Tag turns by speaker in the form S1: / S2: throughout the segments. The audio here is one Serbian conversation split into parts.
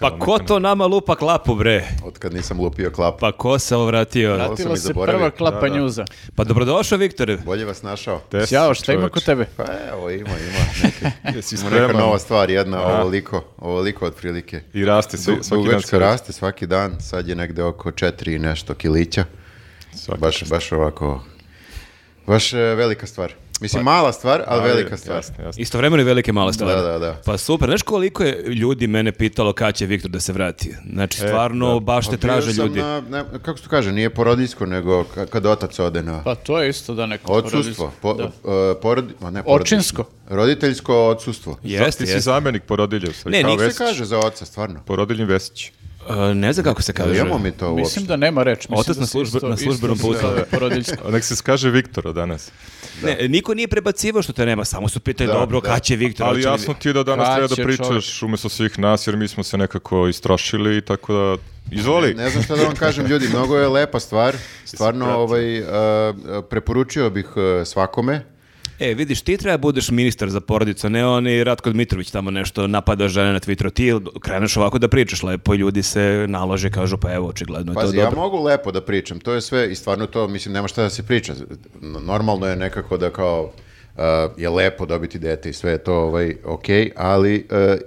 S1: Pa ko to nama lupa klapu, bre?
S2: Od kad nisam lupio klap.
S1: Pa ko se ovratio?
S2: Ovo sam
S3: Vratila
S2: i
S3: se
S2: zaboravio.
S3: prva klapa
S4: Da, da.
S3: njuza.
S1: Pa dobrodošao, Viktore.
S2: Bolje vas našao.
S3: Ćao, šta ima kod tebe?
S2: Pa evo, ima, ima. Neke,
S4: Jesi
S2: ima neka
S4: spreman?
S2: nova stvar, jedna
S4: Aha.
S2: ovoliko, ovoliko otprilike.
S4: I raste sve,
S2: Du,
S4: svaki dan.
S2: dugačka raste svaki dan, sad je negde oko četiri i nešto kilića.
S4: Svaki
S2: Baš, baš ovako, baš e, velika stvar. Mislim, mala stvar, ali velika stvar.
S4: Jasno, jasno.
S1: Istovremeno i velike male stvari.
S2: Da, da, da.
S1: Pa super, znaš koliko je ljudi mene pitalo kad će Viktor da se vrati? Znači, stvarno, baš te
S2: E, Pa bio
S1: traže
S2: sam
S1: ljudi.
S2: na- ne, kako se to kaže, nije porodiljsko, nego ka- kad otac ode na...
S3: Pa to je isto da neko...
S2: Odsustvo. Po,
S3: Da.
S2: e, porodi- ma ne, porodiljsko.
S3: Očinsko.
S2: Roditeljsko odsustvo.
S1: Jeste,
S4: Ti si
S1: jeste.
S4: zamjenik porodilje u
S1: Ne,
S4: Srbiji.
S1: ni-
S4: Ne,
S2: Kako se
S1: Vesić.
S2: kaže za oca, stvarno?
S4: Porodiljni Vesić.
S1: E, ne znam kako se kaže.
S2: Pa, Imamo mi to uopšte.
S3: Mislim da nema reč. Mislim
S1: Otac
S3: da
S1: na
S3: se
S1: službe-
S3: isto-
S1: na
S3: isto
S1: službenom
S3: se
S1: putu.
S3: zove porodiljsko.
S4: A Nek se skaže Viktora danas.
S1: Ne, niko nije prebacivao što te nema, samo su pitali,
S2: Da,
S1: dobro,
S2: da.
S1: kad će Viktor?
S4: Ali
S1: hoće li-
S4: jasno ti je da danas
S3: Kad
S4: treba da
S3: će
S4: pričaš
S3: čovjek?
S4: umjesto svih nas, jer mi smo se nekako istrošili, tako da... Izvoli!
S2: Ne znam šta da vam kažem, ljudi, mnogo je lepa stvar. Stvarno, ovaj, e, preporučio bih e, svakome.
S1: E, vidiš, ti treba budeš ministar za porodicu, a ne oni Ratko Dmitrović tamo nešto napada žene na Twitteru. Ti kreneš ovako da pričaš lepo i ljudi se nalože, kažu, pa evo, očigledno je to
S2: Pazi, ja
S1: dobro.
S2: mogu lepo da pričam, to je sve i stvarno to, mislim, nema šta da se priča. N- Normalno je nekako da kao e, je lepo dobiti dete i sve je to ovaj, ok, ali e,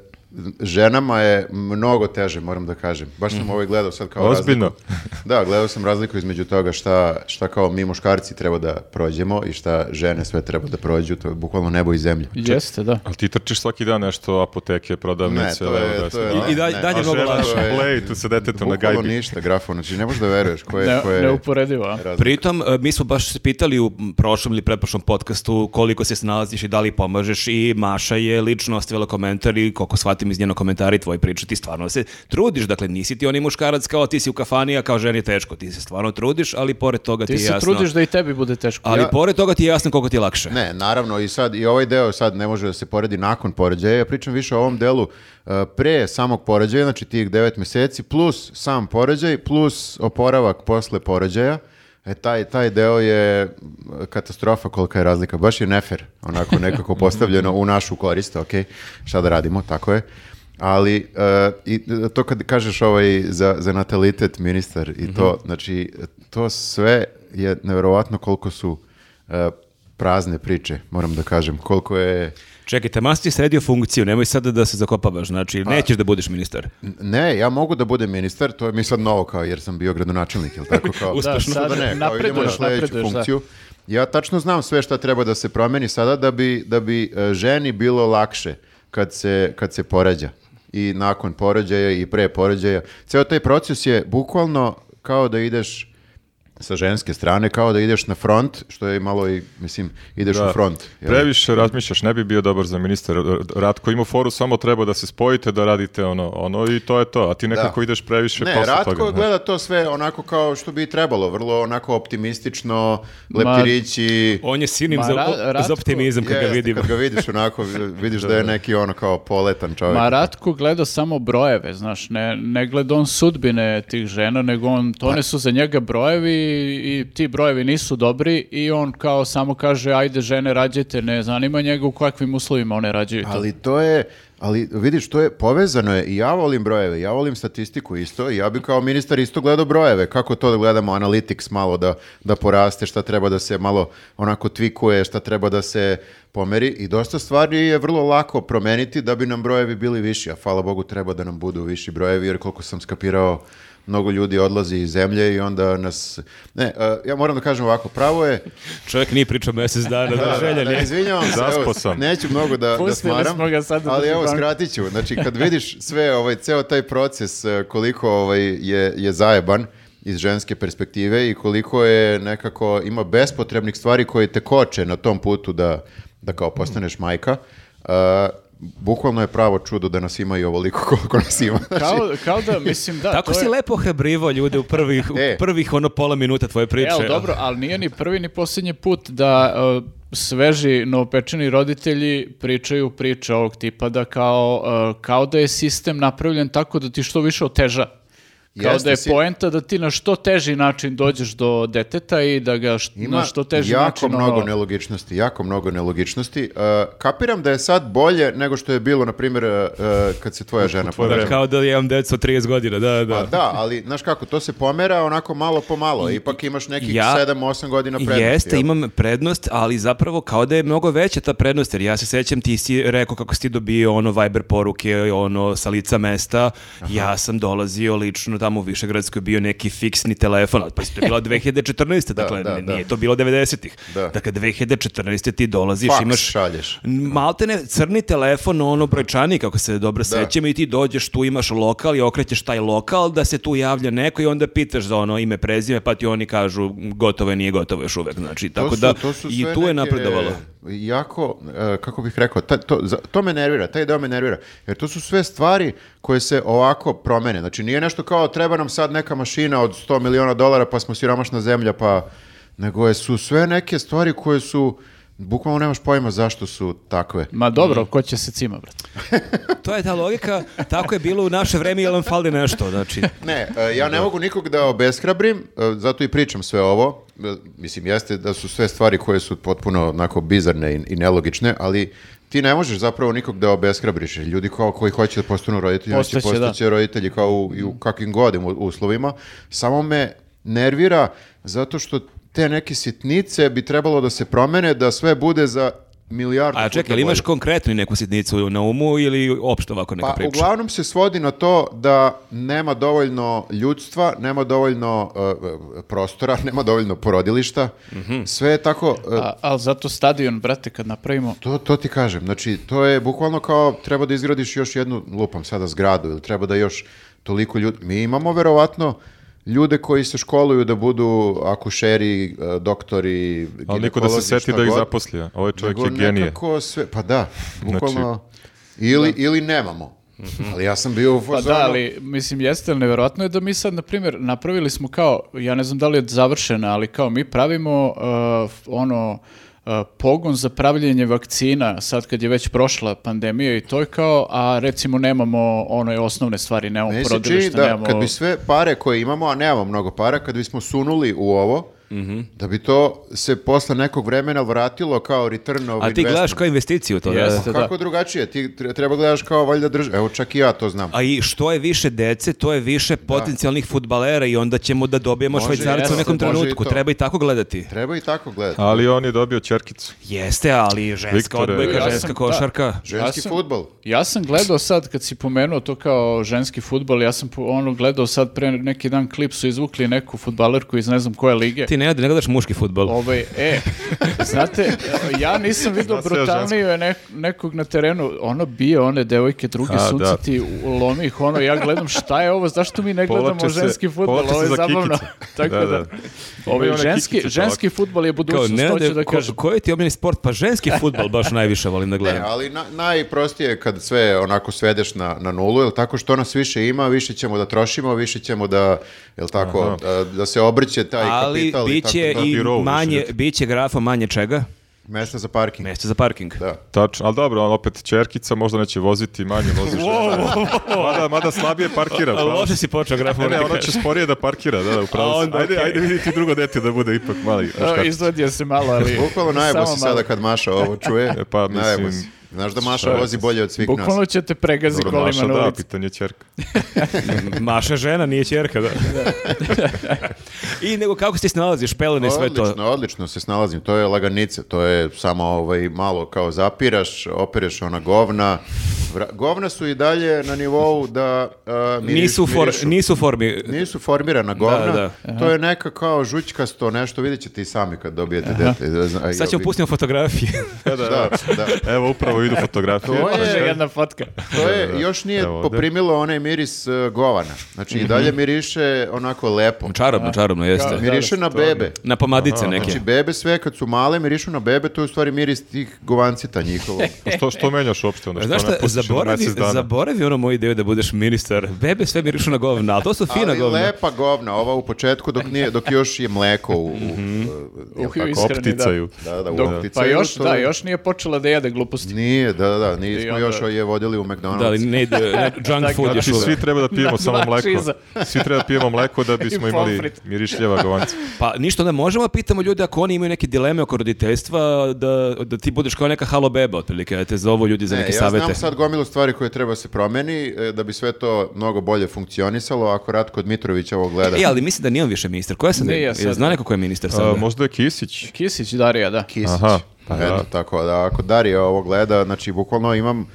S2: ženama je mnogo teže, moram da kažem. Baš
S1: Mhm.
S2: sam ovaj gledao sad kao razliku.
S4: Ozbiljno.
S2: Da, gledao sam razliku između toga šta, šta kao mi muškarci treba da prođemo i šta žene sve treba da prođu, to je bukvalno nebo i zemlja.
S3: Jeste, da.
S4: Ali ti trčiš svaki dan nešto apoteke,
S2: Ne,
S4: prodavnice,
S2: to
S4: levo,
S2: je,
S4: desno.
S2: to je...
S1: I- i dalje-
S2: ne,
S1: dalje
S2: a
S1: mnogo
S2: žena
S1: lakše.
S2: to je-
S4: Play, tu se detetom na
S2: Bukvalno
S4: gajbi.
S2: ništa, grafo, znači ne možeš da veruješ koje,
S3: Ne,
S2: koje
S3: neuporedivo, a?
S2: razlike.
S1: Pritom, e, mi smo baš se pitali u prošlom ili pretprošlom podcastu koliko se snalaziš i da li pomažeš i Maša je lično ostavila komentar i koliko shvatim iz njenog komentara i tvoje priče, ti stvarno se trudiš, dakle nisi ti onaj muškarac kao ti si u kafani, a kao ženi je teško, ti se stvarno trudiš, ali pored toga ti,
S3: Ti
S1: je
S3: se
S1: jasno.
S3: trudiš da i tebi bude teško.
S1: Ali pored toga ti je jasno koliko ti je lakše.
S2: Ne, naravno i sad i ovaj deo sad ne može da se poredi nakon poređaja. Ja pričam više o ovom delu e, pre samog poređaja, znači tih 9 mjeseci plus sam poređaj plus oporavak posle poređaja. E taj taj deo je m, katastrofa kolika je razlika. Baš je nefer, onako nekako postavljeno u našu korist, ok, šta da radimo, tako je. Ali e, i e, to kad kažeš ovaj za, za natalitet ministar i to, znači to sve je nevjerovatno koliko su e, prazne priče, moram da kažem. Koliko je...
S1: Čekaj, taman si sredio funkciju, nemoj sada da se zakopavaš, znači nećeš da budeš ministar.
S2: Ne, ja mogu da budem ministar, to je mi sad novo kao, jer sam bio gradonačelnik, jel tako? Kao,
S3: Uspešno.
S2: sad
S3: Da, sad
S2: ne, kao idemo na
S3: napreduješ,
S2: sledeću
S3: napreduješ, da.
S2: funkciju. Ja tačno znam sve šta treba da se promeni sada da bi, da bi e, ženi bilo lakše kad se, kad se porađa. I nakon porađaja i pre porađaja. Ceo taj proces je bukvalno kao da ideš sa ženske strane, kao da ideš na front, što je malo i, mislim, ideš
S4: Da.
S2: u front. jel?
S4: Previše razmišljaš, ne bi bio dobar za ministar. Ratko ima foru, samo treba da se spojite, da radite ono, ono i to je to. A ti nekako ideš previše
S2: Ne,
S4: posle
S2: Ratko
S4: toga. znaš.
S2: gleda to sve onako kao što bi i trebalo, vrlo onako optimistično, leptirići.
S1: On je sinim
S3: Ma,
S1: za,
S3: Ra-
S1: za
S3: Ratko-
S1: optimizam kad ga
S2: Jeste,
S1: vidim.
S2: Kad ga vidiš onako, vidiš da je neki ono kao poletan čovjek.
S3: Ma Ratko gleda samo brojeve, znaš, ne, ne gleda on sudbine tih žena, nego on,
S1: Pa-
S3: to ne su za njega brojevi i ti brojevi nisu dobri i on kao samo kaže, ajde žene rađajte, ne zanima njega u kakvim uslovima one rađaju to.
S2: Ali to je, ali vidiš, to je povezano je i ja volim brojeve, ja volim statistiku isto i ja bi kao ministar isto gledao brojeve. Kako to da gledamo analytics malo da, da poraste, šta treba da se malo onako tvikuje, šta treba da se pomeri i dosta stvari je vrlo lako promeniti da bi nam brojevi bili viši, a hvala Bogu treba da nam budu viši brojevi jer koliko sam skapirao mnogo ljudi odlazi iz zemlje i onda nas... Ne, a, ja moram da kažem ovako, pravo je...
S1: Čovjek nije pričao mjesec dana, da, želja
S2: Ne,
S1: nije.
S2: izvinjavam se,
S4: Zaspao
S2: evo,
S4: sam.
S2: neću mnogo da, da
S3: Pustili
S2: smaram,
S3: smo ga sad da
S2: ali
S3: drži
S2: evo
S3: banku.
S2: skratit ću. Znači, kad vidiš sve, ovaj, ceo taj proces, eh, koliko ovaj, je, je zajeban iz ženske perspektive i koliko je nekako, ima bespotrebnih stvari koje te koče na tom putu da, da kao postaneš majka, eh, bukvalno je pravo čudo da nas ima i ovoliko koliko nas ima. Znači,
S3: Kao, kao da, mislim, da.
S1: Tako
S3: to
S1: si
S3: je-
S1: lepo hebrivo ljude u prvih, u
S2: E.
S1: prvih ono pola minuta tvoje priče. Ono,
S3: Evo, dobro, ali nije ni prvi ni posljednji put da uh, sveži novopečeni roditelji pričaju priče ovog tipa da kao, uh, kao da je sistem napravljen tako da ti što više oteža. Kao
S2: Jeste,
S3: da je
S2: si-
S3: poenta da ti na što teži način dođeš do deteta i da ga št-
S2: Ima
S3: na što teži
S2: jako
S3: način...
S2: mnogo
S3: ono-
S2: nelogičnosti, jako mnogo nelogičnosti. E, kapiram da je sad bolje nego što je bilo, na primjer, e, e, kad se tvoja žena
S4: tvoje
S2: porođa.
S4: vreme.
S1: Kao da imam decu od 30 godina, da, da.
S2: Pa da, ali, znaš kako, to se pomera onako malo po malo. Ipak imaš Pa, nekih
S1: Ja-
S2: 7-8 godina prednosti.
S1: Jeste,
S2: jel?
S1: imam prednost, ali zapravo kao da je mnogo veća ta prednost, jer ja se sećam ti si rekao kako si ti dobio ono Viber poruke, ono sa lica mesta, ja sam dolazio lično tamo u Višegradskoj, bio neki fiksni telefon, ali pa to je bilo 2014. dakle,
S2: da,
S1: ne-
S2: da.
S1: nije to bilo 90-ih.
S2: Da.
S1: Dakle, 2014. ti dolaziš,
S2: Faks
S1: imaš...
S2: šalješ.
S1: Maltene crni telefon, ono brojčani, kako se dobro sećam, i ti dođeš, tu imaš lokal i okrećeš taj lokal da se tu javlja neko i onda pitaš za ono ime, prezime, pa ti oni kažu gotovo je, nije gotovo još uvek. Znači,
S2: To
S1: tako
S2: su-
S1: da
S2: to su
S1: i
S2: sve
S1: tu je
S2: neke
S1: napredovalo.
S2: Jako, e, kako bih rekao, ta- to, za- to me nervira, taj deo me nervira. Jer to su sve stvari koje se ovako promene. Znači nije nešto kao treba nam sad neka mašina od 100 miliona dolara pa smo siromašna zemlja pa... Nego je- su sve neke stvari koje su... Bukvalno nemaš pojma zašto su takve.
S3: Ma
S2: Mm.
S3: dobro, ko će se cima, brate?
S1: To je ta logika, tako je bilo u naše vreme, jel vam fali nešto, znači.
S2: Ne, e, ja ne mogu nikog da obeshrabrim, e, zato i pričam sve ovo. E, Mislim, jeste da su sve stvari koje su potpuno onako bizarne i, i nelogične, ali ti ne možeš zapravo nikog da obeshrabriš. Ljudi kao koji hoće da postanu roditelji, oni će
S3: Postaće, da.
S2: postaće roditelji kao u, i u kakvim godim uslovima. Samo me nervira zato što te neke sitnice bi trebalo da se promene, da sve bude za milijardu
S1: A
S2: puta
S1: čekaj, jel imaš
S2: bolje.
S1: konkretnu neku sitnicu na umu ili opšto ovako neka
S2: Pa
S1: priča?
S2: uglavnom se svodi na to da nema dovoljno ljudstva, nema dovoljno e, prostora, nema dovoljno porodilišta.
S4: Mhm.
S2: Sve je tako e,
S3: A, ali zato stadion, brate, kad napravimo...
S2: to, to ti kažem. Znači, to je bukvalno kao treba da izgradiš još jednu lupam sada zgradu ili treba da još toliko ljudi... Mi imamo verovatno ljude koji se školuju da budu akušeri, e, doktori,
S4: Ali niko da se
S2: ginekolozi,
S4: seti
S2: šta
S4: da ih
S2: god.
S4: zaposli. a Ovaj čovjek
S2: Nego
S4: je genije. Znači-
S2: nekako sve, pa da, bukvalno, ili, ili nemamo.
S4: Mhm.
S2: Ali ja sam bio u
S3: Pa
S2: fazonu,
S3: da, ali, mislim, jeste, ali nevjerojatno je da mi sad, na primjer, napravili smo kao, ja ne znam da li je završena, ali kao mi pravimo uh, f- ono uh, pogon za pravljenje vakcina, sad kad je već prošla pandemija i to je kao, a recimo nemamo one osnovne stvari, nemamo
S2: Meni se čini
S3: porodilišta,
S2: da
S3: nemamo...
S2: kad bi sve pare koje imamo, a nemamo mnogo para, kad bismo sunuli u ovo,
S1: Mhm.
S2: da bi to se posle nekog vremena vratilo kao return of
S1: A ti gledaš
S2: investment.
S1: kao investiciju to, da?
S3: Jeste. Da.
S2: Kako drugačije? Ti tre- treba gledaš kao valjda država. Evo čak i ja to znam.
S1: A i što je više dece, to je više potencijalnih fudbalera i onda ćemo da dobijemo
S2: Može,
S1: švajcarca u
S3: jeste,
S1: nekom
S2: može i
S1: trenutku.
S2: to.
S1: Treba i tako gledati.
S2: Treba i tako gledati.
S4: Ali on je dobio čerkicu.
S1: Jeste, ali ženska
S4: Viktore,
S1: odbojka,
S4: ja sam-
S1: ženska
S3: da.
S1: košarka.
S2: Ženski
S3: Ja sam-
S2: futbol.
S3: Ja sam gledao sad, kad si pomenuo to kao ženski futbol, ja sam po- ono gledao sad pre neki dan klip su izvukli neku futbalerku iz ne znam koje lige.
S1: Ti ne, ne gledaš muški futbol.
S3: Ovaj, e, znate, ja nisam vidio
S4: Zna se ja
S3: brutalniju nekog na terenu. Ono bije one devojke, druge
S4: A,
S3: sunce
S4: da.
S3: ti lomi ih. Ono, ja gledam šta je ovo, zašto mi ne gledamo
S4: Povlače se-
S3: ženski futbol,
S4: povlače se
S3: ovo je
S4: za
S3: zabavno.
S4: kikice.
S3: Tako
S4: Da,
S3: da,
S4: da.
S3: Ovaj,
S4: Ima ona
S3: ženski,
S4: kikicu
S3: ženski futbol je
S1: Kao,
S3: budućnost,
S1: ne,
S3: to ću
S1: ne,
S3: da
S1: ko,
S3: kažem.
S1: koji ti je omiljeni sport? Pa ženski futbol baš najviše volim da
S2: Ne,
S1: gledam.
S2: E, ali na- najprostije je kad sve onako svedeš na, na nulu, jel tako što nas više ima, više ćemo da trošimo, više ćemo da, jel tako, da, da se obrće taj
S1: ali
S2: kapital
S1: bit će
S2: tako
S1: i
S4: Birou više
S1: manje,
S4: ljudi.
S1: bit će grafa manje čega?
S2: da. Mesta za parking.
S1: Mesta za parking.
S2: Da.
S4: Tačno, ali dobro, on opet čerkica, možda neće voziti, manje vozi žena. mada, mada slabije parkira.
S1: A,
S4: pravo.
S1: Loše si počeo graf.
S4: Ne,
S1: moram
S4: ne,
S1: ti
S4: ona
S1: kažem.
S4: će sporije da parkira, da, da, upravo.
S1: A
S4: si.
S1: onda,
S4: Ajde,
S1: okej.
S4: ajde vidi ti drugo dete da bude ipak mali. znaš kako.
S3: Evo, Izvadio se malo, ali...
S2: Bukvalno najebo
S3: samo
S2: si
S3: malo.
S2: sada kad Maša ovo čuje.
S4: E, pa, mislim,
S2: Najebo si. Znaš da Maša
S4: šta je?
S2: vozi bolje od svih
S3: Bukvalno
S2: nas.
S3: će te pregazi
S4: Dobro,
S3: kolima
S4: Maša,
S3: na
S4: da,
S3: ulici.
S4: pitanje je čerka.
S1: Maša žena, nije čerka, da. I nego kako se ti snalaziš, pelene i sve to.
S2: Odlično, odlično se snalazim. To je laganice. To je samo ovaj, malo kao zapiraš, opereš ona govna. Vra- Govna su i dalje na nivou da uh, miriš-
S1: Nisu, u for,
S2: mirišu.
S1: nisu u formi.
S2: Nisu formirana govna.
S1: Da,
S2: To je neka kao žućkasto nešto. Vidjet ćete i sami kad dobijete dete.
S1: Sad ćemo pustiti fotografije.
S4: E, da,
S2: Da, da.
S4: Evo, upravo idu fotografije.
S2: To je-
S3: Može jedna fotka.
S2: To je, još nije
S4: Evo ovde.
S2: poprimilo onaj miris e, govana. Znači i
S1: Mhm.
S2: dalje miriše onako lepo.
S1: Čarobno, čarobno, jeste.
S2: Miriše na bebe.
S1: Na pomadice neke.
S2: Znači, bebe sve kad su male mirišu na bebe, to je u stvari miris tih govancita njihovo.
S4: Pa Što, što menjaš uopšte onda? Što
S1: Znaš
S4: ne
S1: šta,
S4: pustiš miriše na
S1: Zaboravi,
S4: mesec ono dana.
S1: zaboravi ono moju ideju da budeš ministar. Bebe sve mirišu na govna, ali to su fina
S2: Ali
S1: govna.
S2: lepa govna, ova u početku dok, nije, dok još je mleko u, u, u, jel
S3: Uh,
S2: tako?
S3: iskreni,
S4: opticaju.
S2: Da, da, u
S3: Dok- pa
S2: opticaju
S3: još,
S2: to-
S3: da, još nije počela da jede gluposti.
S2: Nije, da, da, da,
S3: I
S2: nismo
S3: onda-
S2: još je vodili u McDonald's.
S1: Da, ali ne, ide- ne, junk
S3: Tako,
S1: food je
S4: Znači, svi
S1: šuvek.
S4: treba da pijemo
S3: Na
S4: samo
S3: dva
S4: mleko.
S3: čiza.
S4: Svi treba da pijemo mleko da bismo
S3: I
S4: imali
S3: pomfrit.
S4: mirišljava govanca.
S1: Pa ništa, onda možemo da pitamo ljude ako oni imaju neke dileme oko roditeljstva, da, da ti budeš kao neka halo beba, otprilike, da te zovu ljudi za
S2: Ne,
S1: neke
S2: ja
S1: savete.
S2: znam sad gomilu stvari koje treba se promeni e, da bi sve to mnogo bolje funkcionisalo ako Ratko Dmitrović ovo gleda.
S1: E, ali mislim da nije on više ministar. Koja sam?
S3: Nije
S1: Jel
S3: sad.
S1: Zna neko ko je ministar sad?
S4: A, možda je Kisić.
S3: Kisić Darija, da.
S2: Kisić.
S4: Aha, pa
S2: Eto,
S4: da.
S2: tako da ako Darija ovo gleda, znači bukvalno imam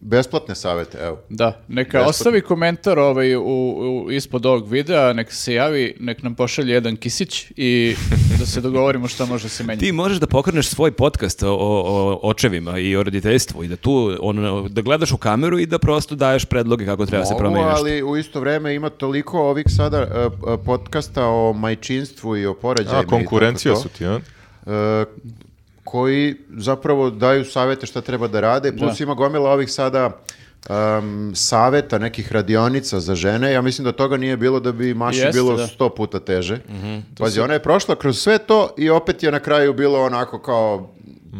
S2: besplatne savete, evo.
S3: Da, neka ostavi komentar ovaj u, u- ispod ovog videa, neka se javi, nek nam pošalje jedan kisić i da se dogovorimo šta može se menjati.
S1: Ti možeš da pokreneš svoj podcast o, o očevima i o roditeljstvu i da tu ono, da gledaš u kameru i da prosto daješ predloge kako treba se
S2: Mogu,
S1: promeni nešto.
S2: ali u isto vreme ima toliko ovih sada e, p- podcasta o majčinstvu i o porađajima. i
S4: A,
S2: tako
S4: konkurencija
S2: to,
S4: su ti, a?
S2: e, koji zapravo daju savete šta treba da rade, plus ima gomila ovih sada em, saveta, nekih radionica za žene. Ja mislim da toga nije bilo da bi Maši
S3: Jeste,
S2: bilo
S3: da.
S2: sto puta teže.
S1: Mhm,
S2: Pazi, ona je prošla kroz sve to i opet je na kraju bilo onako kao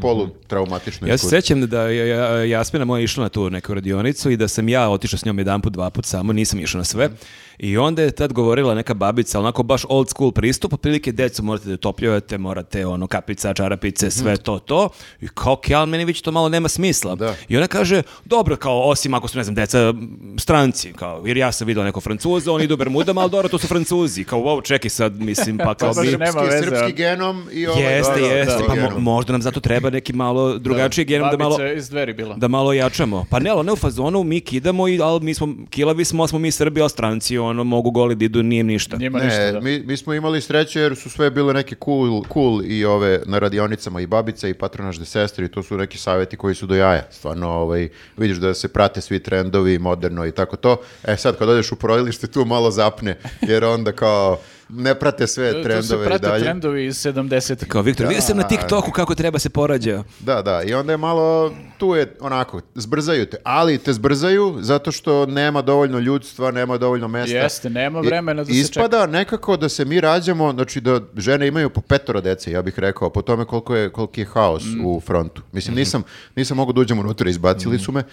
S2: polutraumatično.
S1: Mhm. Ja se
S2: iskustvo.
S1: sećam da je ja- Jasmina moja išla na tu neku radionicu i da sam ja otišao s njom jedan put, dva put samo, nisam išao na sve. I onda je tad govorila neka babica, onako baš old school pristup, otprilike decu morate da topljujete, morate ono kapica, čarapice, sve to, to. I kao, ok, ali meni već to malo nema smisla.
S2: Mhm. Da.
S1: I ona kaže, dobro, kao, osim ako su, ne znam, deca m, stranci, kao, jer ja sam vidio neko francuza, oni idu u bermudama, ali dobro, to su francuzi. Kao, wow, čekaj sad, mislim, pa kao
S3: baš
S1: mi-
S3: ne- nema
S2: Srpski,
S3: veze,
S2: srpski
S3: a?
S2: genom i ovaj...
S1: Jeste,
S2: da, da,
S1: jeste,
S2: da,
S1: pa mo-
S2: genom.
S1: možda nam zato treba neki malo drugačiji genom da malo
S3: Babica iz dveri bila.
S1: da malo jačamo. Pa ne, ali ne u fazonu, mi kidamo, i, ali mi smo, kilavi smo, ali smo mi Srbi, ali stranci, ono, mogu goli da idu, nije im ništa.
S3: Njima ništa,
S2: Ne,
S3: da.
S2: mi, mi smo imali sreće jer su sve bile neke cool, cool i ove na radionicama i babica i patronaž de sestre i to su neki savjeti koji su do jaja. Stvarno, ovaj, vidiš da se prate svi trendovi moderno i tako to. E sad kad odeš u porodilište tu malo zapne jer onda kao ne prate sve
S3: To se
S2: trendove i
S3: prate
S2: dalje.
S3: trendovi iz 70
S1: Kao, Viktor, vidio sam na TikToku kako treba se porađa.
S2: Da, da, i onda je malo, tu je onako, zbrzaju te, ali te zbrzaju zato što nema dovoljno ljudstva, nema dovoljno mesta.
S3: Jeste, nema
S2: I-
S3: vremena da se
S2: Ispada nekako da se mi rađamo, znači da žene imaju po petoro dece, ja bih rekao, po tome koliko je, koliki je haos
S3: Mm.
S2: u frontu. Mislim, nisam, nisam mogu da uđem unutra, izbacili su me.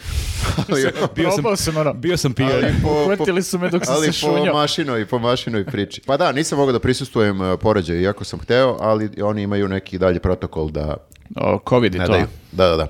S2: ali,
S3: Probao sam ono.
S1: Bio sam pijan.
S2: ali po, po,
S3: Uhvatili su me dok sam
S2: ali
S3: se
S2: po
S3: šunjao.
S2: mašinoj, po mašinoj priči. Pa da, nisam mogao da prisustujem e, porođaju, iako sam hteo, ali oni imaju neki dalje protokol da
S3: O, Covid i
S2: ne
S3: to.
S2: daju. Da, da, da.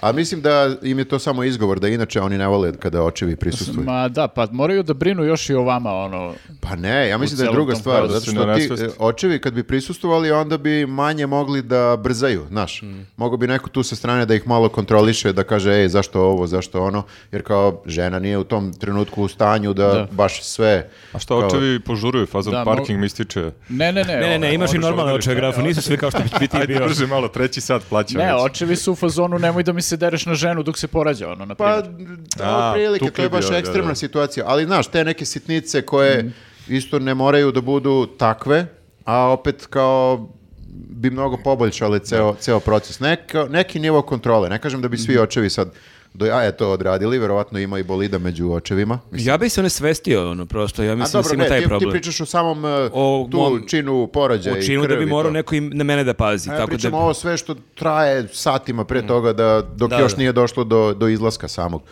S2: A mislim da im je to samo izgovor, da inače oni ne vole kada očevi prisustuju.
S3: Ma da, pa moraju da brinu još i o vama, ono.
S2: Pa ne, ja mislim da je
S3: celom
S2: druga
S3: tom
S2: stvar,
S3: procesu
S2: zato
S4: ne
S2: što ti
S4: nasvesti.
S2: e, očevi kad bi prisustvovali onda bi manje mogli da brzaju, znaš. Mogu bi neko tu sa strane da ih malo kontroliše, da kaže ej, zašto ovo, zašto ono, jer kao žena nije u tom trenutku u stanju da, baš sve...
S4: A što očevi požuruju, fazom
S3: Da,
S4: parking mi ističe.
S3: Ne, ne, ono. ne.
S1: Ne, ne, ne, imaš i
S4: Odlično,
S1: normalne
S4: odlično.
S1: očeve grafu, nisu svi kao što bi ti
S4: Ajde,
S1: bio.
S4: brže malo, treći sat plaćam.
S3: Ne,
S4: već.
S3: očevi su u fazonu nemoj da mi se dereš na ženu dok se porađa, ono, na
S2: Pa,
S3: primjer.
S2: da,
S4: A,
S2: prilike, to
S4: tukli
S2: je
S4: bi
S2: baš
S4: onda, da.
S2: ekstremna situacija. Ali, znaš, te neke sitnice koje
S1: Mhm.
S2: isto ne moraju da budu takve, a opet kao bi mnogo poboljšale ceo, ceo proces. Neka, neki nivo kontrole. Ne kažem da bi svi
S1: Mhm.
S2: očevi sad do jaja to odradili, verovatno ima i bolida među očevima. Mislim,
S1: Ja bih se ne svestio, ono, prosto, ja
S2: a
S1: mislim da
S2: dobro,
S1: si ima
S2: ne,
S1: taj
S2: ti, ti
S1: problem.
S2: pričaš o samom e,
S1: O
S2: tu
S1: mom-
S2: činu porođaja i
S1: Učinu da bi
S2: krvi,
S1: morao
S2: to.
S1: neko i na mene da pazi.
S2: A ja
S1: tako
S2: pričam
S1: da... Mm.
S2: ovo sve što traje satima pre toga da, dok
S1: Da,
S2: još
S1: da.
S2: nije došlo do, do izlaska samog.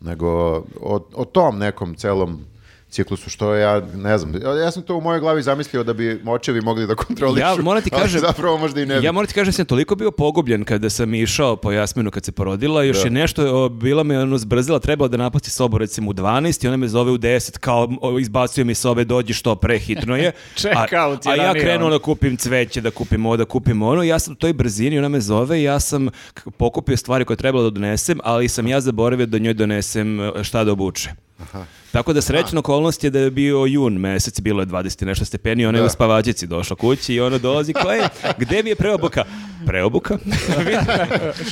S2: Nego o, o tom nekom celom ciklusu što ja ne znam. Ja- Ja sam to u mojoj glavi zamislio da bi očevi mogli da kontrolišu.
S1: Ja moram ti
S2: ali
S1: kažem-
S2: zapravo možda i ne bi.
S1: Ja moram ti kažem da sam toliko bio pogubljen kada sam išao po Jasminu kad se porodila, još je nešto, o, bila me ono zbrzila, trebala da napasti sobu recimo u 12 i ona me zove u 10, kao o, izbacuje mi iz sobe, dođi što pre, hitno je.
S3: Checkout je
S1: a, a ja
S3: ranije,
S1: krenuo
S3: ono.
S1: da kupim cveće, da kupim ovo, da kupim ono, ja sam u toj brzini, ona me zove i ja sam k- pokupio stvari koje je trebalo da donesem, ali sam ja zaboravio da njoj donesem e, šta da obuče. Tako da srećna okolnost je da je bio jun mesec, bilo je 20 i nešto stepeni, ona je
S2: Da.
S1: u spavačici došla kući i ona dolazi kao, e, gde mi je preobuka? Preobuka?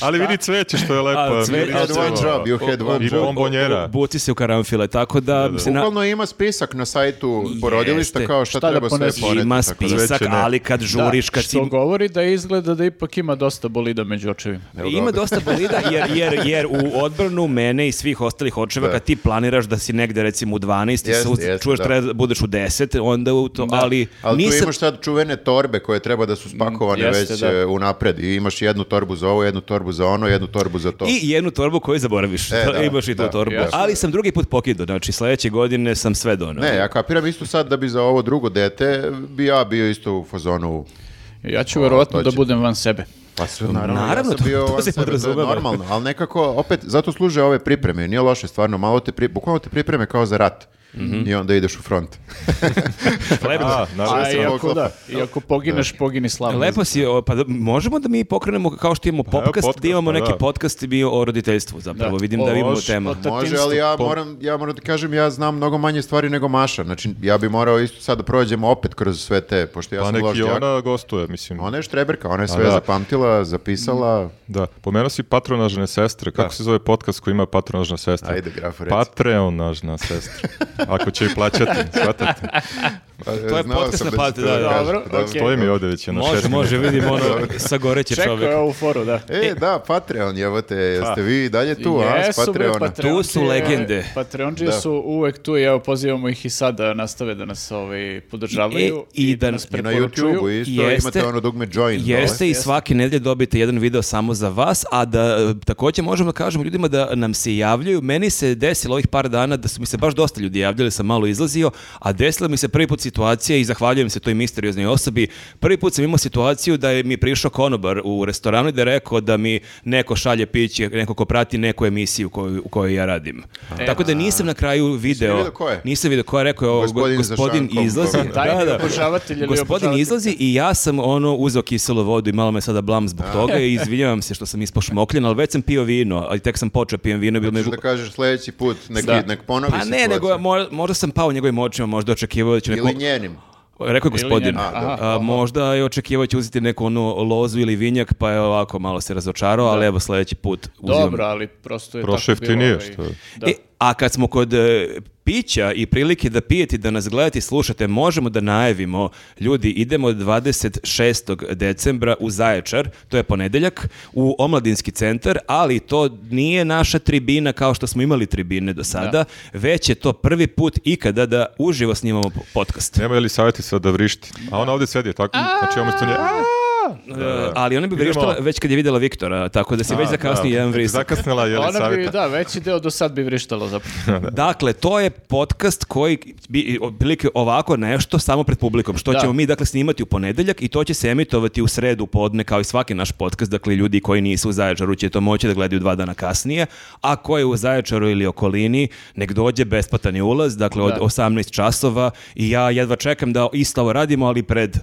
S4: Ali vidi cveće što je lepo.
S1: A, cveće-
S2: You had one job, you had one
S4: I
S2: job.
S4: bombonjera.
S1: Buci se u karanfile, tako da... se na-
S2: Bukvalno ima spisak na sajtu porodilišta
S1: Jeste.
S2: kao šta,
S3: Šta da
S2: treba sve
S3: poneseš?
S2: pored.
S1: Ima
S2: tako da-
S1: spisak,
S4: Cveće ne.
S1: ali kad žuriš,
S3: da,
S1: kad si
S3: što govori da izgleda da ipak ima dosta bolida među očevima.
S2: Evo
S1: Ima
S2: dobro.
S1: dosta bolida jer, jer, jer u odbranu mene i svih ostalih očeva
S2: Da.
S1: kad ti planiraš da si negde recimo u 12 i
S2: Jeste,
S1: se uz-
S2: jeste,
S1: čuješ
S2: da.
S1: treba da budeš u 10 onda u to, ali,
S2: Ali tu
S1: nisam,
S2: imaš sad čuvene torbe koje treba da su spakovane
S3: Mm, jeste,
S2: već
S3: da.
S2: e, unapred. I imaš jednu torbu za ovo, jednu torbu za ono, jednu torbu za to.
S1: I jednu torbu koju zaboraviš.
S2: E, da,
S1: imaš i tu
S2: da,
S1: torbu.
S3: jasno.
S1: Ali sam drugi put pokidao, znači sledeće godine sam sve donao.
S2: Ne, ja kapiram isto sad da bi za ovo drugo dete bi ja bio isto u fazonu
S3: Ja ću verovatno
S2: to
S3: da
S2: će-
S3: budem van sebe.
S2: Pa sve, naravno,
S1: Naravno,
S2: ja sam
S1: to-
S2: bio
S1: to
S2: van
S1: se
S2: sebe,
S1: podrazumeva.
S2: je normalno, ali nekako, opet, zato služe ove pripreme, nije loše stvarno, malo te, pri, bukvalno te pripreme kao za rat.
S1: Mhm.
S2: I onda ideš u front.
S1: Lepo,
S4: A, naravno.
S2: Sve
S3: A
S2: se
S3: iako,
S2: poklopa.
S3: da, iako pogineš, pogini slavno.
S1: lepo si, o, pa da- možemo da mi pokrenemo kao što imamo popkast,
S4: podcast,
S1: da imamo
S4: pa
S1: neki
S4: da.
S1: podcast bio o roditeljstvu zapravo.
S3: Da.
S1: Vidim
S3: O,
S1: da imamo
S4: može,
S1: tema.
S3: o
S2: Može,
S3: Tatinstvo,
S2: ali ja
S4: pom-
S2: moram, ja moram da kažem, ja znam mnogo manje stvari nego Maša. Znači, ja bi morao isto sad da prođem opet kroz sve te, pošto ja
S4: Pa
S2: sam
S4: neki
S1: ono-
S2: ložnjak. Ona...
S4: ona gostuje, mislim.
S2: je štreberka, ona je
S1: Pa
S2: sve
S4: da.
S2: zapamtila,
S1: Mm.
S2: zapisala.
S4: Da, pomenuo si patronažne sestre. Kako se zove podcast koji ima patronažna sestra?
S2: Ajde, grafo, reci.
S4: Patreonažna sestra. Ako će i plaćati, shvatate.
S1: Pa, To je podcast na pat- da, da.
S3: Dobro, okej.
S4: Stoji mi ovdje već jedno
S1: Može,
S4: šest
S1: može,
S4: minuta.
S1: vidim ono, sagoreće
S3: Čekao je
S1: čovjek.
S3: ovu foru, da.
S2: E, da, Patreon, jebote, jeste vi i dalje tu, a, s
S3: Pa, Jesu, bre,
S2: Patreona?
S3: Patreonđije-
S1: Tu su legende.
S3: Patreonđije
S2: Da.
S3: su uvek tu i evo pozivamo ih i sad da nastave da nas ovaj, podržavaju
S1: E, i da-
S3: nas
S2: I na
S3: preporučuju.
S2: YouTube-u isto
S1: Jeste.
S2: imate ono dugme join.
S1: Jeste i svake nedelje dobijete jedan video samo za vas, a da e, takođe možemo da kažemo ljudima da nam se javljaju. Meni se desilo ovih par dana da su mi se baš dosta ljudi javljali, sam malo izlazio, a desila mi se prvi put situacija i zahvaljujem se toj misterioznoj osobi. Prvi put sam imao situaciju da je mi prišao konobar u restoranu i da je rekao da mi neko šalje piće, neko ko prati neku emisiju koju, u kojoj ja radim.
S3: E,
S1: Tako da nisam na kraju video.
S2: vidio ko je?
S1: Nisam video ko je rekao je ovo,
S2: Gospodin
S1: gospodin,
S2: sa šankom.
S1: izlazi.
S2: Taj
S1: Da, da.
S3: obožavatelj ili
S1: Gospodin
S3: obožavatelj.
S1: izlazi i ja sam ono uzeo kiselu vodu i malo me sada blam zbog toga i izvinjavam se što sam ispao šmokljen, ali već sam pio vino, ali tek sam počeo pijem vino. i Bilo me...
S2: Možeš da kažeš sljedeći put, neki,
S3: Da.
S2: nek ponovi
S1: Pa ne,
S2: situaciju.
S1: nego mo- možda sam pao u njegovim očima, možda očekivao da ću neko...
S2: Ili njenim.
S1: Rekao je gospodin.
S3: njen- A,
S1: A,
S3: dobro.
S1: možda je očekivao da ću uzeti neku onu lozu ili vinjak, pa je ovako malo se razočarao, ali evo sledeći put uzimam.
S3: Dobro, ali prosto je
S4: Prošao
S3: tako bilo.
S4: jeftinije,
S3: ovaj,
S4: što je.
S3: Da.
S1: E, a kad smo kod e, pića i prilike da pijete, i da nas gledate i slušate, možemo da najavimo, ljudi, idemo 26. decembra u Zaječar, to je ponedeljak, u Omladinski centar, ali to nije naša tribina kao što smo imali tribine do sada, već je to prvi put ikada da uživo snimamo po- podcast.
S4: Nema je li savjeti sad da vrišti? A ona ovdje sedi, tako? Znači, imamo isto nje...
S1: E, ali ona bi
S4: Idemo.
S1: vrištala već kad je videla Viktora, tako da si već zakasni jedan vrisak.
S4: Zakasnila je li
S3: Pa Ona bi,
S4: savjeta?
S3: da, veći deo do sad bi vrištalo zapravo.
S1: Dakle, to je podcast koji bi otprilike ovako nešto samo pred publikom, što
S3: Da.
S1: ćemo mi dakle snimati u ponedeljak i to će se emitovati u sredu podne kao i svaki naš podcast, dakle ljudi koji nisu u Zaječaru će to moći da gledaju dva dana kasnije, a ko je u Zaječaru ili okolini, nek dođe besplatan je ulaz, dakle od
S3: Da.
S1: 18 časova i ja jedva čekam da isto ovo radimo, ali pred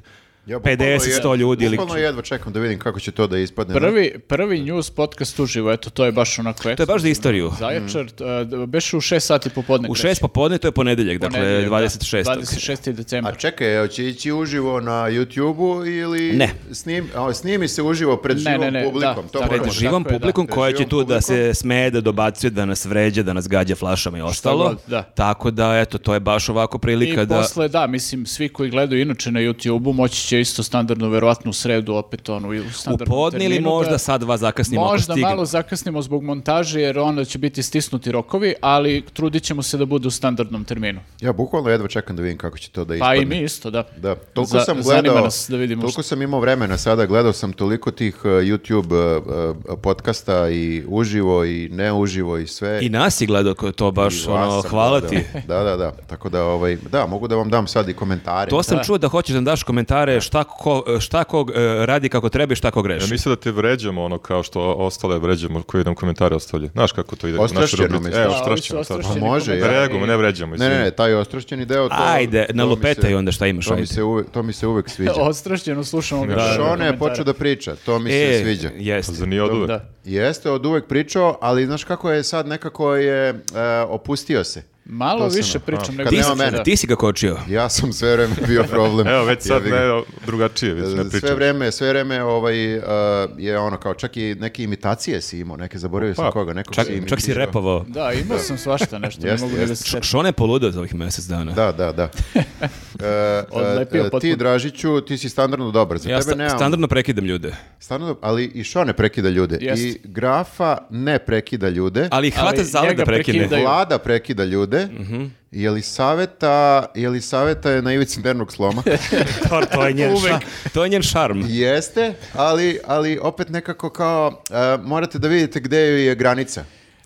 S3: pa
S2: Ja bukvalno
S1: 50,
S2: jed-
S1: 100 ljudi ili...
S2: Bukvalno jedva čekam da vidim kako će to da ispadne.
S3: Prvi, prvi news podcast uživo, eto, to je baš onako...
S1: To je baš za istoriju.
S3: Zaječar, mm. beše u 6 sati popodne.
S1: U
S3: kreće.
S1: 6 popodne, to je ponedeljak, dakle
S3: Ponedeljak, da.
S1: 26.
S3: 26.
S2: A
S3: decembar.
S2: čekaj, evo će ići uživo na YouTube-u ili...
S1: Ne.
S2: Snim, a, snimi se uživo pred
S3: Ne,
S2: živom
S3: ne, ne,
S2: publikom.
S3: da,
S2: to
S3: da.
S1: Pred
S2: moramo.
S3: Tako
S1: živom
S3: je, da.
S1: publikom
S2: Pred
S1: koja će
S2: živom
S1: tu da
S2: publikom.
S1: se smeje, da dobacuje, da nas vređa, da nas gađa flašama i ostalo.
S3: god, da.
S1: Tako da, eto, to je baš ovako
S3: I
S1: prilika da...
S3: posle, da, mislim, svi koji gledaju inače na YouTube-u moći će isto standardno, verovatno u sredu opet ono, i u
S1: U
S3: standardnom
S1: podne ili
S3: terminu
S1: možda
S3: da-
S1: sad dva zakasnimo ako
S3: Možda
S1: stigne.
S3: malo zakasnimo zbog montaže jer onda će biti stisnuti rokovi, ali trudit ćemo se da bude u standardnom terminu.
S2: Ja bukvalno jedva čekam da vidim kako će to da
S3: Pa
S2: ispadne.
S3: i mi isto, da.
S2: Da, toliko
S3: Za-
S2: sam
S3: zanima
S2: gledao,
S3: nas da vidimo
S2: toliko sam imao vremena sada, gledao sam toliko tih uh, YouTube uh, uh, podcasta i uživo i neuživo i sve.
S1: I nas je gledao ko- to baš,
S2: I vas
S1: ono,
S2: sam
S1: hvala ti.
S2: gledao. Da, da, da. Tako da, ovaj, da, mogu da vam dam sad i komentare.
S1: To sam čuo da hoćeš da nam daš komentare šta ko, šta ko e, radi kako treba i šta ko
S4: Ja
S1: greši.
S4: mislim da te vređamo ono kao što ostale vređamo koji nam komentare ostavljaju. Znaš kako to ide? u našoj
S2: Ostrašćeno
S4: rubrici.
S2: mislim.
S4: E,
S2: Da,
S3: ovi su
S4: ostrašćeno. tako.
S3: ostrašćeni
S2: Pa može,
S4: Da
S3: komentari.
S4: reagujemo, ne vređamo.
S2: Ne,
S4: mislim.
S2: ne, ne, taj ostrašćeni deo. To,
S1: Ajde,
S2: to mi
S1: nalupetaj
S2: se-
S1: onda šta imaš,
S2: To mi,
S1: ajde.
S2: se uvek, to mi se uvek sviđa.
S3: Ostrašćeno slušamo ga.
S2: Šone je počeo da priča, to mi se sviđa.
S1: E, jeste.
S4: Pa Zar nije oduvek?
S3: Da.
S2: Jeste, od uvek pričao, ali znaš kako je sad nekako je e, opustio se.
S3: Malo
S2: To sam-
S3: više pričam nego...
S2: kad
S1: Ti,
S2: nema
S1: si-
S2: mene.
S1: ti si ga kočio.
S2: Ja sam sve vreme bio problem.
S4: Evo, već sad
S2: Jebi ga.
S4: ne, drugačije, već ne
S2: sve
S4: pričam.
S2: vreme, sve vreme ovaj, uh, je ono kao, čak i neke imitacije si imao, neke zaboravio sam
S4: Pa,
S2: koga, nekog
S1: Čak,
S2: si imitirao.
S1: čak si repovao.
S3: Da, imao sam svašta nešto, ne
S2: Jeste,
S3: mogu ni da
S2: jeste.
S3: se
S1: Š-
S3: setim.
S1: Šone je poludeo za ovih mjesec dana.
S2: Da, da, da. E,
S3: Odlepio
S2: e, e, ti,
S3: potpuno.
S2: Dražiću, ti si standardno dobar. Za
S1: Ja
S2: tebe
S1: sta-
S2: nemam.
S1: standardno prekidam ljude.
S2: Standardno, ali i Šo ne prekida ljude.
S3: Jeste.
S2: I Grafa ne prekida ljude.
S1: Ali Mhm. ih hvata
S3: Ali
S1: za zalet da
S3: njega
S1: prekine.
S3: prekidaju.
S2: Vlada prekida ljude. Jelisaveta, Jelisaveta je na ivici nervnog sloma.
S1: to, to je njen
S3: Uvek.
S1: ša- to je njen šarm.
S2: Jeste, ali, ali opet nekako kao, e, morate da vidite gde joj je granica.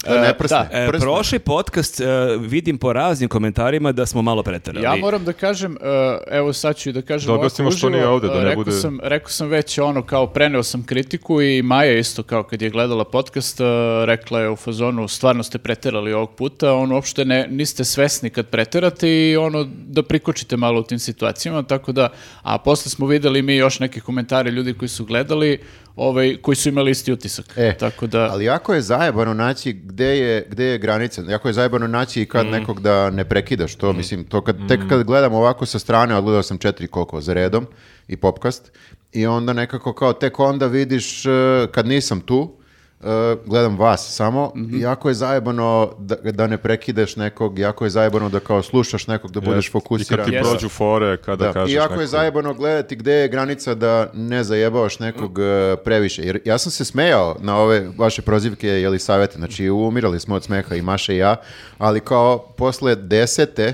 S2: Da ne
S3: E,
S2: prsne.
S3: da.
S1: E,
S2: prsne.
S1: prošli podcast e, vidim po raznim komentarima da smo malo preterali.
S3: Ja moram da kažem, e, evo sad ću i da kažem
S4: Da
S3: ovako
S4: objasnimo što
S3: uživo,
S4: nije ovde, da
S3: e,
S4: ne
S3: rekao
S4: bude-
S3: Sam, rekao sam već ono, kao preneo sam kritiku i Maja isto kao kad je gledala podcast, e, rekla je u fazonu, stvarno ste preterali ovog puta, ono, uopšte ne, niste svesni kad preterate i ono, da prikočite malo u tim situacijama, tako da, a posle smo videli mi još neke komentare ljudi koji su gledali, ovaj, koji su imali isti utisak.
S2: E,
S3: tako da,
S2: Ali jako je zajebano naći gde je, gde je granica. Jako je zajebano naći i
S4: Mm.
S2: kad nekog da ne prekidaš. To, mislim, to kad, tek kad gledam ovako sa strane, odgledao sam četiri koliko za redom i popkast. I onda nekako kao tek onda vidiš e, kad nisam tu, e, gledam vas samo, jako je zajebano da, da ne prekidaš nekog, jako je zajebano da kao slušaš nekog, da budeš
S4: I kad
S2: fokusiran.
S4: ti
S3: Jeste.
S4: prođu fore, kada
S2: Da.
S4: Pa kažeš
S2: I jako
S4: neku-
S2: je zajebano gledati gde je granica da ne zajebavaš nekog e, previše. Jer ja sam se smejao na ove vaše prozivke jeli savete. Znači umirali smo od smeha i Maša i ja, ali kao posle desete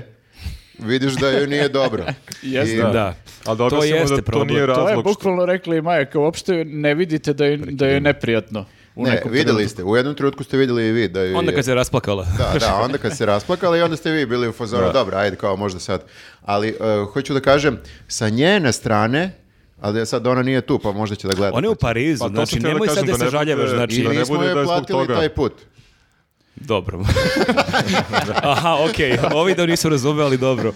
S2: vidiš da joj nije dobro.
S3: Jeste.
S2: I-
S4: Da.
S1: Da.
S4: Ali da objasnimo da
S1: jeste
S4: to
S1: problem.
S4: nije
S3: to je
S4: razlog. što-
S3: bukvalno rekla i Maja, kao uopšte ne vidite da je, da je neprijatno. U
S2: Ne,
S3: nekom trenutku.
S2: videli ste. U jednom trenutku ste vidjeli i vi da joj
S1: Onda
S2: je-
S1: kad se rasplakala.
S2: Da, da, onda kad se rasplakala i onda ste vi bili u fazonu, dobro, ajde, kao možda sad. Ali e, hoću da kažem, sa njene strane, ali sad ona nije tu, pa možda će da gleda.
S1: On je u Parizu,
S4: Pa to sam
S1: znači
S4: htio da
S1: nemoj sad
S4: kažem,
S1: da
S4: da
S1: se
S4: ne
S1: žaljevaš,
S4: bude-
S1: znači...
S2: I
S4: Da ne
S2: nismo
S4: bude da
S2: joj
S4: je zbog
S2: platili
S4: toga.
S2: taj put.
S1: Dobro. Aha, okej, ovi da nisu razumeli, ali dobro.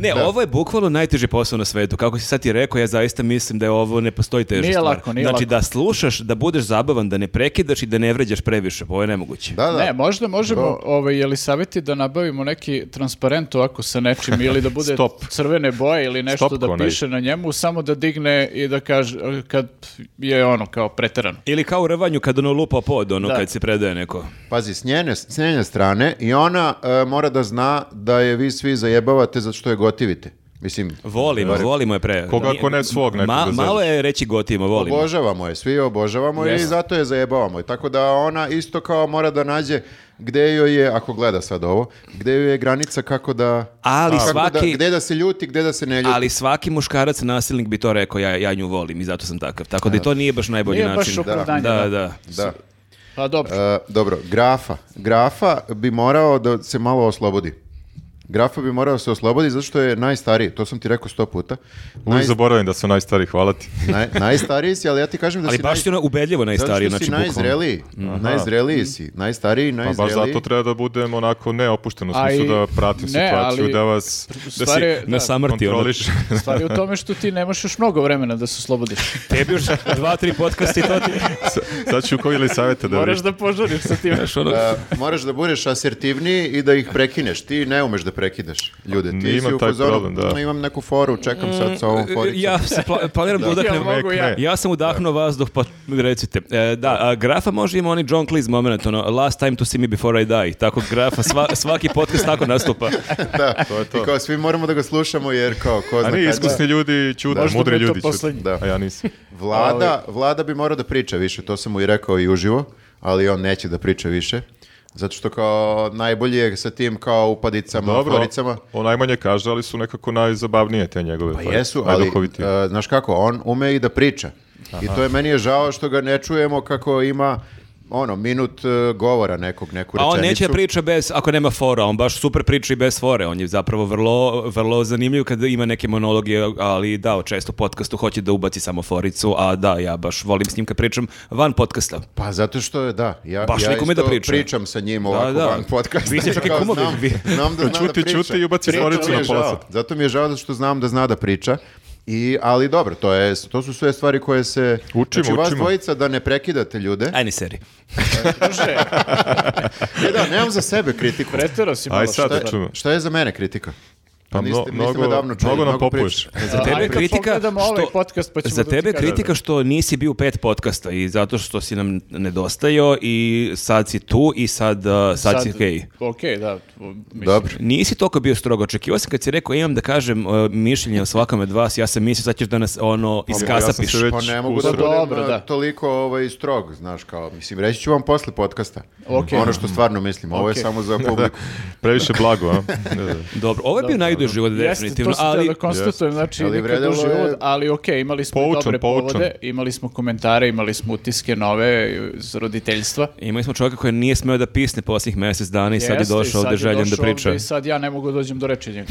S1: Ne, ovo je bukvalno najteži posao na svetu. Kako si sad ti rekao, ja zaista mislim da je ovo ne postoji teža
S3: Nije
S1: stvar.
S3: lako, nije
S1: znači
S3: lako.
S1: da slušaš, da budeš zabavan, da ne prekidaš i da ne vređaš previše. Ovo je nemoguće.
S2: Da, da.
S3: Ne, možda možemo,
S2: Dobro.
S3: ovaj, je li savjeti da nabavimo neki transparent ovako sa nečim ili da bude
S4: Stop.
S3: crvene boje ili nešto
S4: Stop
S3: da
S4: konaj.
S3: piše na njemu, samo da digne i da kaže eh, kad je ono kao preterano.
S1: Ili kao u rvanju kad ono lupa pod, ono
S3: Da.
S1: kad se predaje neko.
S2: Pazi, s njene, s njene strane i ona e, mora da zna da je vi svi zajebavate zato što je gotivite. Mislim,
S1: Volimo,
S2: Dobar.
S1: volimo je pre.
S4: Koga
S1: Nije-
S4: ako ne svog nekog da zajedno.
S1: malo je reći gotivimo, volimo.
S2: obožavamo je, svi je obožavamo je i zato je zajebavamo. je. Tako da ona isto kao mora da nađe gde joj je, ako gleda sad ovo, gde joj je granica kako da...
S1: Ali
S2: kako
S1: svaki-
S2: Da, gde da se ljuti, gde da se ne ljuti.
S1: Ali svaki muškarac nasilnik bi to rekao, ja, ja nju volim i zato sam takav. Tako da i to nije baš najbolji
S3: Nije baš
S1: način.
S3: opravdanje,
S1: da,
S3: da.
S1: da.
S2: Da.
S3: Pa dobro.
S2: E, dobro, grafa. Grafa bi morao da se malo oslobodi. Grafa bi morao da se oslobodi zato što je najstariji, to sam ti rekao sto puta.
S4: Uvijek
S2: Naj-
S4: zaboravim da sam najstariji, hvala ti.
S2: Naj, najstariji si, ali ja ti kažem da
S1: Ali
S2: si
S1: baš
S2: naj-
S1: ti ono ubedljivo najstariji.
S2: Zato što si
S1: znači, bukvalno.
S2: najzreliji. Najzreliji si. Najstariji,
S4: Pa
S2: najzreliji.
S4: baš zato treba da budem onako neopušten u
S3: A
S4: smislu
S3: i-
S4: da pratim
S3: ne,
S4: situaciju,
S3: ali-
S4: da vas E, da
S3: Stvar je-
S1: Na
S3: da,
S1: samrti. ono.
S4: kontroliš.
S3: stvar je u tome što ti nemaš još mnogo vremena da se oslobodiš.
S1: Tebi još dva, tri podcasta i to ti...
S4: Sad ću koji ili savjeta da
S3: Moraš
S4: vidim.
S3: da požuriš sa tim.
S1: Znaš, ono,
S2: E, moraš da budeš asertivniji i da ih prekineš. Ti ne umeš da prekidaš ljude. Ti
S4: Imam
S2: si u
S4: taj
S2: fazonu,
S4: problem, da. Mm,
S2: "Mm, Imam neku foru, čekam sad sa ovom foricom.
S1: ja se pla- planiram da, udahnem.
S3: Ja mogu ja.
S4: Ne.
S1: Ja sam udahnuo vazduh, pa recite. E, da, a grafa može ima onaj John Cleese moment, ono, last time to see me before I die. Tako grafa, sva- svaki podcast tako nastupa.
S2: da. I kao svi moramo da ga slušamo jer kao ko zna
S4: A
S2: kad
S4: nije
S2: će-
S4: iskusni ljudi ćute,
S3: Možda
S4: mudri
S3: bude to
S4: ljudi ćute.
S3: poslednji.
S2: Da.
S4: A ja nisam.
S2: Vlada, vlada bi morao da priča više, to sam mu i rekao i uživo, ali on neće da priča više. Zato što kao najbolje je sa tim kao upadicama,
S4: Dobro,
S2: foricama.
S4: on najmanje kaže, ali su nekako najzabavnije te njegove.
S2: Pa jesu, ali e, znaš kako, on ume i da priča. I to je meni je žao što ga ne čujemo kako ima ono minut e, govora nekog, neku
S1: A
S2: rečenicu.
S1: on neće da priča bez, ako nema fora, on baš super priča i bez fore. On je zapravo vrlo, vrlo zanimljiv kada ima neke monologe, ali da, često u podcastu hoće da ubaci samo foricu, a da, ja baš volim s njim kad pričam van podcasta.
S2: Pa zato što je, da, ja,
S1: Baš
S2: ja
S1: nikome da
S2: isto
S1: priča.
S2: pričam sa njim ovako
S1: da.
S2: van podcasta.
S1: Vi ste čak i
S2: Kao
S1: kumovi.
S2: znam-
S1: Vi-
S2: znam da zna da
S4: Čuti,
S2: priča.
S4: čuti i ubaci
S2: Zato mi
S4: foricu
S2: je
S4: na pola
S2: žao.
S4: sata.
S2: Zato mi je žao zato što znam da zna da priča I, ali dobro, to, je, to su sve stvari koje se...
S4: Učimo,
S2: znači, vas
S4: učimo.
S2: dvojica da ne prekidate ljude.
S1: Ajde, seri.
S3: Druže,
S2: E da, nemam za sebe kritiku.
S3: preterao si malo.
S4: Aj sad
S2: Šta
S4: da
S2: je,
S4: čujemo.
S2: šta je za mene kritika?
S4: Pa
S2: niste,
S4: mno-
S2: niste
S4: mnogo,
S2: me davno čuli,
S4: mnogo nam popuješ.
S2: pričaš.
S1: Za tebe
S3: Ajde,
S1: je
S3: kad
S1: kritika
S3: pogledamo ovaj
S1: što-
S3: podcast, pa ćemo
S1: za
S3: da ti
S1: tebe je
S3: kažem.
S1: kritika što nisi bio u pet podcasta i zato što si nam nedostajao i sad si tu i sad, uh, sad, si okej.
S3: Okej, da. u- Mislim,
S2: Dobro.
S1: Nisi toliko bio strogo očekivao sam kad si rekao imam da kažem uh, mišljenje o svakome od vas, ja sam mislio sad ćeš da nas ono
S4: ja sam
S1: iskasapiš.
S4: se već
S2: Pa ne mogu da
S4: usro.
S2: budem
S3: Dobro,
S2: a,
S3: da.
S2: toliko ovaj, strog, znaš, kao, mislim, reći ću vam posle podcasta.
S3: Okej.
S2: Ono što stvarno mislim, ovo je
S3: Okej.
S2: samo za publiku.
S4: Previše blago, a? Da, da.
S1: Dobro, ovo je bio najduži život
S3: Jeste,
S1: definitivno,
S3: to sam ali,
S1: ali
S3: da konstatujem, znači
S2: Ali
S3: ali nikad
S2: vredelo
S3: duži
S2: je-
S3: uvod, ali okej, imali smo
S4: Poučan,
S3: dobre
S4: poučan.
S3: povode, imali smo komentare, imali smo utiske nove iz roditeljstva.
S1: imali smo čovjeka koji nije smeo da pisne posljednjih mjesec dana i sad je
S3: Jeste, i
S1: došao ovdje
S3: je
S1: željen da
S3: došao ovde
S1: priča.
S3: I sad ja ne mogu da dođem do reči njega.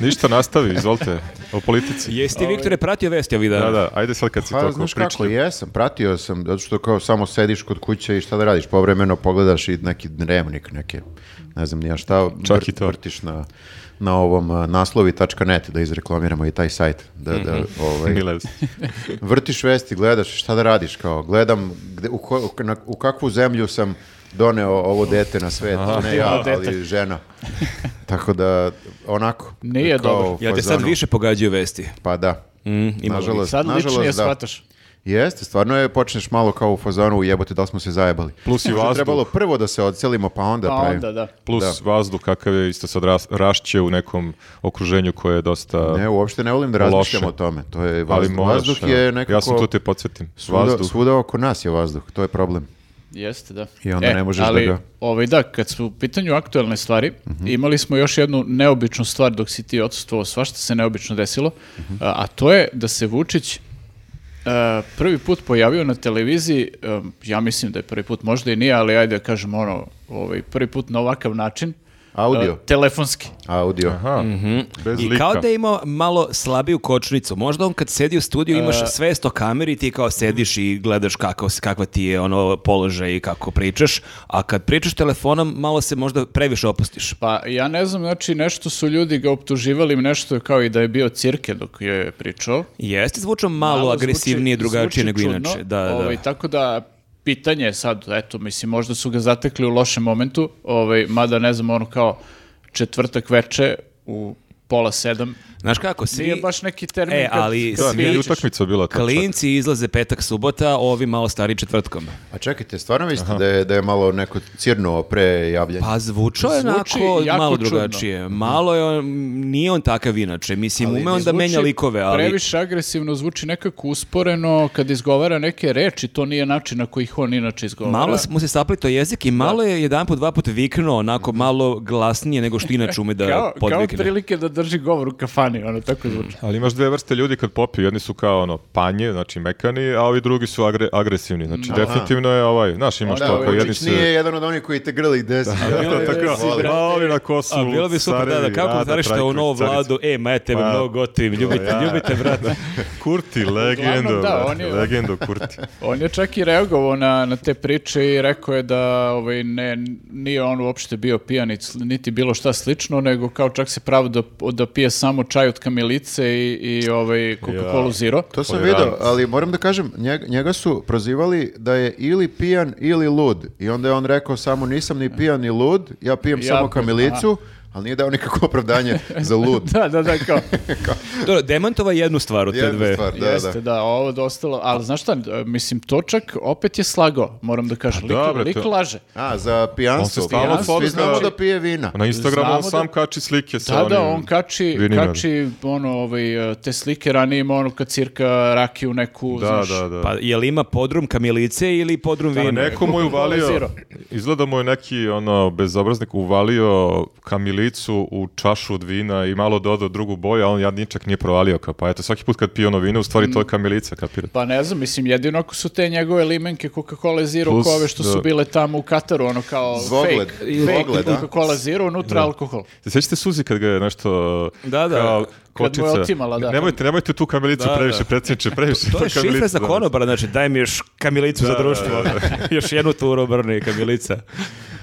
S4: Ništa, nastavi, izvolite, o politici.
S1: Jesi
S3: Ovaj-
S1: ti, Viktore, pratio vesti ovih dana?
S4: Da, da, ajde sad kad si
S2: Pa,
S4: toliko
S2: znaš
S4: pričao.
S2: kako, jesam, pratio sam, zato što kao samo sediš kod kuće i šta da radiš, povremeno pogledaš i neki dnevnik, neke, ne znam ni ja šta,
S4: Čak
S2: vrt-
S4: i to.
S2: vrtiš na, na ovom eh, a, naslovi.net, da izreklamiramo i taj sajt, da, da,
S4: Mhm.
S2: ovaj,
S4: Mile,
S2: vrtiš vesti, gledaš šta da radiš, kao gledam gde, u, ko- na- u kakvu zemlju sam doneo ovo dete na svet, ne ja,
S3: Divno dete.
S2: ali žena. Tako da, onako.
S3: Nije dobro.
S1: Ja te sad
S2: fazonu,
S1: više pogađaju vesti. Hm,
S2: Pa da.
S1: ima
S2: nažalost,
S3: Sad ličnije
S2: nažalost, da.
S3: shvataš.
S2: Jeste, stvarno je, počneš malo kao u fazonu, jebote, da li smo se zajebali.
S4: Plus i
S2: Možda je
S4: vazduh.
S2: Trebalo prvo da se odselimo, pa onda
S3: Pa
S2: pravim.
S3: onda, da.
S4: plus vazduh kakav je, isto sad ras- rašće u nekom okruženju koje je dosta...
S2: Ne, uopšte ne volim da razmišljam
S4: Loše.
S2: o tome. To je
S4: ali
S2: vazduh.
S4: moraš,
S2: vazduh
S4: evo.
S2: je nekako...
S4: Ja sam tu te podsjetim.
S2: Svuda,
S4: vazduh.
S2: svuda oko nas je vazduh, to je problem.
S3: Jeste, da. E,
S2: I onda ne možeš da
S3: ali,
S2: ga- Mhm.
S3: Ovaj, da, kad su u pitanju aktuelne stvari, imali smo još jednu neobičnu stvar dok si ti odsustvovao, svašta se neobično desilo,
S2: Mhm.
S3: a, a to je da se Vučić a, prvi put pojavio na televiziji, a, ja mislim da je prvi put, možda i nije, ali ajde da kažem ono, ovaj, prvi put na ovakav način,
S2: Audio.
S3: a, telefonski.
S2: Audio.
S4: Aha, bez
S1: Mhm. I
S4: lika.
S1: kao da je imao malo slabiju kočnicu. Možda on kad sedi u studiju
S3: E.
S1: imaš svest o kameri i ti kao sediš i gledaš kako, se- kakva ti je ono položaj i kako pričaš, a kad pričaš telefonom malo se možda previše opustiš.
S3: Pa ja ne znam, znači nešto su ljudi ga optuživali, nešto kao i da je bio cirke dok je pričao.
S1: Jeste zvučao malo,
S3: malo
S1: agresivnije,
S3: zvuči-
S1: drugačije
S3: zvuči
S1: nego
S3: čudno,
S1: inače. Da, da.
S3: ovaj, Tako da, pitanje je sad, eto, mislim, možda su ga zatekli u lošem momentu, ovaj, mada ne znam, ono kao četvrtak veče u pola sedam.
S1: Znaš kako, svi...
S3: Nije baš neki termin
S1: E,
S3: kad-
S1: ali
S3: kad
S4: Da, nije ni
S1: svi-
S3: pričaš.
S4: utakmica bila to.
S1: Klinci izlaze petak, subota, ovi malo stari četvrtkom.
S2: A Pa čekajte, stvarno mislite da je, da je malo neko cirnuo pre javljanja?
S1: Pa zvučao je
S3: Zvuči
S1: onako
S3: jako
S1: malo
S3: čudno.
S1: drugačije. Malo je on, nije on takav inače. Mislim, ume on da
S3: Zvuči
S1: menja likove, ali...
S3: Previše agresivno zvuči nekako usporeno kad izgovara neke reči, to nije način na koji ih on inače izgovara.
S1: Malo mu se saplito jezik i malo je jedan put, dva put viknuo, onako malo glasnije nego što inače ume da
S3: kao, kao
S1: podvikne.
S3: prilike da drži govor u kafani, ono tako zvuči.
S4: Ali imaš dve vrste ljudi kad popiju, jedni su kao ono panje, znači mekani, a ovi drugi su agre- agresivni. Znači definitivno je ovaj, znaš, imaš
S2: Da,
S4: to kao jedni
S2: Vučić
S4: su
S2: nije jedan od onih koji te grli gde si.
S4: To tako,
S2: Voli.
S4: ma ovi na kosu,
S1: A bilo bi super da, da
S4: carevi,
S1: kao
S4: Rada
S1: komentarište u
S4: Trajković,
S1: novu
S4: carica.
S1: vladu, e, ma ja tebe
S4: Pa,
S1: mnogo gotivim, ljubite,
S4: ja.
S1: ljubite, brate.
S4: Kurti, legendo,
S3: da,
S4: brate,
S3: on je-
S4: legendo Kurti.
S3: On je čak i reagovao na, na te priče i rekao je da ovaj, ne, nije on uopšte bio pijan i sl- niti bilo šta slično, nego kao čak se pravo da, da pije samo čaj od kamilice i, i ovaj Coca-Cola
S4: Ja.
S3: Zero.
S2: To sam
S4: Tolerant.
S2: vidio, ali moram da kažem, njeg- njega su prozivali da je ili pijan ili lud. I onda je on rekao samo nisam ni pijan ni lud, ja pijem
S3: Ja
S2: samo
S3: pijem,
S2: kamilicu, ali nije dao nikakvo opravdanje za lud.
S3: Da, da, da, kao,
S1: Dobro, demantova jednu stvar od te
S2: Jedna
S1: dve.
S2: stvar, da, da.
S3: jeste, da, ovo je ostalo, ali znaš šta, mislim, to čak opet je slagao, moram da kažem, lik,
S4: Pa dobro,
S3: lik
S4: to-
S3: laže.
S2: A, za pijanstvo.
S4: On se stalno
S2: Pijanstvo. Svi
S4: fotka-
S2: znamo da pije vina.
S4: Pa Na Instagramu
S3: Znamo
S4: on sam
S3: da-
S4: kači slike sa
S3: Da, da,
S4: onim
S3: on kači,
S4: vinima.
S3: kači ono, ovaj, te slike ranije ima ono kad cirka rakiju neku,
S4: Da,
S3: znaš,
S4: da, da.
S1: Pa, je li ima podrum kamilice ili podrum
S4: Pa
S1: vina?
S4: neko mu je uvalio,
S3: Zero.
S4: izgleda mu je neki ono, bezobraznik uvalio kamilicu u čašu od vina i malo dodao drugu boju, a on jadničak nije provalio. Kao, pa eto, svaki put kad pije ono vino, u stvari to je kamilica, kapirate.
S3: Pa ne znam, mislim, jedino ako su te njegove limenke Coca-Cola Zero
S4: Plus,
S3: kove što su
S4: da.
S3: bile tamo u Kataru, ono kao
S2: Zvogled.
S3: fake,
S2: I
S3: fake
S2: Zvogled, da.
S3: Coca-Cola Zero, unutra alkohol.
S4: Se sjećate Suzi kad ga je nešto
S1: Da, da.
S4: kao
S3: mu je
S4: kočica?
S3: otimala, da.
S4: Nemojte, nemojte tu kamilicu
S1: Da,
S4: previše,
S1: da.
S4: predsjedniče, previše.
S1: To
S4: tu
S1: je šifra
S4: kamilicu,
S1: za
S4: da.
S1: konobara, znači daj mi još kamilicu za društvo. još jednu turu obrni kamilica.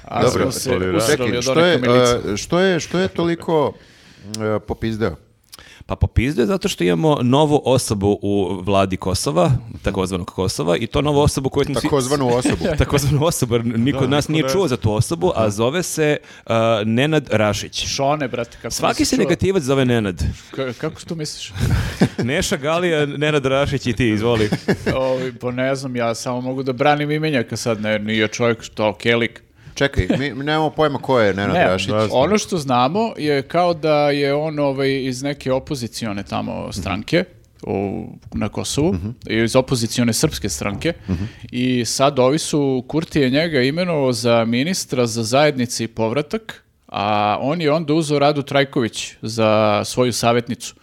S3: A
S4: Dobro,
S3: smo se
S4: ali da.
S3: usrali
S2: Čekaj,
S3: od
S2: e, što
S3: one
S2: je,
S3: kamilice.
S2: e, što je, što je toliko e, popizdeo?
S1: Pa popizde zato što imamo novu osobu u vladi Kosova, takozvanog Kosova, i to novu osobu koju smo svi-
S2: Takozvanu osobu.
S1: takozvanu osobu, jer niko od nas nije
S4: ne
S1: čuo za tu osobu, a zove se uh, Nenad Rašić.
S3: Šone, brate, kako
S1: Svaki se negativac zove Nenad.
S3: Kako to misliš?
S1: Neša Galija, Nenad Rašić i ti, izvoli.
S3: Ovi, pa ne znam, ja samo mogu da branim imenjaka sad, ne, nije čovjek što, kelik.
S2: Čekaj, mi nemamo pojma ko je Nenad
S3: Ne,
S2: Rašić.
S4: da.
S3: ono što znamo je kao da je on ovaj, iz neke opozicione tamo stranke u, na Kosovu, iz opozicione srpske stranke i sad ovi su, Kurti je njega imenovao za ministra za zajednice i povratak, a on je onda uzeo Radu Trajković za svoju savjetnicu.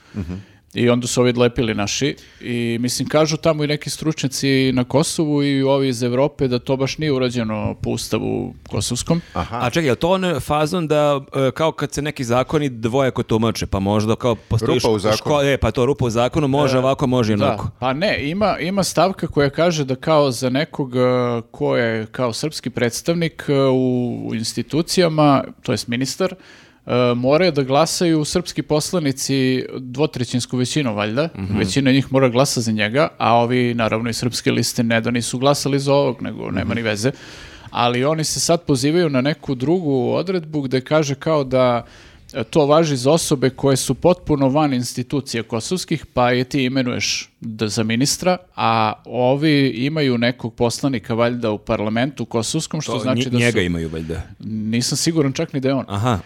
S3: I onda su ovi odlepili naši i mislim kažu tamo i neki stručnjaci na Kosovu i ovi iz Evrope da to baš nije urađeno po ustavu kosovskom.
S1: A čekaj, je li to on fazon da e, kao kad se neki zakoni dvojako tumače, pa možda kao postoji
S2: Rupa
S1: ško-
S2: u zakonu. E,
S1: ško- e, pa to rupa u zakonu, može ovako, može i onako.
S3: Da, pa ne, ima, ima stavka koja kaže da kao za nekog e, ko je kao srpski predstavnik e, u, u institucijama, to jest ministar, e, moraju da glasaju srpski poslanici dvotrećinsku većinu, valjda. Većina njih mora glasa za njega, a ovi, naravno, i srpske liste ne da nisu glasali za ovog, nego nema ni veze. Ali oni se sad pozivaju na neku drugu odredbu gde kaže kao da E, To važi za osobe koje su potpuno van institucija kosovskih, pa je ti imenuješ d- za ministra, a ovi imaju nekog poslanika valjda u parlamentu kosovskom, što
S1: To
S3: znači
S1: nj-
S3: da su...
S1: njega imaju valjda.
S3: Nisam siguran čak ni da je on.
S1: Aha.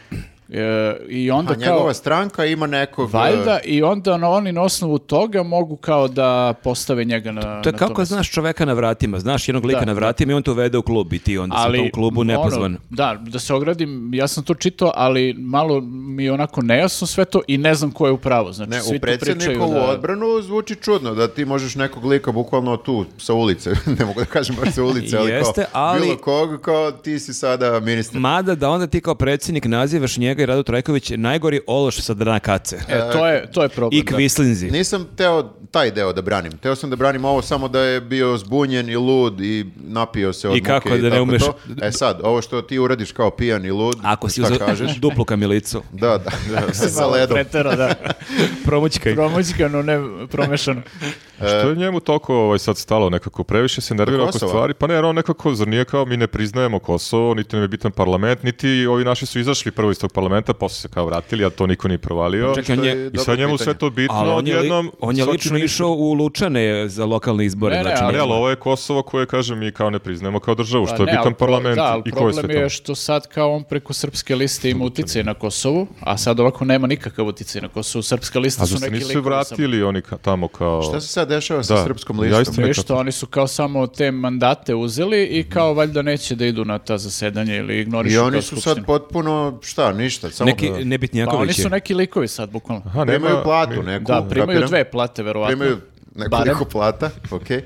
S3: E, I onda
S2: A
S3: kao...
S2: njegova stranka ima nekog... e,
S3: Valjda i onda na- oni na osnovu toga mogu kao da postave njega na
S1: To je
S3: na
S1: kao kad
S3: mesto.
S1: znaš čoveka na vratima, znaš jednog lika
S3: Da,
S1: na vratima i on te uvede u klub i ti onda si to u klubu nepozvan.
S3: ono, da, da se ogradim, ja sam to čitao, ali malo mi je onako nejasno sve to i ne znam ko je u pravu. Znači,
S2: Ne,
S3: svi
S2: u
S3: tu pričaju
S2: predsjednikovu
S3: da...
S2: odbranu zvuči čudno da ti možeš nekog lika bukvalno tu sa ulice, ne mogu da kažem baš sa ulice, ali,
S1: Jeste,
S2: kao,
S1: ali-
S2: bilo kog kao ti si sada ministar.
S1: Mada da onda ti kao predsjednik nazivaš njega i Radu Trajković najgori ološ sa drana kace.
S3: E, to je, to je problem.
S1: I
S3: da.
S1: kvislinzi.
S2: Nisam teo taj deo da branim. Teo sam da branim ovo samo da je bio zbunjen i lud i napio se od
S1: I kako
S2: muke
S1: da ne
S2: tako
S1: umeš-
S2: to. E sad, ovo što ti uradiš kao pijan i lud,
S1: Ako si
S2: šta
S1: uzeo
S2: kažeš?
S1: duplu kamilicu.
S2: Da, da, sa
S3: Malo
S2: ledom.
S3: pretera, da.
S1: Promućkaj.
S3: Promućkano, ne promešano.
S2: E,
S4: Što je njemu toliko ovaj, sad stalo nekako? Previše se nervira oko
S2: Kosova?
S4: stvari. Pa ne, jer on nekako, zar nije kao mi ne priznajemo Kosovo, niti nam je bitan parlament, niti ovi naši su izašli prvo iz tog parlamenta, posle se kao vratili, a to niko nije provalio.
S1: Čekaj, on
S2: To je
S1: je-
S4: I
S2: dobro
S4: sad njemu
S2: pitanje.
S4: sve to bitno,
S1: Ali on je, li-
S4: odjednom
S1: on je
S4: svaki
S1: lično
S4: ministar-
S1: išao u Lučane za lokalne izbore.
S3: Ne, ne,
S1: znači,
S4: Ali,
S1: ne
S4: ali
S1: znam.
S4: ovo je Kosovo koje, kažem, mi kao ne priznajemo kao državu, što
S3: Pa
S4: je
S3: ne, ali
S4: bitan
S3: pro-
S4: parlament
S3: da, ali
S4: i koje sve
S3: problem je
S4: to.
S3: što sad kao on preko srpske liste ima uticaj na Kosovu, a sad ovako nema nikakav uticaj na Kosovu. Srpska lista
S4: A
S3: su
S4: zašto
S3: neki
S4: nisu
S3: likovi
S4: se
S3: samo.
S4: vratili oni ka- tamo kao...
S2: Šta se sad dešava sa
S4: Da.
S2: srpskom
S4: Ja
S2: listom?
S4: isto ne-
S3: Ništa, oni su kao samo te mandate uzeli
S4: Mhm.
S3: i kao valjda neće da idu na ta zasedanja ili ignorišu
S2: I
S3: kao
S2: oni su sad
S3: skupštinu.
S2: potpuno, šta, ništa, samo
S1: Neki
S3: Pa oni
S1: nebitnjaković je.
S3: su neki likovi sad, bukvalno.
S4: Aha, nema-
S2: primaju platu
S4: mi-
S2: neku.
S3: Da, primaju
S2: kapiram?
S3: dve plate, verovatno.
S2: Primaju nekoliko
S3: Barem.
S2: plata, okej.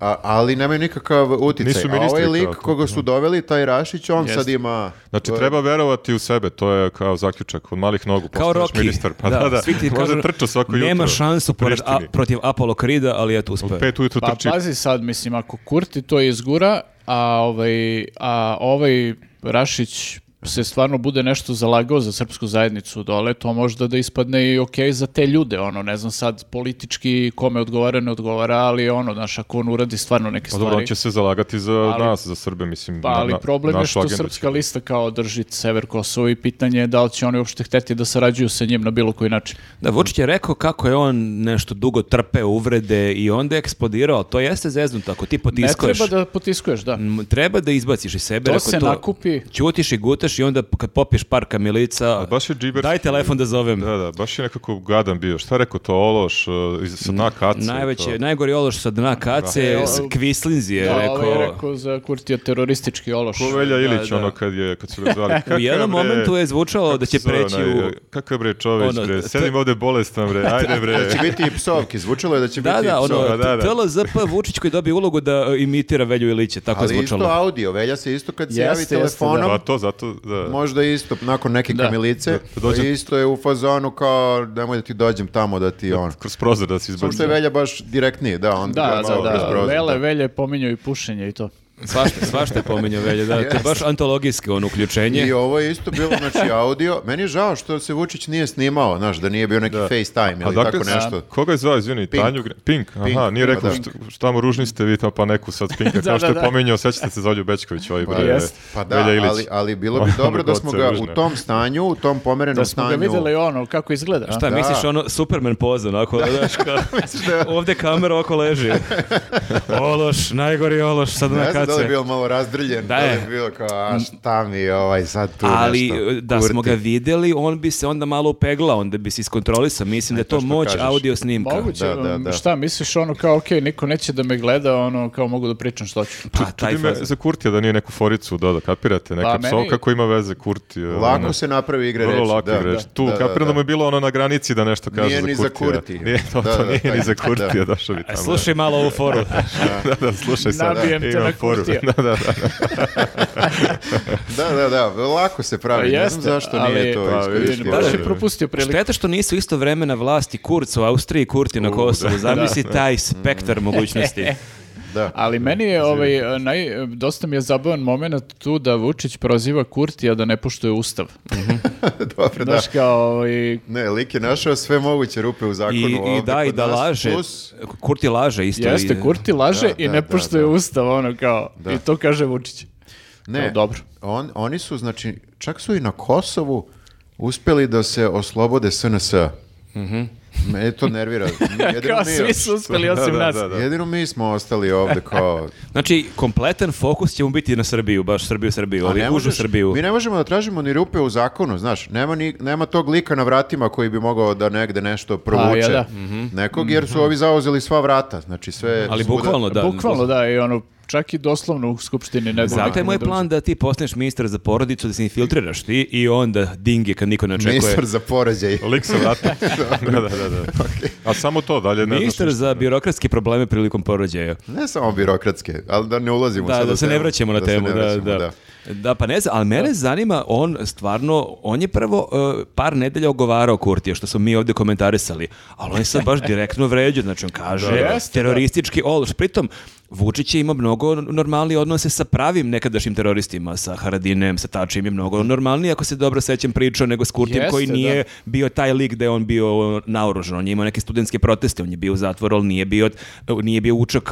S2: A- ali nemaju nikakav uticaj.
S4: Nisu
S2: A ovaj
S4: ministri
S2: lik
S4: kao to,
S2: koga su doveli, taj Rašić, on
S3: Jeste.
S2: sad ima...
S4: Znači,
S2: to je-
S4: treba verovati u sebe, to je kao zaključak, od malih nogu
S1: Kao
S4: postaneš
S1: Rocky.
S4: ministar. Pa da, da,
S1: svi ti
S4: možda
S1: kažu,
S4: trča svako jutro.
S1: Nema šansu
S4: u
S1: pored, a,
S4: Prištini.
S1: protiv Apollo Krida, ali eto
S4: U
S1: uspeo.
S4: pet ujutru
S3: Pa
S4: trči.
S3: pazi sad, mislim, ako Kurti to izgura, a ovaj, a ovaj Rašić se stvarno bude nešto zalagao za srpsku zajednicu dole, to možda da ispadne i okej za te ljude, ono, ne znam sad politički kome odgovara, ne odgovara, ali ono, znaš, ako on uradi stvarno neke
S4: Pa
S3: stvari.
S4: dobro, on će se zalagati za nas, za Srbe, mislim.
S3: Pa
S4: na-
S3: ali
S4: na-
S3: problem je
S4: našu
S3: što
S4: agendu će-
S3: srpska lista kao drži sever Kosovo i pitanje je da li će oni uopšte hteti da sarađuju sa njim na bilo koji način.
S1: Da, Vučić je rekao kako je on nešto dugo trpe uvrede i onda je eksplodirao. To jeste zeznuto, ako ti
S3: Ne
S1: potiskuješ.
S3: treba da potiskuješ, da.
S1: m, treba da izbaciš iz sebe.
S3: To
S1: rekao
S3: se nakupi.
S1: Ćutiš i gutaš i onda kad popiješ par kamilica,
S4: A baš je džiberski.
S1: daj telefon da zovem.
S4: Da, da, baš je nekako gadan bio. Šta je rekao to Ološ, uh, iz, sa dna kace?
S1: Najveće,
S4: to.
S1: najgori ološ sa dna kace,
S3: E, o-
S1: s- Kvislinzi je
S3: Da,
S1: rekao.
S3: ovaj je rekao za Kurtija teroristički ološ.
S4: Ko Velja Ilić,
S1: da.
S4: ono kad, je, kad su ga zvali. "Kakav
S1: U jednom
S4: bre-
S1: momentu je zvučalo da
S4: kako
S1: će
S4: se zove
S1: preći
S4: onaj,
S1: u...
S4: Kakav bre čoveć,
S1: Ono,
S4: bre,
S1: t-
S4: sedim ovde bolestan, bre, ajde, bre.
S2: Da će biti i psovki, zvučalo je da će
S1: Da,
S2: biti
S1: da,
S2: i psovki.
S1: ono,
S4: da, da.
S1: TLZP Vučić koji dobije ulogu da e, imitira Velju Ilića, tako
S2: Ali
S1: je
S2: isto
S1: zvučalo.
S2: audio, velja se isto kad se
S3: Jeste,
S2: javi
S3: jeste,
S2: telefonom,
S4: Pa to zato, da.
S2: možda isto nakon neke
S3: Da.
S2: kamilice, pa
S4: Da dođe-
S2: isto je u fazonu kao nemoj da ti dođem tamo da ti ono.
S4: Kroz prozor da se izbaci.
S2: Samo što je velja baš direktnije, da, on
S3: Da,
S2: malo
S3: da,
S2: kroz
S3: da.
S2: prozor,
S3: Vele, velje pominjao i pušenje i to.
S1: Svašta, svašta je pominjao Velja, da, to je baš antologijsko ono uključenje.
S2: I ovo je isto bilo, znači, audio. Meni je žao što se Vučić nije snimao, znaš, da nije bio neki FaceTime
S4: A
S2: ili
S4: dakle,
S2: tako nešto.
S4: koga je zvao, izvini,
S2: Pink.
S4: Tanju Gre- Pink, aha,
S2: Pink,
S4: nije
S2: da,
S4: rekao
S2: da.
S4: šta, šta mu ružni ste vi tamo, pa neku sad Pinka,
S3: Da,
S4: kao što
S3: da,
S4: je
S3: da.
S4: pominjao, sećate se Zolju Bečković, ovaj bre,
S3: jest.
S2: Pa da,
S4: Velja Ilić.
S2: ali, ali bilo bi
S4: Ono
S2: dobro da smo
S4: goce
S2: ga u
S4: ružne.
S2: tom stanju, u tom pomerenom
S3: Da smo
S2: stanju...
S3: ga videli ono, kako izgleda. a?
S1: Šta,
S2: Da.
S1: misliš ono Superman poza, onako, da. daš kao, ovde kamera oko leži. ološ, najgori ološ, sad na
S2: Ne znam da li
S1: kace.
S2: je bio malo razdrljen,
S1: Da
S2: da, li
S1: je.
S2: je bio kao, a šta mi je ovaj sad tu
S1: Ali e,
S2: nešto.
S1: da smo ga videli, on bi se onda malo upeglao, onda bi se iskontrolisao. Mislim da je to
S2: što
S1: moć
S2: kažeš.
S1: audio snimka.
S3: Moguće,
S2: Da, da, da.
S3: Pa šta misliš ono kao, okej, niko neće da me gleda, ono kao mogu da pričam što ću.
S1: Pa, taj
S4: Čudi me
S1: fazon.
S4: za Kurtija da nije neku foricu dodao, kapirate, neka
S3: Pa,
S4: pa,
S3: meni-
S4: psovka koja ima veze Kurtija. ono,
S2: Lako se napravi igre reći.
S4: Vrlo lako
S2: da,
S4: da,
S2: da,
S4: Tu
S2: da, da,
S4: kapiram da,
S2: da.
S4: mu je bilo ono na granici da nešto kaže
S2: Nije
S4: za
S2: ni za
S4: Kurtija.
S2: Kurtija.
S4: Nije, to,
S2: Da,
S4: to
S2: da,
S4: nije
S2: taj-
S4: ni za Kurtija, došao bi
S1: E,
S4: tamo.
S1: Slušaj malo ovu foru.
S4: da, da, slušaj sad.
S3: Nabijem te
S4: imam
S3: na
S4: foru.
S3: Kurtija.
S4: da, da, da.
S2: Da, da, da, lako se pravi.
S3: Pa
S2: ne znam
S3: jeste,
S2: zašto nije
S3: ali-
S2: to
S3: Pa,
S2: iskoristio.
S3: Baš
S4: Da,
S3: je
S4: da.
S3: propustio priliku.
S1: Šteta što nisu isto vreme na vlasti Kurc u Austriji i Kurti na Kosovu. Zamisli taj
S2: Mm.
S1: spektar mogućnosti.
S2: Da.
S3: Ali meni je ovaj, naj, dosta mi je zabavan moment tu da Vučić proziva Kurtija da ne poštuje ustav.
S2: Dobro, da.
S3: Znaš kao, ovaj,
S2: Ne, lik je našao sve moguće rupe u zakonu.
S1: I, i
S2: ovde
S1: da, i
S2: kod
S1: da
S2: nas,
S1: laže.
S2: plus-
S1: Kurti laže isto.
S3: jeste,
S1: i-
S3: Kurti laže
S2: Da,
S3: i
S2: da,
S3: ne
S2: da,
S3: poštuje
S2: da.
S3: ustav, ono kao, i to kaže Vučić.
S2: ne,
S3: Kao, dobro.
S2: On, oni su, znači, čak su i na Kosovu uspeli da se oslobode SNS.
S1: Mhm.
S2: Mene to nervira. Jedino
S3: Kao,
S2: mi-
S3: svi su uspeli osim
S4: Da, da,
S3: nas.
S4: da, da.
S2: Jedino mi smo ostali ovde kao...
S1: Znači, kompletan fokus će mu biti na Srbiju, baš Srbiju, Srbiju,
S2: A
S1: ali
S2: ne
S1: užu
S2: možeš-
S1: Srbiju.
S2: Mi ne možemo da tražimo ni rupe u zakonu, znaš. Nema, ni, nema tog lika na vratima koji bi mogao da negde nešto
S1: Pa,
S2: provuče. Mhm.
S3: ja da.
S2: Nekog, jer su ovi zauzeli sva vrata. Znači sve...
S1: Mhm. Ali
S2: svuda-
S1: bukvalno da.
S3: Bukvalno da, i ono, čak i doslovno u skupštini, ne znam. Dakle,
S1: Zato je moj plan da ti postaneš ministar za porodicu, da se infiltriraš ti i onda dinge kad niko ne očekuje.
S2: Ministar za poređaj.
S4: Lik se vrati. da, da, da. da. A samo to, dalje ne znaš
S1: Ministar
S4: ništa.
S1: za birokratske probleme prilikom porođaja.
S2: Ne samo birokratske, ali da ne ulazimo
S1: Da,
S2: sad
S1: da
S2: u
S1: se ne
S2: temu.
S1: vraćamo na
S2: Da se
S1: temu,
S2: ne
S1: da,
S2: vraćamo,
S1: da. Da, pa ne znam, ali mene zanima, on stvarno, on je prvo e, par nedelja ogovarao Kurtija, što smo mi ovdje komentarisali, ali on je sad baš direktno vređao, znači on kaže
S3: Jeste,
S1: teroristički ološ. Pritom, Vučić je imao mnogo normalnije odnose sa pravim nekadašnjim teroristima, sa Haradinem, sa Tačim je mnogo normalnije, ako se dobro sećam pričao, nego s Kurtijem
S3: Jeste,
S1: koji
S3: da.
S1: nije bio taj lik da je on bio naoružan, on je imao neke studentske proteste, on je bio u zatvoru, ali nije bio, nije bio u UČK.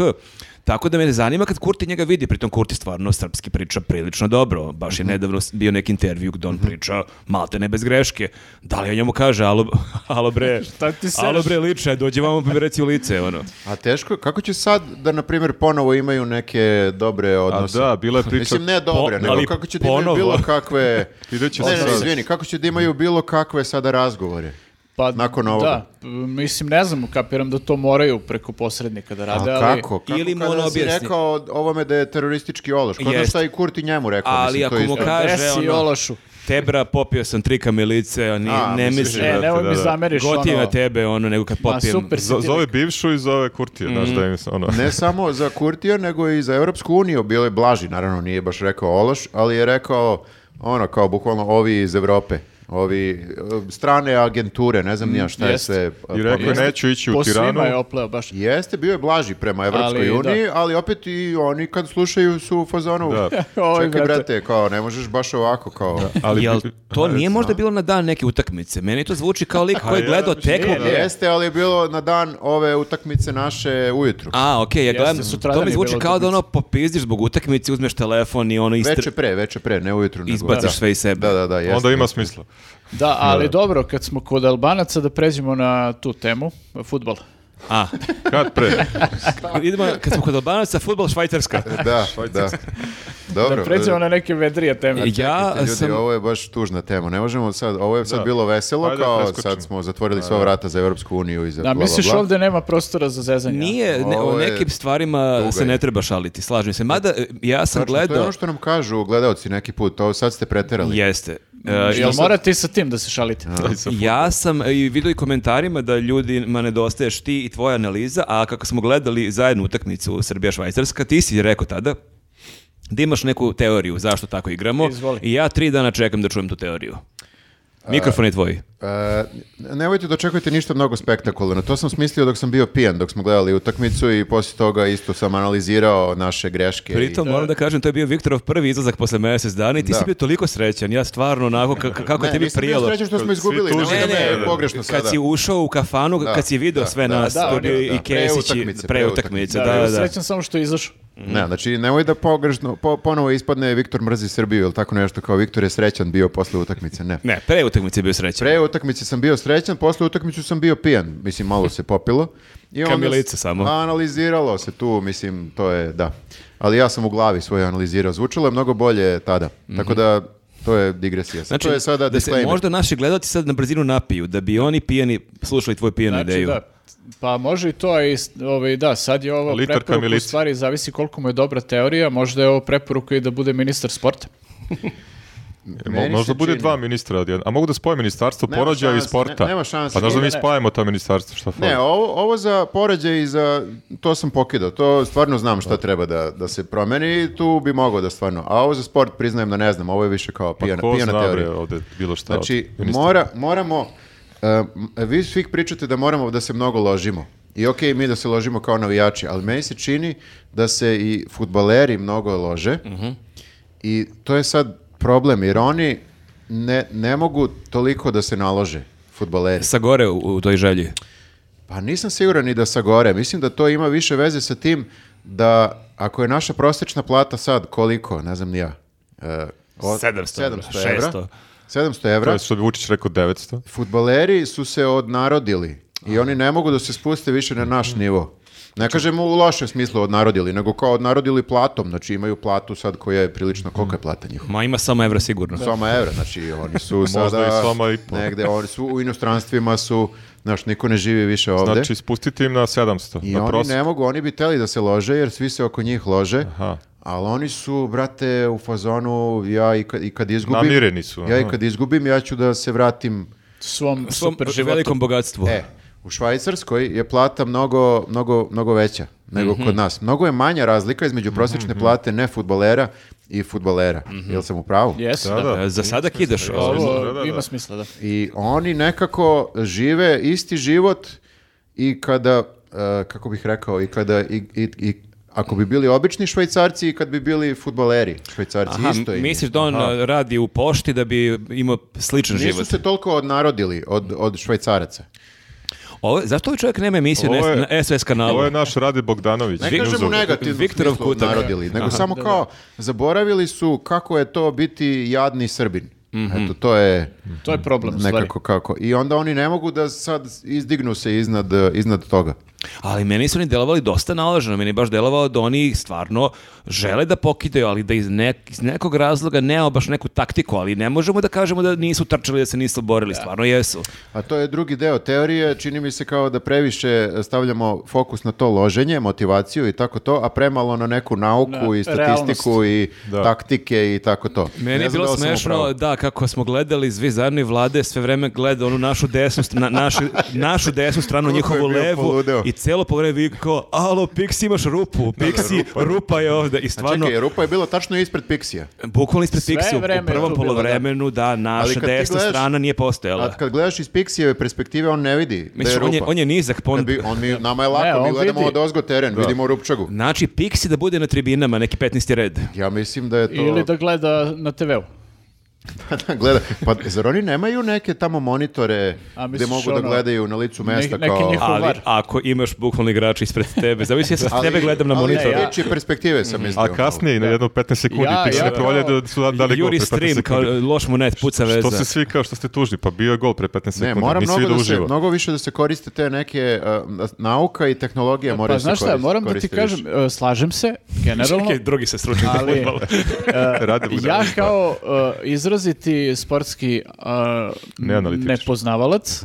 S1: Tako da me zanima kad Kurti njega vidi, pritom Kurti stvarno srpski priča prilično dobro, baš je
S3: Mhm.
S1: nedavno bio neki intervju gdje on priča malte ne bez greške. Da li on njemu kaže, alo, alo bre,
S3: Šta ti sereš?
S1: alo bre liče, dođi vamo pa mi reci u lice, ono.
S2: A teško, je- kako će sad da, na primjer, ponovo imaju neke dobre odnose?
S4: da, bila je priča-
S2: Mislim, ne dobre,
S1: Po-
S2: nego
S1: ali
S2: kako će da imaju
S1: ponovo.
S2: bilo kakve...
S4: Ideće
S2: ne, ne,
S4: sad.
S2: izvini, kako će da imaju bilo kakve sada razgovore?
S3: Pa,
S2: Nakon ovoga.
S3: Da, p- mislim, ne znam, kapiram da to moraju preko posrednika da
S2: A
S3: rade, ali...
S2: kako? Kako
S1: Pa Ili mu
S2: kada
S1: ono
S2: si
S1: objasni.
S2: rekao ovome da je teroristički ološ? Kao da
S1: Jest.
S2: šta i Kurti njemu rekao.
S1: Ali
S2: mislim,
S1: ako
S2: to je
S1: mu
S2: isto.
S1: ka- Kaže,
S3: Desi
S1: ono-
S3: Olašu.
S1: Tebra, popio sam tri kamilice, a ni-
S2: A,
S1: ne
S2: misliš
S1: mislim.
S4: da-
S3: E, nemoj
S4: da,
S3: mi
S4: da.
S3: zameriš ono...
S1: Gotivim na tebe, ono, nego kad
S3: Ma,
S1: popijem.
S3: super si
S4: Zo-
S3: ti
S4: Zove
S3: rekao.
S4: bivšu i zove Kurtija,
S1: Mm.
S4: znaš da im se ono...
S2: Ne samo za Kurtija, nego i za Europsku uniju. Bilo je blaži, naravno nije baš rekao ološ, ali je rekao ono kao bukvalno ovi iz Evrope, ovi e, strane agenture, ne znam ni ja šta je
S3: jest.
S2: sve. e,
S4: I rekao je,
S2: pomenuo.
S4: neću ići
S3: Po
S4: u Tiranu.
S3: svima je opleo baš.
S2: Jeste, bio je blaži prema Evropskoj
S3: Ali, da.
S2: uniji, ali opet i oni kad slušaju su u fazonu.
S4: Da.
S3: Oj,
S2: Čekaj,
S3: brate.
S2: brate, kao ne možeš baš ovako, kao...
S4: Ali,
S1: Jel to nije možda bilo na dan neke utakmice? Meni to zvuči kao lik koji je
S4: ja
S1: gledao
S4: mislim
S1: tekmu.
S3: da.
S2: E, Jeste, ali je bilo na dan ove utakmice naše ujutru.
S1: A, okej, ja gledam,
S3: sutradan
S1: to mi
S3: je
S1: zvuči
S3: bila
S1: kao da ono
S3: utakmica.
S1: popizdiš zbog utakmice, uzmeš telefon i ono
S2: Veče
S1: istr...
S2: pre, veče pre, ne ujutru. nego-
S1: Izbaciš
S2: Da.
S1: sve iz sebe.
S2: Da, da, da, jeste.
S4: Onda ima smisla.
S3: Da, ali dobro, kad smo kod Albanaca, da pređemo na tu temu, futbol.
S1: A,
S4: Kad pre?
S1: idemo, kad smo kod Albanaca, futbol Švajcarska.
S2: Da, da. Dobro.
S3: Da pređemo
S2: e,
S3: na neke vedrije teme.
S1: Ja
S2: Ljudi,
S1: sam...
S2: ovo je baš tužna tema. Ne možemo sad, ovo je sad bilo veselo,
S4: Ajde,
S2: kao
S4: preskočimo.
S2: sad smo zatvorili sva vrata za Europsku uniju i za
S3: Da,
S2: bla, bla,
S3: misliš
S2: bla.
S3: ovdje nema prostora za zezanje? a?
S1: Nije, ne, o
S2: Ovo je-
S1: nekim stvarima
S2: Tuga
S1: se ne treba šaliti, slažem se. Mada, e, ja sam
S2: Tačno, To je
S1: gledao...
S2: ono što nam kažu gledalci neki put, ovo sad ste preterali.
S1: Jeste. E,
S3: Jel morate i sa tim da se šalite?
S1: Ja sam e, i vidio i komentarima da ljudima nedostaješ ti i tvoja analiza, a kako smo gledali zajednu utakmicu Srbija-Švajcarska, ti si rekao tada da imaš neku teoriju zašto tako igramo
S3: Izvoli.
S1: i ja tri dana čekam da čujem tu teoriju. Mikrofon je tvoj.
S2: E, nemojte da očekujete ništa mnogo spektakularno. To sam smislio dok sam bio pijen, dok smo gledali utakmicu i poslije toga isto sam analizirao naše greške. i-
S1: Pritom moram da kažem, to je bio Viktorov prvi izlazak posle mjesec dana i ti
S2: Da.
S1: si bio toliko srećan. Ja stvarno onako, ka- ka- kako
S2: Ne,
S1: je tebi
S2: nisam bio
S1: prijelo.
S2: srećan što smo izgubili,
S4: Svi
S2: nemoj
S4: tužni
S2: da
S1: Ne,
S2: me
S1: ne,
S2: pogrešno
S1: kad
S2: sada.
S1: si ušao u kafanu,
S2: Da,
S1: kad si video
S2: da,
S1: sve
S2: da,
S1: nas,
S2: da,
S1: to je bio
S2: da,
S1: i
S2: da.
S1: Kesići,
S2: Preutakmice,
S1: preutakmice,
S2: preutakmice,
S1: da,
S3: Da,
S1: da.
S3: Srećan sam što je izašao.
S2: Ne, znači nemoj da pogrešno, po, ponovo ispadne Viktor mrzi Srbiju ili tako nešto kao Viktor je srećan bio posle utakmice, ne.
S1: Ne, preutakmice je bio srećan.
S2: Pre utakmice sam bio srećan, posle utakmice sam bio pijan, mislim malo se popilo. I onda
S1: Kamilica
S2: s-
S1: samo.
S2: Analiziralo se tu, mislim to je, da. Ali ja sam u glavi svoje analizirao, zvučalo je mnogo bolje tada. Tako da to je digresija. Znači, to je sada
S1: da se
S2: disclaimer.
S1: Mhm. možda naši gledalci sad na brzinu napiju, da bi oni pijeni slušali tvoju pijenu
S3: Znači,
S1: ideju.
S3: da, pa može i to, a i, s- ovaj, da, sad je ovo
S4: Litar
S3: preporuka, u
S4: kamilice.
S3: stvari zavisi koliko mu je dobra teorija, možda je ovo preporuka i da bude ministar sporta.
S4: Mo-
S2: Meni se
S4: možda bude
S2: čini.
S4: dva ministra od jedna. A mogu da spojim ministarstvo
S2: Nema
S4: porođaja i
S2: šanse,
S4: sporta.
S2: ne- nema šanse.
S4: Pa znaš da
S2: Ne,
S4: mi
S2: ne.
S4: spajamo ta ministarstva, šta fali?
S2: Ne, ovo, ovo za poređaj i za... To sam pokidao. To stvarno znam šta treba da, da se promeni i tu bi mogao da stvarno... A ovo za sport priznajem da ne znam. Ovo je više kao
S4: pa
S2: pijana,
S4: ko
S2: pijana
S4: zna,
S2: teorija.
S4: bre, ovde bilo šta.
S2: Znači,
S4: od ministra.
S2: mora, moramo... e, m, vi svih pričate da moramo da se mnogo ložimo. I okej, mi da se ložimo kao navijači, ali meni se čini da se i futbaleri mnogo lože.
S4: Mhm.
S2: I to je sad problem, jer oni ne, ne mogu toliko da se nalože, futbaleri.
S1: Sa gore u, u toj želji.
S2: Pa nisam siguran ni da sagore. Mislim da to ima više veze sa tim da ako je naša prosječna plata sad koliko, ne znam ni ja. e, od-
S1: 700 evra,
S2: 700 evra.
S1: 600.
S2: 700
S4: To
S2: evra.
S4: je što bi Vučić rekao 900.
S2: Futbaleri su se odnarodili i oni ne mogu da se spuste više na naš nivo. Ne kažemo u lošem smislu odnarodili, nego kao odnarodili platom. Znači imaju platu sad koja je prilično, kolika je plata njihova?
S1: Ma ima samo evra sigurno.
S2: Soma evra, znači oni su sada...
S4: Možda i soma i po.
S2: Negde, oni su u inostranstvima su, znaš, niko ne živi više ovde.
S4: Znači, spustiti im na 700.
S2: I
S4: na
S2: oni
S4: prosek.
S2: ne mogu, oni bi teli da se lože, jer svi se oko njih lože.
S4: Aha.
S2: Ali oni su, brate, u fazonu, ja i kad, i kad izgubim...
S4: Namireni su,
S2: Ja i
S4: aha.
S2: kad izgubim, ja ću da se vratim...
S3: Svom,
S1: Svom
S3: super
S1: velikom
S3: životu.
S1: bogatstvu.
S2: E, u Švajcarskoj je plata mnogo, mnogo, mnogo veća nego
S1: Mhm.
S2: kod nas. Mnogo je manja razlika između prosječne plate ne futbalera i futbalera.
S1: Mhm.
S2: Jel sam u pravu?
S3: Jes, da.
S4: Da, da.
S1: E, Za sada kidaš. ali-
S3: Ovo
S4: Da, da, da.
S3: ima smisla, da.
S2: I oni nekako žive isti život i kada, e, kako bih rekao, i kada, i, i, i ako bi bili obični švajcarci i kad bi bili futbaleri švajcarci,
S1: Aha,
S2: isto im je.
S1: misliš da on a, radi u pošti da bi imao sličan
S2: Nisu
S1: život.
S2: se toliko odnarodili od, od švajcaraca.
S1: Ovo, zašto ovaj čovjek nema emisiju na,
S4: Ovo je-
S1: na SS kanalu?
S4: Ovo je naš Rade Bogdanović.
S2: Ne
S1: Vi-
S2: kažem u
S1: Uzor.
S2: negativnom
S1: Viktorov
S2: smislu
S1: kutak.
S2: odnarodili, nego samo kao zaboravili su kako je to biti jadni srbin.
S1: Mhm.
S2: Eto, to je
S3: To je problem, u stvari.
S2: nekako kako. I onda oni ne mogu da sad izdignu se iznad, iznad toga.
S1: Ali meni su oni delovali dosta naloženo, meni je baš delovalo da oni stvarno žele da pokidaju, ali da iz, nek- iz nekog razloga nema baš neku taktiku, ali ne možemo da kažemo da nisu trčali, da se nisu borili, stvarno jesu.
S2: A to je drugi deo teorije, čini mi se kao da previše stavljamo fokus na to loženje, motivaciju i tako to, a premalo na neku nauku
S3: Na
S2: i statistiku i
S4: Da.
S2: taktike i tako to.
S1: Meni
S2: Ne
S1: je
S2: znam da
S1: bilo
S2: li sam u pravu.
S1: smešno, da, kako smo gledali Zvi Zarni vlade, sve vreme gleda onu našu desnu, st- na, našu, našu desnu stranu,
S2: Koliko
S1: njihovu
S2: je bio
S1: levu
S2: poludeo.
S1: i celo povreme vikao, alo, Pixi imaš rupu, Pixi, rupa je ovde. I
S2: A
S1: stvarno,
S2: čekaj, rupa je bila tačno ispred Pixija.
S1: bukvalno ispred
S3: Sve
S1: Pixi u- u
S3: vreme je
S1: prvom
S3: tu bilo, da.
S1: polovremenu, da,
S2: Ali
S1: naša
S2: kad ti
S1: desna
S2: gledaš-
S1: strana nije postojala.
S2: A kad gledaš iz Pixijeve perspektive, on ne vidi da je
S1: Mislim,
S2: rupa.
S1: on je, on je nizak, pa on...
S2: Da bi- on mi, nama je lako,
S3: Ne,
S2: mi
S3: on
S2: gledamo
S3: vidi.
S2: od ozgo teren, vidimo rupčagu.
S1: Znači, Pixi da bude na tribinama, neki 15. red.
S2: Ja mislim da je to...
S3: Ili da gleda na Pa TV-u.
S2: Da gleda. Pa zar oni nemaju neke tamo monitore
S3: A
S2: gde
S3: misliš
S2: mogu da
S3: ono-
S2: gledaju na licu mesta
S3: neki
S2: kao...
S3: njihov-
S1: Ali
S3: Kovar.
S1: ako imaš bukvalno igrača ispred tebe, zavis ja sa tebe gledam na
S2: ali
S1: monitor.
S3: ne, ja-
S2: iz dečje perspektive sam mislio. ono.
S4: A kasnije, i na jedno 15 sekundi,
S3: Ja-
S4: ti se
S3: ja
S4: ne provalja
S3: kao-
S4: da su da- dali gol pre
S1: Juri
S4: 15
S1: stream, kao
S4: sekundi.
S1: loš mu net, puca veza.
S4: Što se svi kao što ste tužni, pa bio je gol pre 15
S2: Ne,
S4: sekundi,
S2: mora
S4: nisi
S2: mnogo,
S4: vidio
S2: da se,
S4: uživo.
S2: mnogo više da se koriste te neke uh, nauka i tehnologija moraju
S3: Pa
S2: se
S3: znaš šta,
S2: korist-
S3: moram da ti
S2: koriste
S3: kažem,
S2: više.
S3: e, slažem se, generalno,
S1: Čekaj, drugi se stručni za
S3: Ali-
S1: fudbal.
S4: Rade
S3: ja
S4: Bogdanović. pa
S3: kao e, izraziti sportski e,
S4: Neanalitičar.
S3: nepoznavalac,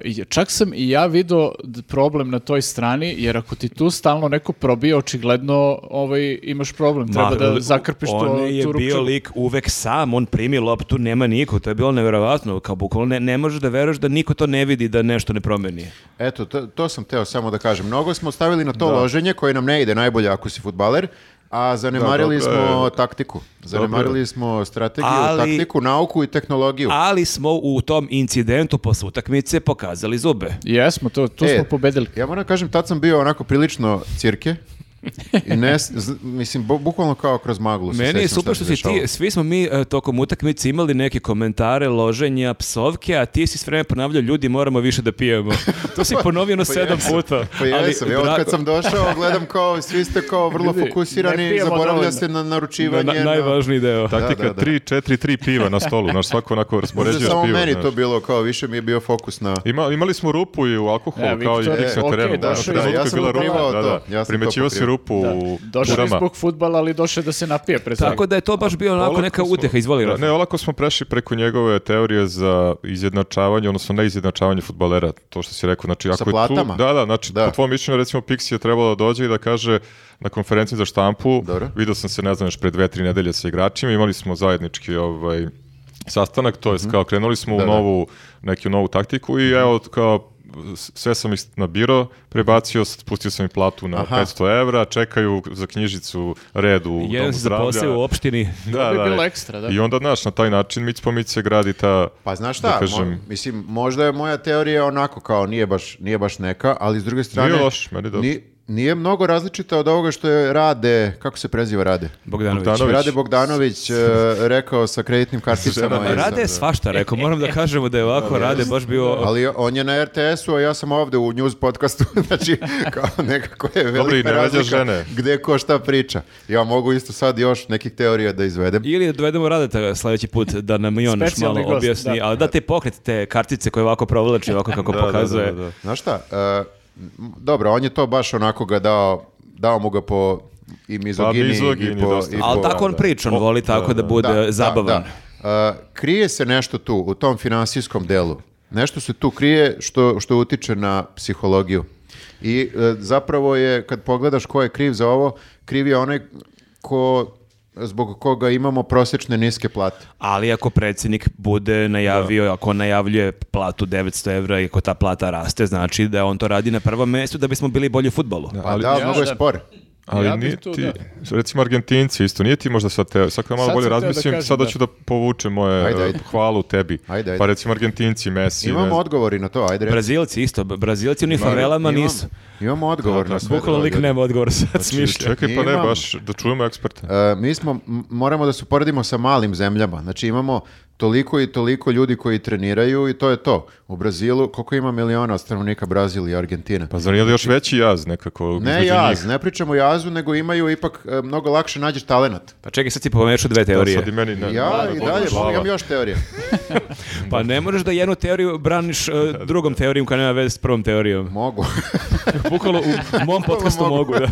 S3: e, čak sam i ja video d- problem na toj strani, jer ako ti tu stalno neko probije, očigledno ovaj, imaš problem, treba
S1: Ma,
S3: da
S1: li-
S3: zakrpiš to,
S1: On je bio
S3: tu rupčinu.
S1: lik uvek sam, on primi loptu, nema niko, to je bilo neverovatno, kao bukvalno ne, ne možeš da veruješ da niko to ne vidi da nešto ne promeni.
S2: Eto, to, to sam teo samo da kažem. Mnogo smo stavili na to loženje koje nam ne ide najbolje ako si futbaler A zanemarili
S4: Da, dobro,
S2: smo
S4: e,
S2: taktiku. Zanemarili smo strategiju,
S1: Ali-
S2: taktiku, nauku i tehnologiju.
S1: Ali smo u tom incidentu posle utakmice pokazali zube.
S3: Jesmo, to, tu
S2: E,
S3: smo pobedili.
S2: Ja moram da kažem, tad sam bio onako prilično cirke. I ne, s- z- mislim, bu- bukvalno kao kroz maglu. Pa se
S1: Meni je
S2: sećam
S1: super što
S2: šta se
S1: si ti,
S2: dešavalo.
S1: svi smo mi e, tokom utakmice imali neke komentare, loženja, psovke, a ti si s vreme ponavljao, ljudi moramo više da pijemo. To si ponovio na sedam puta.
S2: Pa jesam, ja od kad
S1: drago-
S2: sam došao, gledam kao, svi ste kao vrlo
S3: Ljudi, ne
S2: fokusirani,
S3: pijemo
S2: zaboravlja
S3: dovoljno.
S2: se na
S1: na,
S2: naručivanje.
S1: na-
S2: na-
S1: najvažniji deo.
S2: Da,
S4: Taktika
S2: da, da.
S4: 3, 4, 3 piva na stolu, znaš, svako onako
S2: Možda
S4: raspoređuje
S2: samo
S4: pivo.
S2: meni
S4: znaš.
S2: to bilo kao, više mi je bio fokus na...
S4: Ima, imali smo rupu i u alkoholu,
S3: Da,
S4: kao i
S3: Viktor,
S4: kiks na
S3: e,
S4: terenu.
S3: okej,
S4: Da,
S3: došao
S4: da,
S3: je-
S4: da,
S2: ja sam
S4: bila
S2: upravo
S4: rupa, da,
S2: to,
S4: da.
S2: ja sam to
S4: Primećivao si
S2: pokrio.
S4: rupu
S3: Da.
S4: u
S3: Došao je
S4: turama.
S3: zbog futbala, ali došao je da se napije pre svega.
S1: Tako da je to baš bio onako
S4: Olako
S1: neka
S4: smo-
S1: utjeha, izvoli.
S4: Da,
S1: Rafa.
S4: Ne, olako smo prešli preko njegove teorije za izjednačavanje, odnosno ne izjednačavanje futbalera, to što si rekao. Znači, ako je
S2: platama?
S4: Tu, da, da, znači,
S2: Da.
S4: po tvom mišljenju, recimo, Pixi je trebalo da dođe i da kaže na konferenciji za štampu,
S2: Dobro.
S4: vidio sam se, ne znam, još pre dve, tri nedelje sa igračima, imali smo zajednički ovaj, sastanak, to
S2: Mhm.
S4: je kao krenuli smo u novu, neku novu taktiku i evo, kao, s- sve sam ih nabirao, prebacio, s- pustio sam im platu na
S2: Aha.
S4: 500 evra, čekaju za knjižicu red u domu
S1: Jedan si
S4: zdravlja.
S1: zaposlio u opštini.
S4: Da,
S3: bi
S4: da,
S3: bilo
S4: e.
S3: ekstra, da.
S4: I onda, znaš, na taj način mic po mic se gradi ta...
S2: Pa znaš šta,
S4: Da kažem-
S2: mo- mislim, možda je moja teorija onako kao nije baš, nije baš neka, ali s druge strane...
S4: Nije loš, meni dobro.
S2: ni- nije mnogo različita od ovoga što je Rade, kako se preziva Rade? Znači,
S1: Bogdanović.
S4: Bogdanović.
S2: Rade Bogdanović e, rekao sa kreditnim karticama. i za-
S1: Pa Rade je svašta rekao, moram da kažemo da je ovako Rade baš bio...
S2: Ali on je na RTS-u, a ja sam ovde u news podcastu, znači kao nekako je velika
S4: i ne vređa
S2: razlika
S4: žene.
S2: gde ko šta priča. Ja mogu isto sad još nekih teorija da izvedem.
S1: Ili dovedemo Radeta sledeći put da nam i on još malo
S3: Specijalni gost,
S1: objasni,
S3: da.
S1: ali da te pokret, te kartice koje ovako provlači, ovako kako
S4: Da, da,
S1: pokazuje.
S4: da, da, da.
S2: Znaš šta, e, m, dobro, on je to baš onako ga dao, dao mu ga po i mizogini,
S4: mizogin
S2: i
S4: je
S2: po...
S4: Pa dosta.
S2: i
S1: Ali
S2: po-
S1: tako on priča, on voli tako da, bude
S2: Da, da,
S1: zabavan.
S2: da. E, krije se nešto tu, u tom finansijskom delu. Nešto se tu krije što, što utiče na psihologiju. I e, zapravo je, kad pogledaš ko je kriv za ovo, kriv je onaj ko, zbog koga imamo prosječne niske plate.
S1: Ali ako predsjednik bude najavio, ako on najavljuje platu 900 evra i ako ta plata raste, znači da on to radi na prvom mjestu da bismo bili bolji u futbolu.
S2: Pa da,
S3: ja,
S2: mnogo je
S3: da.
S2: spor.
S4: Ali
S3: Ja bih
S4: nije
S3: tu,
S4: ti, recimo Argentinci isto, nije ti možda sad te, sad kad malo
S3: Sad
S4: bolje
S3: sam teo da
S4: razmislim,
S3: kažem,
S4: sad
S3: da.
S4: hoću da povučem moje
S2: Ajde,
S4: eh,
S2: ajde.
S4: hvalu tebi.
S2: Ajde, ajde.
S4: Pa recimo Argentinci, Messi, ne
S2: Imamo
S4: znam.
S2: odgovori na to, ajde. reci.
S1: Brazilci isto, Brazilci u ni favelama
S2: Imam-
S1: nisu.
S2: Imamo odgovor na sve.
S1: Bukvalno
S2: to,
S1: lik
S2: ljudi.
S1: nema odgovor sad smišlja.
S4: Čekaj, pa ne,
S2: Imam.
S4: baš da čujemo eksperte.
S2: E, mi smo, m- moramo da se uporedimo sa malim zemljama. Znači imamo toliko i toliko ljudi koji treniraju i to je to. U Brazilu, koliko ima miliona stanovnika Brazil i Argentina?
S4: Pa zar nije da još veći jaz nekako?
S2: ne
S4: između
S2: jaz,
S4: njih?
S2: ne pričamo o jazu, nego imaju ipak e, mnogo lakše nađeš talenat.
S1: Pa čekaj, sad si pomešao dve
S4: Da,
S1: teorije.
S4: sad i meni ne.
S2: Ja
S4: ne,
S2: i
S4: ne,
S2: dalje,
S4: glava.
S2: imam još teorije.
S1: Pa ne možeš da jednu teoriju braniš eh, drugom teorijom koja nema veze s prvom teorijom.
S2: Mogu.
S1: Bukvalno u mom podcastu
S2: mogu.
S1: mogu. Da.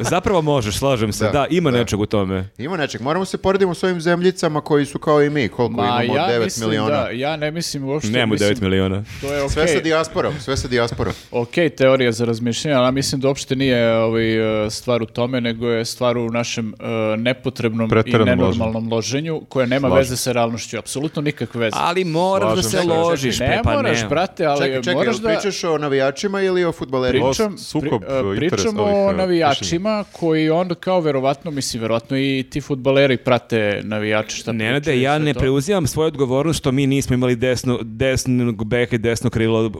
S1: Zapravo možeš, slažem se.
S2: Da,
S1: Da, ima
S2: da.
S1: nečeg u tome.
S2: Ima nečeg. Moramo se poredimo s ovim zemljicama koji su kao i mi, koliko imamo, 9
S3: mislim
S2: miliona.
S3: da, ja ne mislim uopšte.
S1: Nemo
S3: mislim,
S1: 9 miliona.
S3: To je
S2: Sve
S3: okej.
S2: sa dijasporom, sve sa dijasporom.
S3: ok teorija za razmišljanje, ali ja mislim da uopšte nije ovaj, e, stvar u tome, nego je stvar u našem e, nepotrebnom i
S4: Preteranom
S3: nenormalnom loženju, koje nema
S4: Slažem.
S3: veze sa realnošću, apsolutno nikakve veze.
S1: Ali moraš da
S4: Slažem
S1: se
S4: se.
S1: ložiš,
S3: ne
S1: pe, pa
S3: moraš,
S1: ne.
S3: brate, ali
S2: čekaj, čekaj,
S3: moraš
S2: jel
S3: da...
S2: pričaš o navijačima ili o futbalerima?
S4: Pričam.
S3: pričam,
S4: sukob,
S3: pri- a,
S4: e, interes
S3: pričamo
S4: ovih,
S3: o
S4: e,
S3: navijačima koji onda kao verovatno, mislim, verovatno i ti futbaleri prate navijače šta
S1: Nenade,
S3: pričaju i
S1: ja
S3: sve
S1: ne
S3: to.
S1: preuzimam svoju odgovornost što mi nismo imali desnu, desnog beka i desno krilo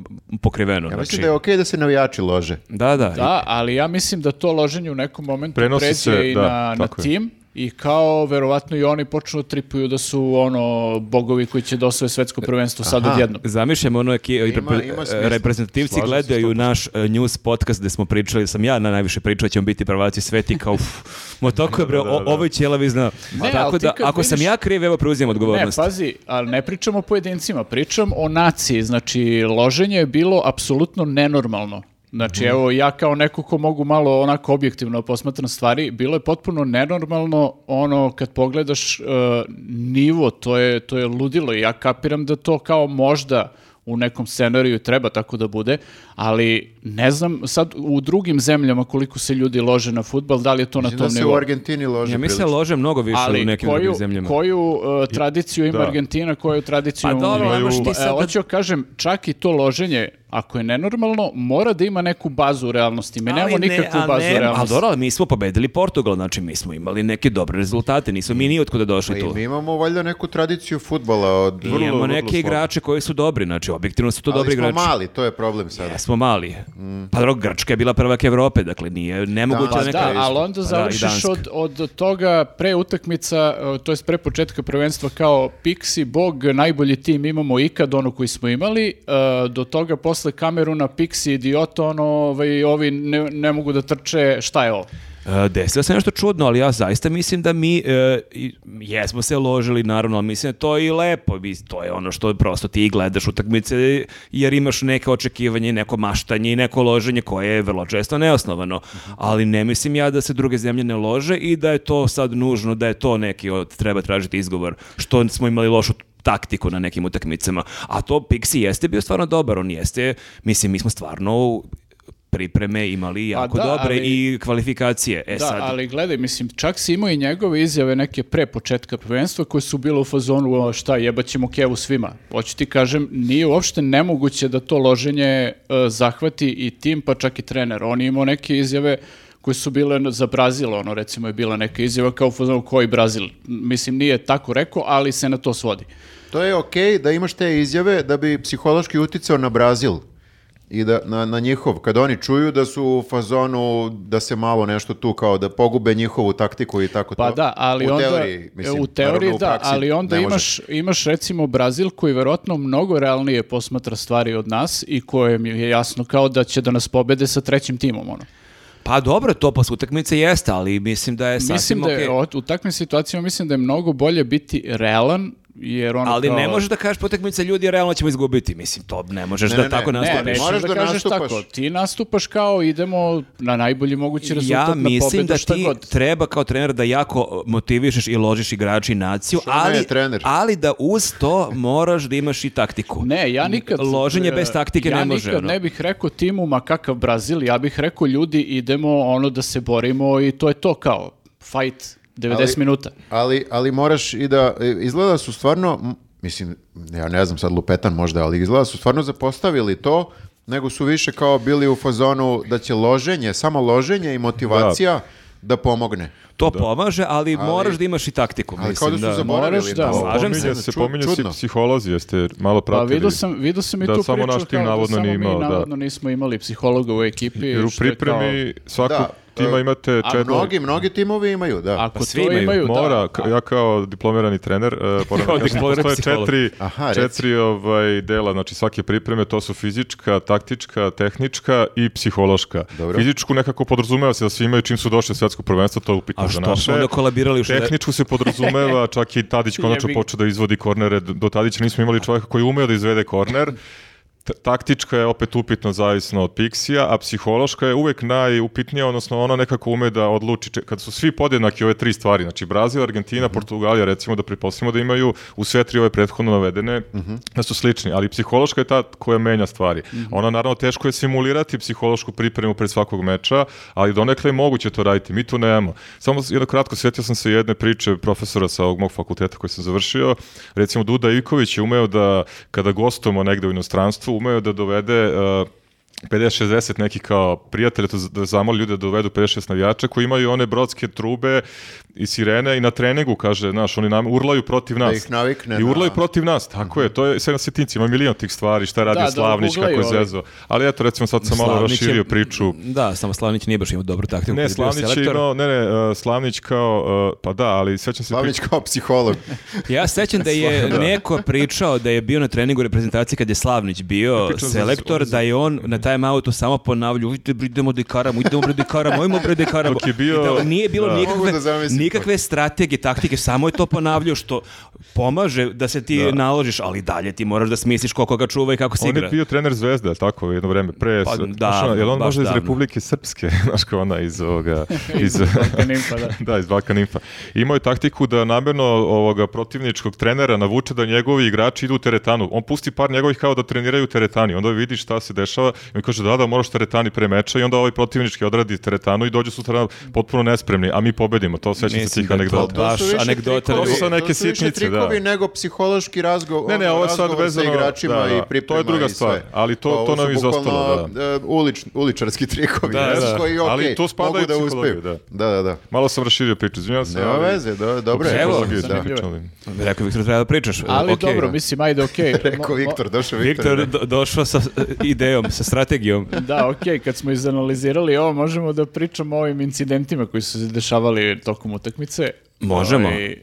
S1: pokriveno.
S2: Ja
S1: znači,
S2: mislim da je okej da se navijači lože.
S1: Da, da.
S3: Da, ali ja mislim da to loženje u nekom momentu
S4: Prenosi
S3: pređe
S4: se,
S3: i
S4: da,
S3: na, na
S4: tako je.
S3: tim i kao verovatno i oni počnu tripuju da su ono bogovi koji će da osvoje svetsko prvenstvo sad odjednom.
S1: Zamišljam ono ki, repre-
S2: ima smisla.
S1: reprezentativci
S4: Slažem se
S1: gledaju naš e, news podcast gde smo pričali, sam ja na najviše pričao da ćemo biti prvaci sveti kao uf, mo toko je bre,
S4: Da, da, da,
S1: o-
S4: da.
S1: ovo je ćelavi zna.
S3: Ne,
S1: Tako
S3: ali ti
S1: da,
S3: kad
S1: ako sam
S3: vidiš-
S1: ja kriv, evo preuzimam
S3: Ne,
S1: odgovornost.
S3: pazi, ali ne pričam o pojedincima, pričam o naciji, znači loženje je bilo apsolutno nenormalno.
S2: Mhm.
S3: Znači, evo, ja kao neko ko mogu malo onako objektivno posmatram stvari, bilo je potpuno nenormalno ono kad pogledaš e, nivo, to je, to je ludilo i ja kapiram da to kao možda u nekom scenariju treba tako da bude, ali ne znam sad u drugim zemljama koliko se ljudi lože na futbal, da li je to
S2: Mislim
S3: na
S2: da
S3: tom
S2: se u
S3: nivou.
S2: Argentini lože
S1: ja mislim da
S2: prilično.
S1: lože mnogo više u
S3: Ali
S1: nekim
S3: koju,
S1: drugim zemljama.
S3: koju e, tradiciju ima
S4: Da.
S3: Argentina, koju tradiciju
S1: Pa
S3: ima
S1: dobro,
S4: ne
S3: Unija?
S4: možeš ti
S3: Pa, e,
S1: sad da-
S3: Hoću joj kažem, čak i to loženje ako je nenormalno, mora da ima neku bazu u realnosti. Mi nemamo
S1: Ali ne,
S3: nikakvu
S1: ali
S3: bazu
S1: ne,
S3: u
S1: Ali
S3: realnosti.
S1: dobro, ali mi smo pobedili Portugal, znači mi smo imali neke dobre rezultate, nismo mi ni otkuda došli
S2: Pa I
S1: tu.
S2: mi imamo valjda neku tradiciju futbala od...
S1: I imamo
S4: vrlo
S1: neke
S4: slabo.
S1: igrače koji su dobri, znači objektivno su to
S2: Ali
S1: dobri
S2: smo
S1: igrači.
S2: mali, to je problem sada.
S1: Jesmo mali. Pa dobro, Grčka je bila prvak Evrope, dakle nije nemoguće
S2: Da,
S1: neka...
S3: Da,
S2: isto.
S3: ali onda
S1: Pa da, i
S3: završiš
S1: Danska.
S3: od, od toga pre utakmica, e, to jest pre početka prvenstva kao Pixi, Bog, najbolji tim imamo ikad, ono koji smo imali, e, do toga posle Kameruna, Pixi, idiota, ono, ovaj, ovi ne, ne mogu da trče, šta je ovo?
S1: E, Desilo se nešto čudno, ali ja zaista mislim da mi e, i- jesmo se ložili, naravno, ali mislim da je to i lepo. Mis- To je ono što prosto ti gledaš utakmice jer imaš neke očekivanje, i neko maštanje i neko loženje koje je vrlo često neosnovano. Ali ne mislim ja da se druge zemlje ne lože i da je to sad nužno, da je to neki od, treba tražiti izgovor, što smo imali lošu taktiku na nekim utakmicama. A to Pixi jeste bio stvarno dobar, on jeste, mislim, mi smo stvarno pripreme imali jako
S3: da,
S1: dobre
S3: ali-
S1: i i kvalifikacije. E
S3: da,
S1: sad,
S3: ali gledaj, mislim, čak si imao i njegove izjave neke pre početka prvenstva koje su bile u fazonu, o, šta, jebaćemo kevu svima. Hoću ti kažem, nije uopšte nemoguće da to loženje e, zahvati i tim, pa čak i trener. On je imao neke izjave koje su bile na- za Brazil, ono recimo je bila neka izjava kao u fazonu koji Brazil. Mislim, nije tako rekao, ali se na to svodi.
S2: To je okej da imaš te izjave da bi psihološki uticao na Brazil i da, na, na njihov, kad oni čuju da su u fazonu, da se malo nešto tu kao da pogube njihovu taktiku i tako
S3: Pa
S2: to.
S3: da, ali
S2: u
S3: onda
S2: teoriji, mislim,
S3: u teoriji
S2: naravno, u
S3: da,
S2: praksi
S3: ali onda
S2: ne može.
S3: imaš imaš recimo Brazil koji verovatno mnogo realnije posmatra stvari od nas i kojem je jasno kao da će da nas pobede sa trećim timom ono.
S1: pa dobro, to posle utakmice jeste, ali mislim da je sasvim
S3: Mislim da je
S1: okej.
S3: o- u takvim situacijama mislim da je mnogo bolje biti realan jer ono
S1: Ali
S3: kao,
S1: ne možeš da kažeš po utakmice ljudi, realno ćemo izgubiti. Mislim, to ne možeš
S2: Ne,
S1: da
S2: ne,
S1: tako
S2: ne.
S3: ne,
S1: nastaviš.
S3: ne,
S2: Moraš
S3: da,
S2: da
S3: kažeš
S2: nastupaš.
S3: tako. Ti nastupaš kao idemo na najbolji mogući
S1: ja
S3: rezultat na
S1: mislim
S3: pobedu
S1: da
S3: šta
S1: ti
S3: god.
S1: treba kao trener da jako motivišeš i ložiš igrači i naciju,
S2: ne je
S1: ali,
S2: trener?
S1: ali da uz to moraš da imaš i taktiku.
S3: Pa Ne, ja nikad... e,
S1: Loženje bez taktike
S3: ja
S1: ne može,
S3: nikad
S1: ono.
S3: ne bih rekao timu, ma kakav Brazil, ja bih rekao ljudi idemo ono da se borimo i to je to kao fight 90
S2: Ali-
S3: minuta.
S2: Ali, ali moraš i da, e, izgleda su stvarno, m, mislim, ja ne znam sad lupetan možda, ali izgleda su stvarno zapostavili to, nego su više kao bili u fazonu da će loženje, samo loženje i motivacija da pomogne.
S1: To pomaže, ali, moraš da imaš i taktiku.
S2: Ali
S1: mislim
S2: kao da su
S3: moraš
S2: zaboravili
S3: da-
S2: to.
S1: Slažem
S4: Pominje
S1: se.
S4: se, pominje se psiholozi, jeste malo
S3: Pa
S4: pratili.
S3: vidio sam, vidio sam i
S4: da
S3: tu
S4: samo
S3: priču
S4: naš tim
S3: kao
S4: navodno
S3: da samo
S4: nije imao,
S3: mi
S4: da.
S3: navodno nismo imali psihologa u ekipi.
S4: Jer u
S3: što je kao-
S4: pripremi svakog
S2: Da,
S4: tima
S2: e,
S4: imate četiri.
S2: Mnogi, mnogi timovi imaju, da.
S3: Ako
S1: Pa svi
S3: to
S1: imaju,
S3: imaju, da.
S4: Mora, ka- ja kao diplomirani trener, uh, moram
S1: Kao
S4: da kažem,
S1: diplomirani
S4: postoje
S1: psiholog.
S4: četiri,
S2: Aha, reci.
S4: četiri ovaj, dela, znači svake pripreme, to su fizička, taktička, tehnička i psihološka.
S2: Dobro.
S4: Fizičku nekako podrazumeva se da svi imaju čim su došli u svetsko prvenstvo, to je upitno
S1: A
S4: za
S1: što
S4: naše.
S1: smo onda kolabirali u šest-
S4: Tehničku se podrazumeva, čak i Tadić konačno
S3: Jebi ga.
S4: počeo da izvodi kornere, do Tadića nismo imali čovjeka koji je umeo da izvede korner. T- Taktička je opet upitno zavisno od Pixija, a psihološka je uvek najupitnija, odnosno ona nekako ume da odluči, če- kad su svi podjednaki ove tri stvari, znači Brazil, Argentina, Portugalija, recimo da priposlimo da imaju u sve tri ove prethodno navedene, da su slični, ali psihološka je ta koja menja stvari. Ona naravno teško je simulirati psihološku pripremu pred svakog meča, ali donekle je moguće to raditi, mi tu nemamo. Samo s- jedno kratko, sjetio sam se jedne priče profesora sa ovog mog fakulteta koji sam završio, recimo Duda Ivković je umeo da, kada gostujemo negde u inostranstvu, umeo da dovede... e, 50-60 neki kao prijatelja to z- da zamoli ljude da dovedu 56 navijača koji imaju one brodske trube i sirene i na treningu, kaže, znaš, oni nam urlaju protiv nas.
S2: ih navikne
S4: I urlaju
S2: na-
S4: protiv nas, tako je, to je sve na sitnici, ima milion tih stvari, šta je radio
S3: Da, da,
S4: Slavnić, kako je
S3: guglaju ovi.
S4: zezo. Ali eto, recimo sad sam malo
S1: Slavnić je-
S4: raširio priču.
S1: Da, samo Slavnić nije baš imao dobru taktiku. kad
S4: Ne,
S1: je bio
S4: Slavnić je
S1: selektor.
S4: imao, ne, ne, uh, Slavnić kao, uh, pa da, ali sećam se...
S2: Pavlić
S4: priče-
S2: kao psiholog.
S1: Ja sećam da je neko pričao da je bio na treningu reprezentacije kad je Slavnić bio
S4: pričam za-
S1: selektor, da je on na time outu samo ponavljao "Ujte, bre, idemo dekaramo, idemo bre dekaramo, ajmo bre dekaramo.
S4: Dok je bio-
S1: I da nije bilo
S4: da.
S2: Mogu
S1: nikakve,
S2: da zamislim to.
S1: nikakve strategije, taktike, samo je to ponavljao što pomaže da se ti naložiš, ali dalje ti moraš da smisliš ko koga čuva i kako se
S4: On
S1: igra.
S4: je bio trener Zvezde, jel tako, jedno vreme, pre...
S1: Pa,
S4: znaš,
S1: davno,
S4: ono, jel on
S1: baš
S4: možda iz
S1: davno.
S4: Republike Srpske, znaš kao ona iz ovoga... iz,
S3: Balkan Info, da.
S4: da, iz Balkan Infa. Imao je taktiku da namjerno ovoga protivničkog trenera navuče da njegovi igrači idu u teretanu. On pusti par njegovih kao da treniraju u teretani. Onda vidi šta se dešava i on Ovi kaže, da, da, moraš teretani pre meča i onda ovaj protivnički odradi teretanu i dođu sutra potpuno nespremni, a mi pobedimo. To sećam se
S1: Mislim
S4: tih
S1: da je to
S4: anegdota.
S1: baš
S2: To su više
S1: anegdota.
S2: trikovi-
S4: To su sad neke
S2: to su više
S4: sitnice,
S2: trikovi
S4: da.
S2: nego psihološki razgovor,
S4: Ne, ne, ovo je sad
S2: razgovor sa
S4: vezano-
S2: igračima
S4: da, da.
S2: i priprema
S4: To je druga
S2: i sve. Pa
S4: stvar, ali to-
S2: Ovo
S4: to nam
S2: su
S4: je izostalo,
S2: bukvalno, e, ulič- uličarski trikovi,
S4: Da,
S2: ne znam
S4: da.
S2: koji,
S4: Ali
S2: okej,
S4: tu spada
S2: mogu
S4: i psihologija,
S2: uspeju. Da, da, da.
S4: Malo sam raširio priču, izvinjavam se.
S2: Nema
S4: ali-
S2: veze, do, dobro je.
S1: Evo,
S4: Psihologiju sam
S2: da.
S3: zanimljivo.
S4: pričao.
S1: Rekao je Viktor, treba da pričaš.
S3: Ali
S1: Ok.
S3: dobro, mislim, ajde, okej.
S2: Rekao
S3: Mo- mo-
S2: Viktor, došao Viktor.
S1: Viktor do- došao sa e, idejom, sa strategijom.
S3: Da, okej, kad smo izanalizirali ovo, možemo da pričamo o ovim incidentima koji su se dešavali tokom utakmice.
S1: Možemo.
S3: Ovaj, e,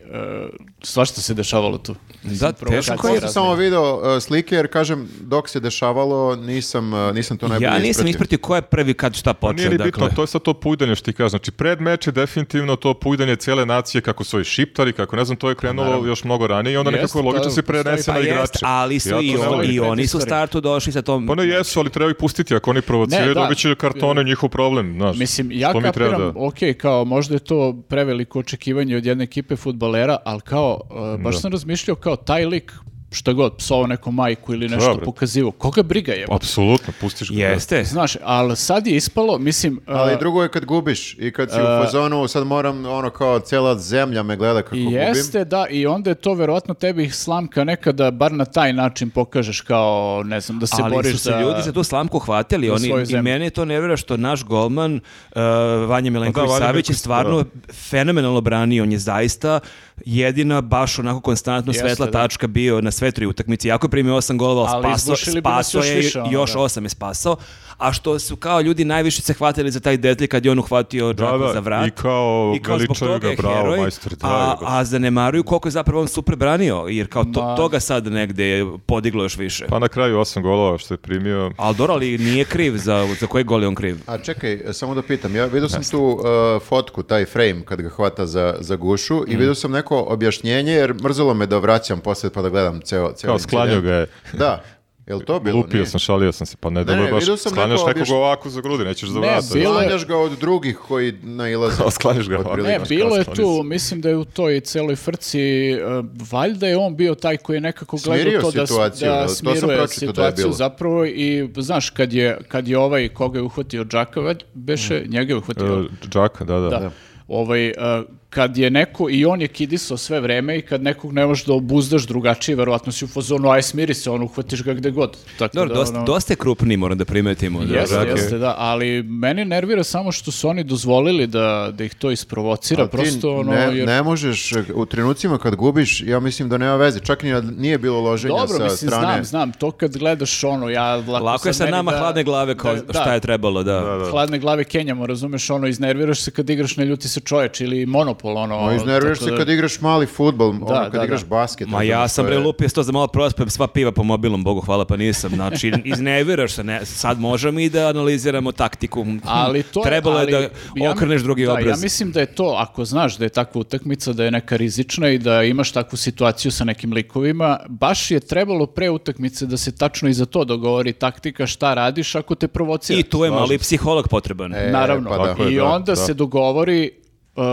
S3: svašta se dešavalo tu.
S1: Da, teško
S3: provokacija.
S2: Ko
S1: je.
S2: sam samo video uh, slike, jer kažem, dok se dešavalo, nisam, uh, nisam to najbolje
S1: Ja nisam
S2: ispratio.
S1: ispratio ko je prvi kad šta
S4: Pa
S1: počeo.
S4: Nije ni bitno,
S1: dakle.
S4: to je sad to pujdanje što ti kažeš. Znači, pred meč je definitivno to pujdanje cijele nacije, kako su i šiptari, kako ne znam, to je krenulo još mnogo ranije i onda
S3: Jeste,
S4: nekako
S3: to
S4: logično se
S3: postoji,
S4: prenese
S1: Pa
S4: na
S1: jest,
S4: igrače.
S1: ali su
S4: Ja to
S1: i,
S4: ne
S1: on-
S4: volim.
S1: i oni su u
S3: Predistorija.
S1: startu došli sa tom.
S4: Pa ne jesu, ali treba ih pustiti. Ako oni provociraju,
S3: Ne, da.
S4: dobit će kartone njihov problem. Znaš,
S3: Mislim, ja
S4: Što mi treba
S3: kapiram,
S4: da-
S3: ok, kao možda je to preveliko očekivanje od jedne ekipe futbalera, ali kao, e, baš sam razmišljao kao taj lik, šta god, psovao neku majku ili nešto
S4: bre.
S3: pokazivo, koga briga
S1: Pa-
S3: je?
S4: Apsolutno, pustiš ga.
S1: Jeste.
S3: Znaš, ali sad je ispalo, mislim... e,
S2: Ali drugo je kad gubiš i kad si
S4: E,
S2: u fazonu, sad moram, ono kao, cela zemlja me gleda kako
S3: I
S2: gubim.
S3: Jeste, da, i onda je to verovatno tebi slamka nekada bar na taj način pokažeš kao, ne znam, da se
S1: ali
S3: boriš
S1: su se
S3: za...
S1: ljudi za tu slamku hvatili.
S3: za
S1: Oni,
S3: svoju
S1: I
S3: zemlju.
S1: meni je to nevjera što naš golman uh, Vanja
S3: Pa
S1: Milenković
S4: Vanja
S1: Savić je
S4: Milenković,
S1: stvarno fenomenalno branio. On je zaista jedina baš onako konstantno
S3: Jeste,
S1: svetla
S3: da.
S1: tačka bio na sve tri utakmice. Jako je primio osam golova, ali
S3: Ali
S1: spasao,
S3: izbušili bi nas
S1: spasao
S3: još
S1: je
S3: više, ono,
S1: još
S3: da.
S1: osam je spasao. A što su kao ljudi najviše se hvatili za taj detalj kad je on uhvatio Džaku
S4: da,
S1: za vrat.
S4: i kao
S1: zbog
S4: veličaju
S1: toga
S4: ga,
S1: je
S4: bravo,
S1: heroj,
S4: majstore, da,
S1: a,
S4: jebote.
S1: a zanemaruju koliko je zapravo on super branio, jer kao to,
S3: Ma.
S1: toga sad negde je podiglo još više.
S4: Pa na kraju osam golova što je primio.
S1: Ali dobro, ali nije kriv za, za koji gol je on kriv.
S2: A čekaj, e, samo da pitam, ja vidio sam tu uh, fotku, taj frame kad ga hvata za, za gušu
S3: Mhm.
S2: i vidio sam neko objašnjenje jer mrzelo me da vraćam poslije pa da gledam ceo, ceo
S4: Kao sklanjao ga je.
S2: Da, je li to bilo?
S4: Lupio
S2: Nije.
S4: sam, šalio sam se, pa ne, dobro
S2: ne,
S4: je baš
S2: vidio sam
S4: sklanjaš
S2: neko
S4: nekog
S2: objašnj-
S4: ovako za grudi, nećeš za
S3: Ne,
S4: vrat.
S3: bilo-
S2: Sklanjaš ga od drugih koji nailaze.
S4: Kao sklanjaš ga ovako.
S2: Otprilike.
S1: E,
S4: Kao
S3: Ne, E, bilo je
S4: sklonice.
S3: tu, mislim da je u toj celoj frci, e, valjda je on bio taj koji je nekako
S2: Smirio
S3: gledao to da, s-
S2: situaciju, da,
S3: da
S2: to sam pročitao
S3: smiruje
S2: da je
S3: situaciju
S2: bilo.
S3: zapravo i znaš, kad je, kad je ovaj koga je uhvatio Džaka, vaj- beše,
S2: Mm.
S3: njega je uhvatio.
S4: E, Džaka, da, da.
S3: Da. Ovaj, e, kad je neko, i on je kidisao sve vreme i kad nekog ne možeš da obuzdaš drugačije, verovatno si u fazonu, aj smiri se, on uhvatiš ga gde god. Tako
S1: Dobro,
S3: da,
S1: dosta,
S3: ono-
S1: dosta je krupni, moram da primetimo. Da,
S3: Jeste,
S1: da.
S3: jeste, da, ali meni nervira samo što su oni dozvolili da, da ih to isprovocira,
S2: Ali Pa ti
S3: prosto ono,
S2: ne,
S3: jer...
S2: ne možeš e, u trenucima kad gubiš, ja mislim da nema veze. Čak ni, nije bilo loženja
S3: Dobro,
S2: sa
S3: mislim,
S2: strane.
S3: znam, znam, to kad gledaš ono, ja lako,
S1: Lako je
S3: sad
S1: sa
S3: meni
S1: nama
S3: da-
S1: hladne glave kao
S3: da,
S1: šta
S3: da,
S1: je trebalo, da.
S3: Hladne glave Kenjamo, razumeš, ono, iznerviraš se kad igraš na ljuti se čoveč ili monopol, ono.
S2: Ma, iznerviraš
S3: tako
S2: se
S3: da-
S2: kad igraš mali futbol, ono, kad
S3: da, da.
S2: igraš basket.
S1: Ma
S2: razumeš,
S1: ja sam
S2: to je-
S1: bre lupio sto za malo prospem sva piva po mobilom, bogu hvala pa nisam. Znači, izneviraš se, ne, sad možemo i da analiziramo taktiku.
S3: Ali to je-
S1: Trebalo je
S3: ali
S1: da
S3: ja mi-
S1: okreneš drugi
S3: da,
S1: obraz.
S3: Ja mislim da je to, ako znaš da je takva utakmica, da je neka rizična i da imaš takvu situaciju sa nekim likovima, baš je trebalo pre utakmice da se tačno i za to dogovori taktika šta radiš ako te provocira.
S1: I tu je mali psiholog potreban.
S2: E,
S3: Naravno.
S2: pa da.
S4: Tako je,
S3: I
S4: da,
S3: onda
S4: da.
S3: se dogovori uh,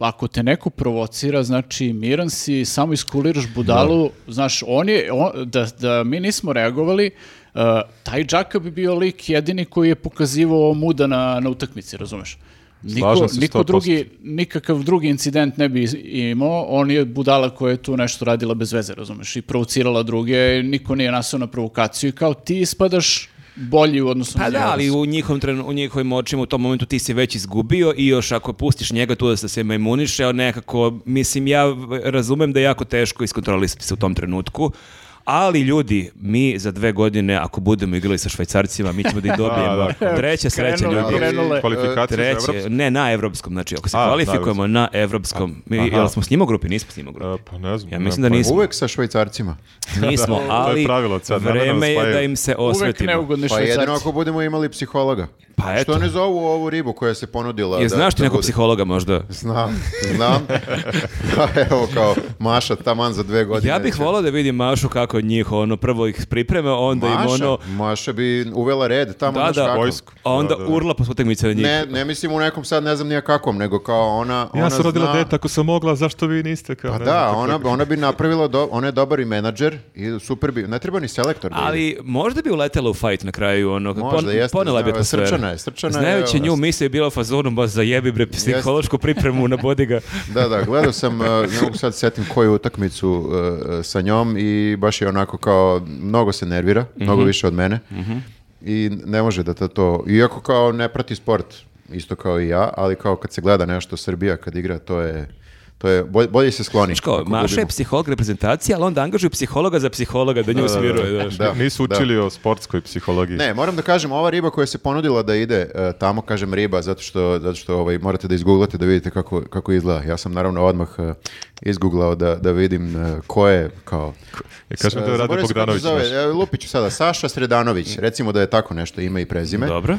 S3: ako te neko provocira, znači miran si, samo iskuliraš budalu, znaš, on je, on- da, da mi nismo reagovali, uh, taj Džaka bi bio lik jedini koji je pokazivao muda na, na utakmici, razumeš? Niko,
S4: Slažem se
S3: niko
S4: 100%.
S3: drugi, nikakav drugi incident ne bi iz- imao, on je budala koja je tu nešto radila bez veze, razumeš, i provocirala druge, niko nije nasao na provokaciju i kao ti ispadaš bolji u odnosu
S1: Pa
S3: na njega.
S1: da, ali u njihovim, trenu- u njihovim očima u tom momentu ti si već izgubio i još ako pustiš njega tu da se sve majmuniše, on nekako, mislim, ja v- razumem da je jako teško iskontrolisati se u tom trenutku, ali ljudi, mi za dve godine, ako budemo igrali sa švajcarcima, mi ćemo da ih dobijemo.
S4: da.
S1: Treća sreća,
S3: Krenuli,
S1: ljudi.
S2: krenuli.
S4: e,
S3: krenule.
S4: Kvalifikacije za Evropsku.
S1: Treće, ne na evropskom, znači ako se
S4: A, na
S1: kvalifikujemo na evropskom, mi,
S4: Aha.
S1: jel smo s njima u grupi? Nismo s njima u grupi.
S4: E, Pa ne znam.
S1: Ja
S4: ne,
S1: mislim da
S4: pa-
S1: nismo.
S2: Uvek sa švajcarcima.
S1: Nismo,
S4: E, to je
S1: ali
S4: pravilo od sad, namerno
S1: vreme je
S4: spajaju.
S1: da im se
S3: Uvek
S1: osvetimo.
S3: neugodni
S2: Pa jedino
S3: švajcarci.
S2: ako budemo imali psihologa.
S1: Pa eto.
S2: Što ne zovu ovu ribu koja se ponudila?
S1: Jer
S2: da-
S1: znaš ti
S2: da
S1: nekog
S2: bude?
S1: psihologa možda?
S2: Znam, znam. Da, Pa Evo kao, Maša taman za dve godine.
S1: Ja bih volao da vidim Mašu kako njih ono prvo ih priprema, onda im
S2: Maša,
S1: ono
S2: Maša bi uvela red tamo
S1: da
S2: znaš
S1: da,
S2: kako.
S4: vojsku.
S1: a onda
S4: Da, da, da.
S1: urla po utakmice na njih.
S2: Ne, ne mislim u nekom sad ne znam nija kakvom, nego kao ona, ona
S4: Ja sam rodila
S2: zna-
S4: dete, ako sam mogla, zašto vi niste? Kao,
S2: Pa
S4: ne
S2: da,
S4: znam, to je
S2: ona,
S4: tako.
S2: ona bi napravila, do, ona je dobar i menadžer i super bi, ne treba ni selektor. da ide.
S1: Ali možda bi uletela u fight na kraju, ono,
S2: Možda, jeste,
S1: ponela bi
S2: znao je,
S1: atmosferu.
S2: srčana je, srčana je, ono,
S1: Znajući
S2: evo,
S1: nju,
S2: jeste.
S1: misle je bila fazonom, ba zajebi bre, psihološku pripremu na bodiga.
S2: Da, da, gledao sam, uh, ne mogu sad setim koju utakmicu uh, uh, sa njom i baš je onako kao, mnogo se nervira, mnogo
S1: Mhm.
S2: više od mene i ne može da to to, iako kao ne prati sport, isto kao i ja, ali kao kad se gleda nešto Srbija, kad igra, to je, to je, bolje, bolje se skloni.
S1: Znaš kao,
S2: ako
S1: Maša je
S2: gubimo.
S1: psiholog reprezentacije, ali onda angažuju psihologa za psihologa da nju smiruje. znaš.
S2: Da,
S4: Nisu
S2: da.
S4: učili o sportskoj psihologiji.
S2: Ne, moram da kažem, ova riba koja se ponudila da ide e, tamo, kažem riba, zato što, zato što ovaj, morate da izguglate da vidite kako, kako izgleda. Ja sam naravno odmah e, izguglao da, da vidim e, ko je kao...
S4: Ja kažem da
S2: E,
S4: je Rade
S2: zaboravio sam kako se
S4: Bogdanović. Mhm.
S2: Zove,
S4: znaš.
S2: e, lupiću sada, Saša Sredanović, recimo da je tako nešto ime i prezime.
S1: Dobro.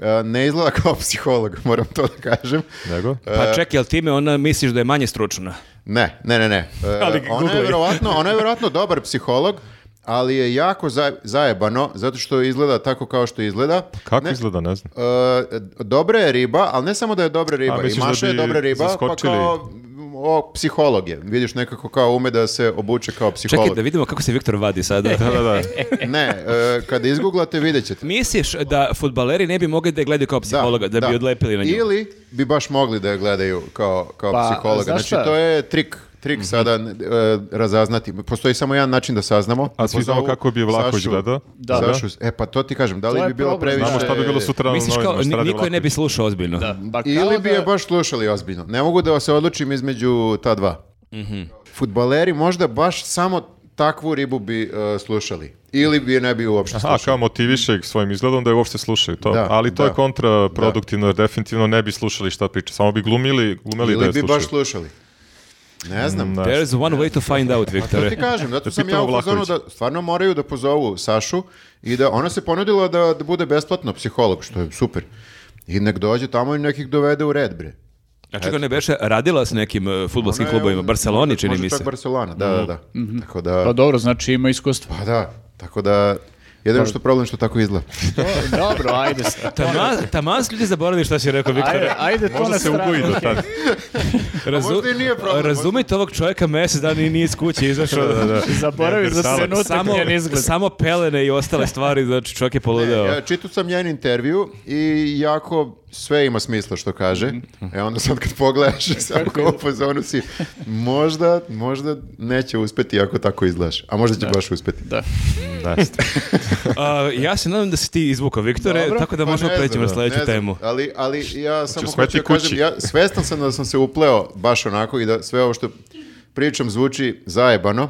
S2: E, ne izgleda kao psiholog, moram to da kažem.
S4: Nego?
S2: E,
S1: Pa čekaj, jel time ona misliš da je manje stručna?
S2: Ne, ne, ne, ne. E,
S1: Ali
S2: ona,
S1: googlaj.
S2: je verovatno, ona je verovatno dobar psiholog, ali je jako za- zajebano, zato što izgleda tako kao što izgleda.
S4: Kako
S2: Ne-
S4: izgleda, ne znam.
S2: E, dobra je riba, ali ne samo da je dobra riba. I
S4: misliš da
S2: Maša je
S4: bi
S2: dobra riba, pa
S4: zaskočili?
S2: kao m, o, psiholog je. Vidiš nekako kao ume da se obuče kao psiholog.
S1: Čekaj da vidimo kako se Viktor vadi sada.
S4: Da, da, da.
S2: Ne, e, kada izguglate vidjet ćete.
S1: Misliš da futbaleri ne bi mogli da je gledaju kao psihologa, da, bi odlepili na nju?
S2: Ili bi baš mogli da je gledaju kao, kao
S3: Pa,
S2: psihologa.
S3: znaš
S2: Znači,
S3: šta?
S2: to je trik
S4: Mhm.
S2: trik sada e, razaznati. Postoji samo jedan način da saznamo.
S4: A svi znamo
S2: Pozovu
S4: kako bi Vlahović
S2: Sašu-
S4: gledao.
S3: Da.
S2: Sašu- e pa to ti kažem, da li
S3: To je
S2: bi bilo
S3: problem.
S2: previše...
S4: Znamo šta bi
S2: e,
S4: bilo sutra na
S1: Misliš
S4: novinama,
S1: kao,
S4: šta
S1: ni-
S4: radi
S1: niko je ne bi
S4: Vlahović.
S1: slušao ozbiljno?
S3: Da, pa kao
S2: Ili bi je
S3: da-
S2: baš slušali ozbiljno. Ne mogu da se odlučim između ta dva.
S4: Mhm.
S2: Futbaleri možda baš samo takvu ribu bi e, slušali. Ili bi je ne bi uopšte
S4: A,
S2: slušali.
S4: kao motiviše ih svojim izgledom da je uopšte slušaju to.
S2: Da,
S4: Ali to
S2: da.
S4: je kontraproduktivno jer definitivno ne bi slušali šta priča. Samo bi glumili, glumeli da
S2: Ili
S4: je
S2: bi
S4: slušaju.
S2: baš slušali. Ne znam.
S4: da.
S1: There's one way to find out,
S2: To
S1: Viktore.
S2: ti kažem, zato
S4: Da
S2: sam ja
S4: pitamo
S2: u fazonu da
S4: Vlahovića.
S2: stvarno moraju da pozovu Sašu i da ona se ponudila da, da bude besplatno psiholog, što je super. I nek dođe tamo i nekih dovede u red, bre.
S1: A čekaj, ne beše radila s nekim uh, fudbalskim
S2: Ona je-
S1: klubovima, Barceloni čini
S2: Može
S1: mi se.
S2: čak Barcelona, da, da, da. Tako da...
S3: Pa dobro, znači ima iskustva.
S2: Pa da, tako da... Jedino što je problem što tako izgleda.
S3: To- dobro, ajde.
S1: Tama, taman su ljudi zaboravili šta si rekao, Viktore.
S3: Ajde, ajde to na
S4: Možda se
S3: stranu.
S4: uboji do tad.
S1: Razu-
S2: možda i nije problem,
S1: Razumite ovog čovjeka mjesec dana i nije iz kuće izašao.
S3: Zaboravi za
S4: Neandertalac.
S3: trenutak
S1: Samo,
S3: njen izgled.
S1: samo pelene i ostale stvari, znači čovjek je poludeo.
S2: Ja čitao sam njen intervju i jako sve ima smisla što kaže. E onda sad kad pogledaš samo kao u fazonu si, možda, možda neće uspeti ako tako izgledaš. A možda će baš uspeti.
S3: Da.
S4: Da,
S1: A, ja se nadam da si ti izvukao, Viktore,
S3: Dobro,
S1: tako da
S2: Pa
S1: možemo
S2: ne
S1: preći
S2: znam,
S1: na
S2: da,
S1: sljedeću
S2: ne znam,
S1: temu.
S2: Ali, ali ja samo
S4: smeti
S2: hoću da kažem,
S4: kući.
S2: ja svestan sam da sam se upleo baš onako i da sve ovo što pričam zvuči zajebano,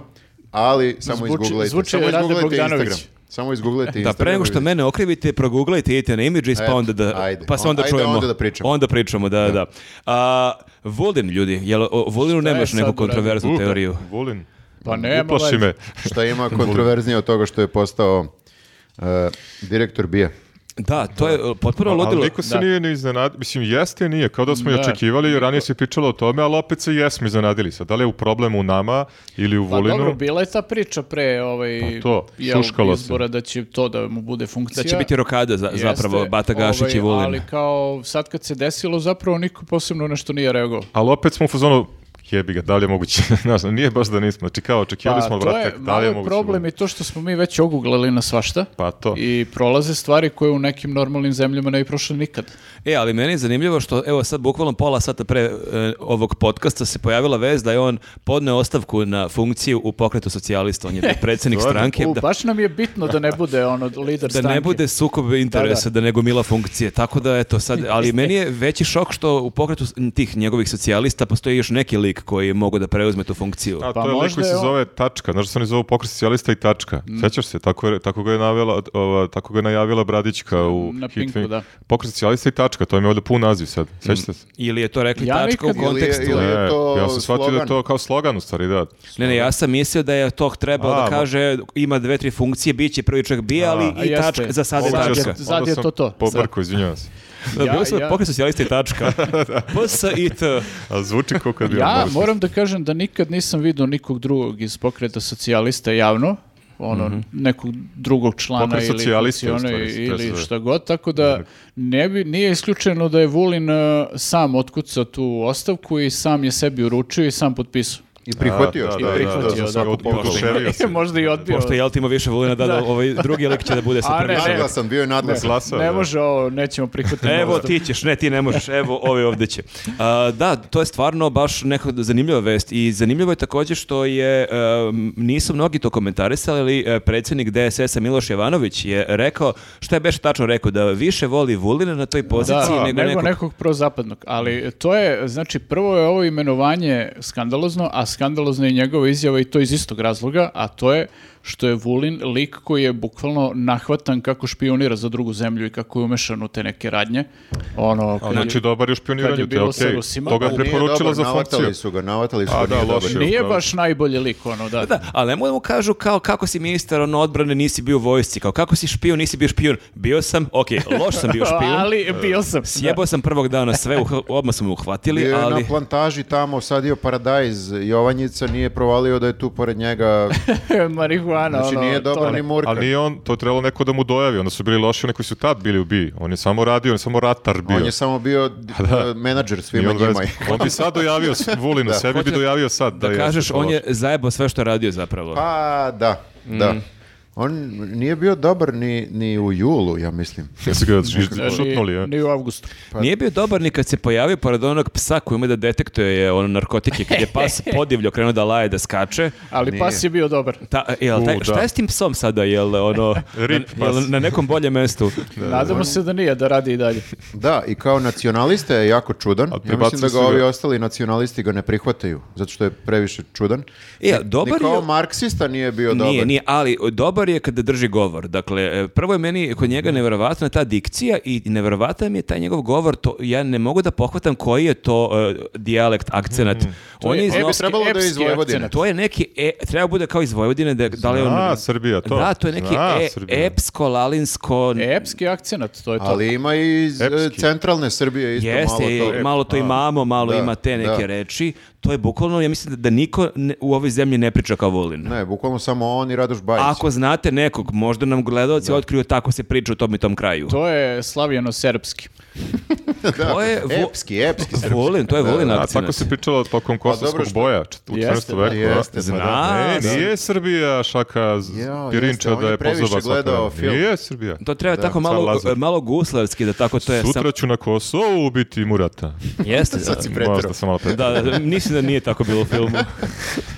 S2: ali samo
S3: Zvuči-
S2: izguglajte.
S3: zvuči
S2: samo
S3: Rade
S2: izguglajte
S3: Bogdanović.
S2: Instagram. Samo izguglajte
S1: Da,
S2: Instagram.
S1: pre nego
S2: i
S1: što mene okrivite, proguglajte, idite na Images, pa
S2: Eto,
S1: onda da,
S2: ajde.
S1: pa se onda
S2: Ajde,
S1: čujemo.
S2: onda da pričamo.
S1: Onda pričamo, da, da. A, Vulin, ljudi, jel o Vulinu
S3: Šta je
S1: nemaš
S3: sad
S1: neku
S3: uradio?
S1: kontroverznu
S4: U,
S1: teoriju?
S4: Vulin.
S3: Pa nema
S4: Uplaši
S3: veze.
S4: me.
S2: Šta ima kontroverznije od toga što je postao uh, direktor BIA?
S1: Da, to je uh, potpuno
S4: Ali
S1: ludilo.
S4: niko se
S3: Da.
S4: nije ni iznenadio. Mislim, jeste, nije. Kao da smo i
S3: Da.
S4: očekivali. Ranije se pričalo o tome, ali opet se jesmo iznenadili. Sad, da li je u problemu u nama ili u
S3: Pa dobro,
S4: Vulinu?
S3: bila je ta priča pre ovaj,
S4: Pa to,
S3: jel,
S4: šuškalo se.
S3: izbora da će to da mu bude funkcija.
S1: Da će biti rokada za,
S3: Jeste,
S1: zapravo, Bata Gašić
S3: ovaj,
S1: i Vulin.
S3: Ali kao sad kad se desilo, zapravo niko posebno nešto nije reagovao.
S4: Ali opet smo u fazonu, jebi ga, da li je moguće? Znaš, nije baš da nismo. Znači, kao, očekivali smo,
S3: Pa to je
S4: vratak, da li je
S3: malo
S4: moguće?
S3: problem i to što smo mi već oguglali na svašta.
S4: Pa to.
S3: I prolaze stvari koje u nekim normalnim zemljama ne bi prošle nikad.
S1: E, ali meni je zanimljivo što, evo sad, bukvalno pola sata pre e, ovog podcasta se pojavila vez da je on podneo ostavku na funkciju u pokretu socijalista. On je predsjednik stranke.
S3: U,
S1: da-
S3: baš nam je bitno da ne bude ono lider
S1: da
S3: stranke.
S1: ne bude sukob interesa, da, ne gomila funkcije. Tako da, eto, sad, ali meni je veći šok što u pokretu s- tih njegovih socijalista postoji još neki lik koji mogu da preuzme tu funkciju.
S4: A
S3: Pa
S4: to je lik
S3: možda
S4: koji se
S3: je on- Mm.
S4: zove Tačka, znaš da se oni zovu pokret socijalista i Tačka. Sećaš se, tako, je- tako ga je navela, ova, tako ga je najavila Bradićka u
S3: Na
S4: Hitfilm.
S3: Pinku, da. Mm.
S4: Pokret socijalista i Tačka, to im je ovdje pun naziv sad. Sećate se?
S1: Ili je to rekli
S3: Ja
S1: tačka u
S3: nikad-
S2: Ili je-
S1: kontekstu.
S2: ili- je
S4: E,
S2: to
S4: ja sam shvatio da je
S2: slogan?
S4: to kao slogan u stvari, da.
S1: Ne, ne, ja sam mislio da je to trebalo
S4: A,
S1: da
S4: mo-
S1: kaže ima dve, tri funkcije, bit će prvi čovjek bija, ali
S4: A,
S1: i
S3: jeste.
S1: tačka, za sad je
S3: Sad
S4: Onda
S3: je-
S1: tačka.
S4: sam-
S3: sad
S4: onda
S3: je
S4: sam
S3: to to.
S4: Pobrko, izvinjavam se.
S3: Ja-
S1: Bili smo
S3: ja-
S1: pokret socijalista i tačka. PS i T.
S4: A zvuči kako je bio
S3: Ja
S4: Morrison.
S3: moram da kažem da nikad nisam vidio nikog drugog iz pokreta socijalista javno, ono,
S1: Mhm.
S3: nekog drugog člana
S4: Pokret
S3: ili
S4: socijalista,
S3: funkcionera
S4: u stvari, se
S3: ili
S4: zove.
S3: šta god, tako da ne bi, nije isključeno da je Vulin e, sam otkucao tu ostavku i sam je sebi uručio i sam potpisao.
S2: I prihvatio.
S4: Da,
S2: što
S4: da,
S2: je
S4: da,
S2: prihvatio
S4: da,
S2: za
S4: da,
S2: svaku
S4: od-
S2: pohvalu.
S4: pokušaj. Poželio se.
S3: Možda i odbio.
S1: Pošto jel ti ima više volina da, da ovaj drugi lik će da bude sa
S3: A,
S1: prvi
S3: ne,
S1: šef.
S2: Naglasan bio je nadlasan.
S4: Glasao,
S3: ne
S4: da.
S3: može ovo, nećemo prihvatiti.
S1: Evo
S3: ostavku.
S1: ti ćeš, ne ti ne možeš, evo ove ovdje će. A, da, to je stvarno baš neka zanimljiva vest i zanimljivo je također što je, em, nisu mnogi to komentarisali, ali e, predsjednik DSS-a Miloš Jovanović je rekao, što je Beš tačno rekao, da više voli Vulina na toj poziciji
S3: Da,
S1: nego, nekog...
S3: prozapadnog. Ali to je, znači, prvo je ovo imenovanje skandalozno, a skandalozna je njegova izjava i to iz istog razloga, a to je što je Vulin lik koji je bukvalno nahvatan kako špionira za drugu zemlju i kako je umešan u te neke radnje. Ono,
S4: A
S3: kad je-
S4: znači dobar je u
S3: kad je
S4: špioniranju, to je
S3: bilo sa
S4: okej.
S3: Rusima,
S4: To ga je
S2: Nije
S4: preporučila
S2: dobar,
S4: za funkciju.
S2: Navatali su ga, navatali su
S4: A,
S2: ga.
S4: da,
S2: nije dobar.
S4: loše.
S3: nije baš najbolji lik, ono, da.
S1: Da, ali nemoj da mu kažu kao kako si ministar ono, odbrane, nisi bio u vojsci, kao kako si špijun, nisi bio špijun. Bio sam, okej, loš sam bio špijun.
S3: ali bio sam.
S1: Sjebao sam prvog dana sve, uh, odmah sam uhvatili,
S2: Bio je
S1: ali...
S2: na plantaži tamo, sadio paradajz Jovanjica, nije provalio da je tu pored njega.
S3: Da. Marihuana,
S2: Znači
S3: ono,
S2: nije
S3: to
S2: dobar
S3: ne.
S2: ni murka.
S4: Ali nije on, to je trebalo neko da mu dojavi, onda su bili loši oni koji su tad bili u BI. On je samo radio, on je samo ratar bio.
S2: On je samo bio
S4: da.
S2: eh, menadžer
S4: I
S2: svima
S4: on vez-
S2: njima.
S4: on bi sad dojavio s- Vulinu, sebi bi
S1: Hoće
S4: dojavio sad.
S1: Da,
S4: jeste
S1: kažeš, on
S4: loš.
S1: je zajebao sve što je radio zapravo.
S2: Pa da, da. On nije bio dobar ni, ni u julu, ja mislim.
S4: Jesu ga ž-
S3: Ni-
S4: šutnuli, e. je.
S3: Znači, ni u avgustu.
S1: Nije bio dobar ni kad se pojavio pored onog psa koji ume da detektuje je, ono, narkotike, kad je pas podivljo krenuo da laje, da skače.
S3: Ali pas je bio dobar.
S1: Ta, jel, taj,
S4: U, da.
S1: šta je s tim psom sada, jel, ono,
S4: Rip
S1: na, jel
S4: pas.
S1: na nekom boljem mestu?
S3: Nadamo se da nije, da radi i dalje.
S2: Da, i kao nacionalista je jako čudan. Ja mislim da
S4: prebacili
S2: ga
S4: su ga-
S2: ovi ostali nacionalisti ga ne prihvataju, zato što je previše čudan.
S1: E, a dobar
S2: Ni kao
S1: je-
S2: marksista nije bio dobar.
S1: Nije, nije, ali dobar je kada drži govor. Dakle, e, prvo je meni kod njega nevjerovatna ta dikcija i nevjerovatan mi je taj njegov govor. To, ja ne mogu da pohvatam koji je to e, dijalekt, akcenat. On je,
S3: je
S1: iz
S2: E, bi
S1: Novog-
S3: Epski-
S2: trebalo da je iz
S3: epski
S2: Vojvodine.
S3: akcenat.
S1: To je neki, e, treba bude kao iz Vojvodine, da, da li je on...
S4: Zna Srbija Pa to.
S1: Da, to je neki
S4: Zna
S1: e,
S4: Srbija.
S1: epsko-lalinsko...
S3: Epski akcenat, to je to.
S2: Ali ima i iz, eh,
S4: Epski.
S2: centralne Srbije isto
S1: Jeste,
S2: malo
S1: malo
S2: to. e,
S1: to, imamo, malo
S2: Da,
S1: ima te neke
S2: da.
S1: reči. To je bukvalno, ja mislim da, da niko ne- u ovoj zemlji ne priča kao Vulin.
S2: Ne, bukvalno samo on i Radoš Bajić.
S1: Ako znate nekog, možda nam gledalci otkriju tako se priča u tom i tom kraju.
S3: To je slavijano-serbski.
S1: to je vo-
S2: Epski, epski Srbi.
S1: Vulin, to je Vulin
S4: A
S1: akcenat.
S4: tako se pričalo tokom kosovskog
S2: Pa što-
S4: boja čet- u 14.
S3: Jeste, da,
S4: veku. a?
S2: jeste, pa da.
S1: Zna,
S4: E, nije Srbija šaka z-
S2: Jao, jeste,
S4: Pirinča
S2: on
S4: da
S2: je
S4: je
S2: previše
S4: pozaba
S2: gledao
S4: svakada.
S2: film.
S4: Nije Srbija.
S1: To treba tako
S4: Car
S1: malo,
S4: Lazar.
S1: malo guslarski da tako to je. sam-
S4: Sutra ću na Kosovu ubiti Murata.
S1: Jeste, da.
S2: si preterao.
S4: Možda sam malo preterao.
S1: Da, da, mislim da nije tako bilo u filmu.